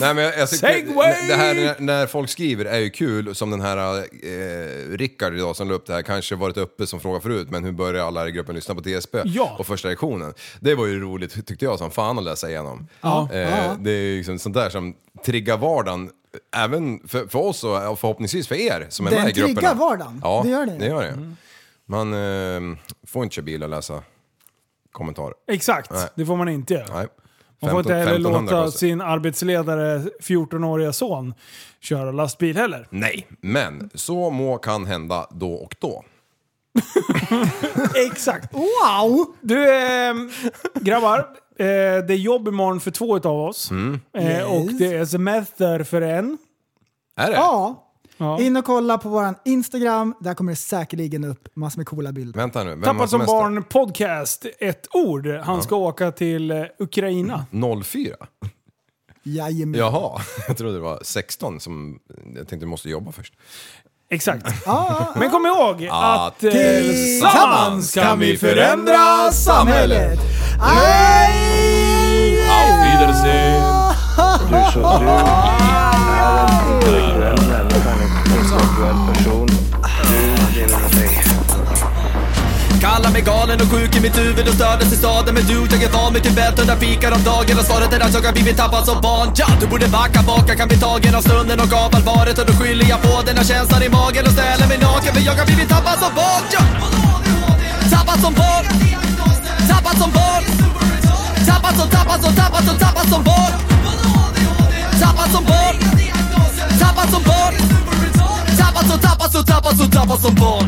Nej, men jag, jag tycker- Segway! Det här när, när folk skriver är ju kul, som den här eh, Rickard idag som la upp det här, kanske varit uppe som fråga förut, men hur börjar alla i gruppen lyssna på TSP? Ja. Och första reaktionen. Det var ju roligt tyckte jag som fan att läsa igenom. Ja. Eh, Det är ju liksom sånt där som triggar vardagen, även för, för oss och förhoppningsvis för er som är Den med i grupperna. triggar vardagen, Ja, det Mm. gör det. det gör det. Man eh, får inte köra bil och läsa kommentarer. Exakt, Nej. det får man inte göra. Nej. Man får inte 15 heller 1500 låta kostar. sin arbetsledare, 14-åriga son, köra lastbil heller. Nej, men så må kan hända då och då. [LAUGHS] Exakt. Wow! Du, ehm, grabbar. Eh, det är jobb imorgon för två utav oss. Mm. Eh, och det är semester för en. Är det? Ja. Ja. In och kolla på våran Instagram, där kommer det säkerligen upp massor med coola bilder. Vänta nu, vem har Tappat som semester? barn podcast, ett ord. Han ska åka till eh, Ukraina. 04? Jajamän. Jaha, [LAUGHS] jag trodde det var 16 som... Jag tänkte du måste jobba först. Exakt. [LAUGHS] Ah, Men kom ihåg att... eh, tillsammans kan vi förändra samhället. Aj! Auf Wiedersehen! Du, så, du är en intellektuell människa, en intellektuell person. Du lever med dig. Kallar mig galen och sjuk i mitt huvud och stördes i staden Men du, jag är van vid Tibet och där fikar om dagen Och svaret är att jag har blivit tappad som barn ja, Du borde backa bak, jag kan bli tagen av stunden och av allvaret Och då skyller jag på den här känslan i magen och ställer mig naken För jag har blivit tappad som barn ja. Tappad som barn Tappad som barn Tappad som, tappad som, tappad som, tappad som barn Tappad som barn Tappad som barn Tappad som, tappad som, tappad som, tappad som barn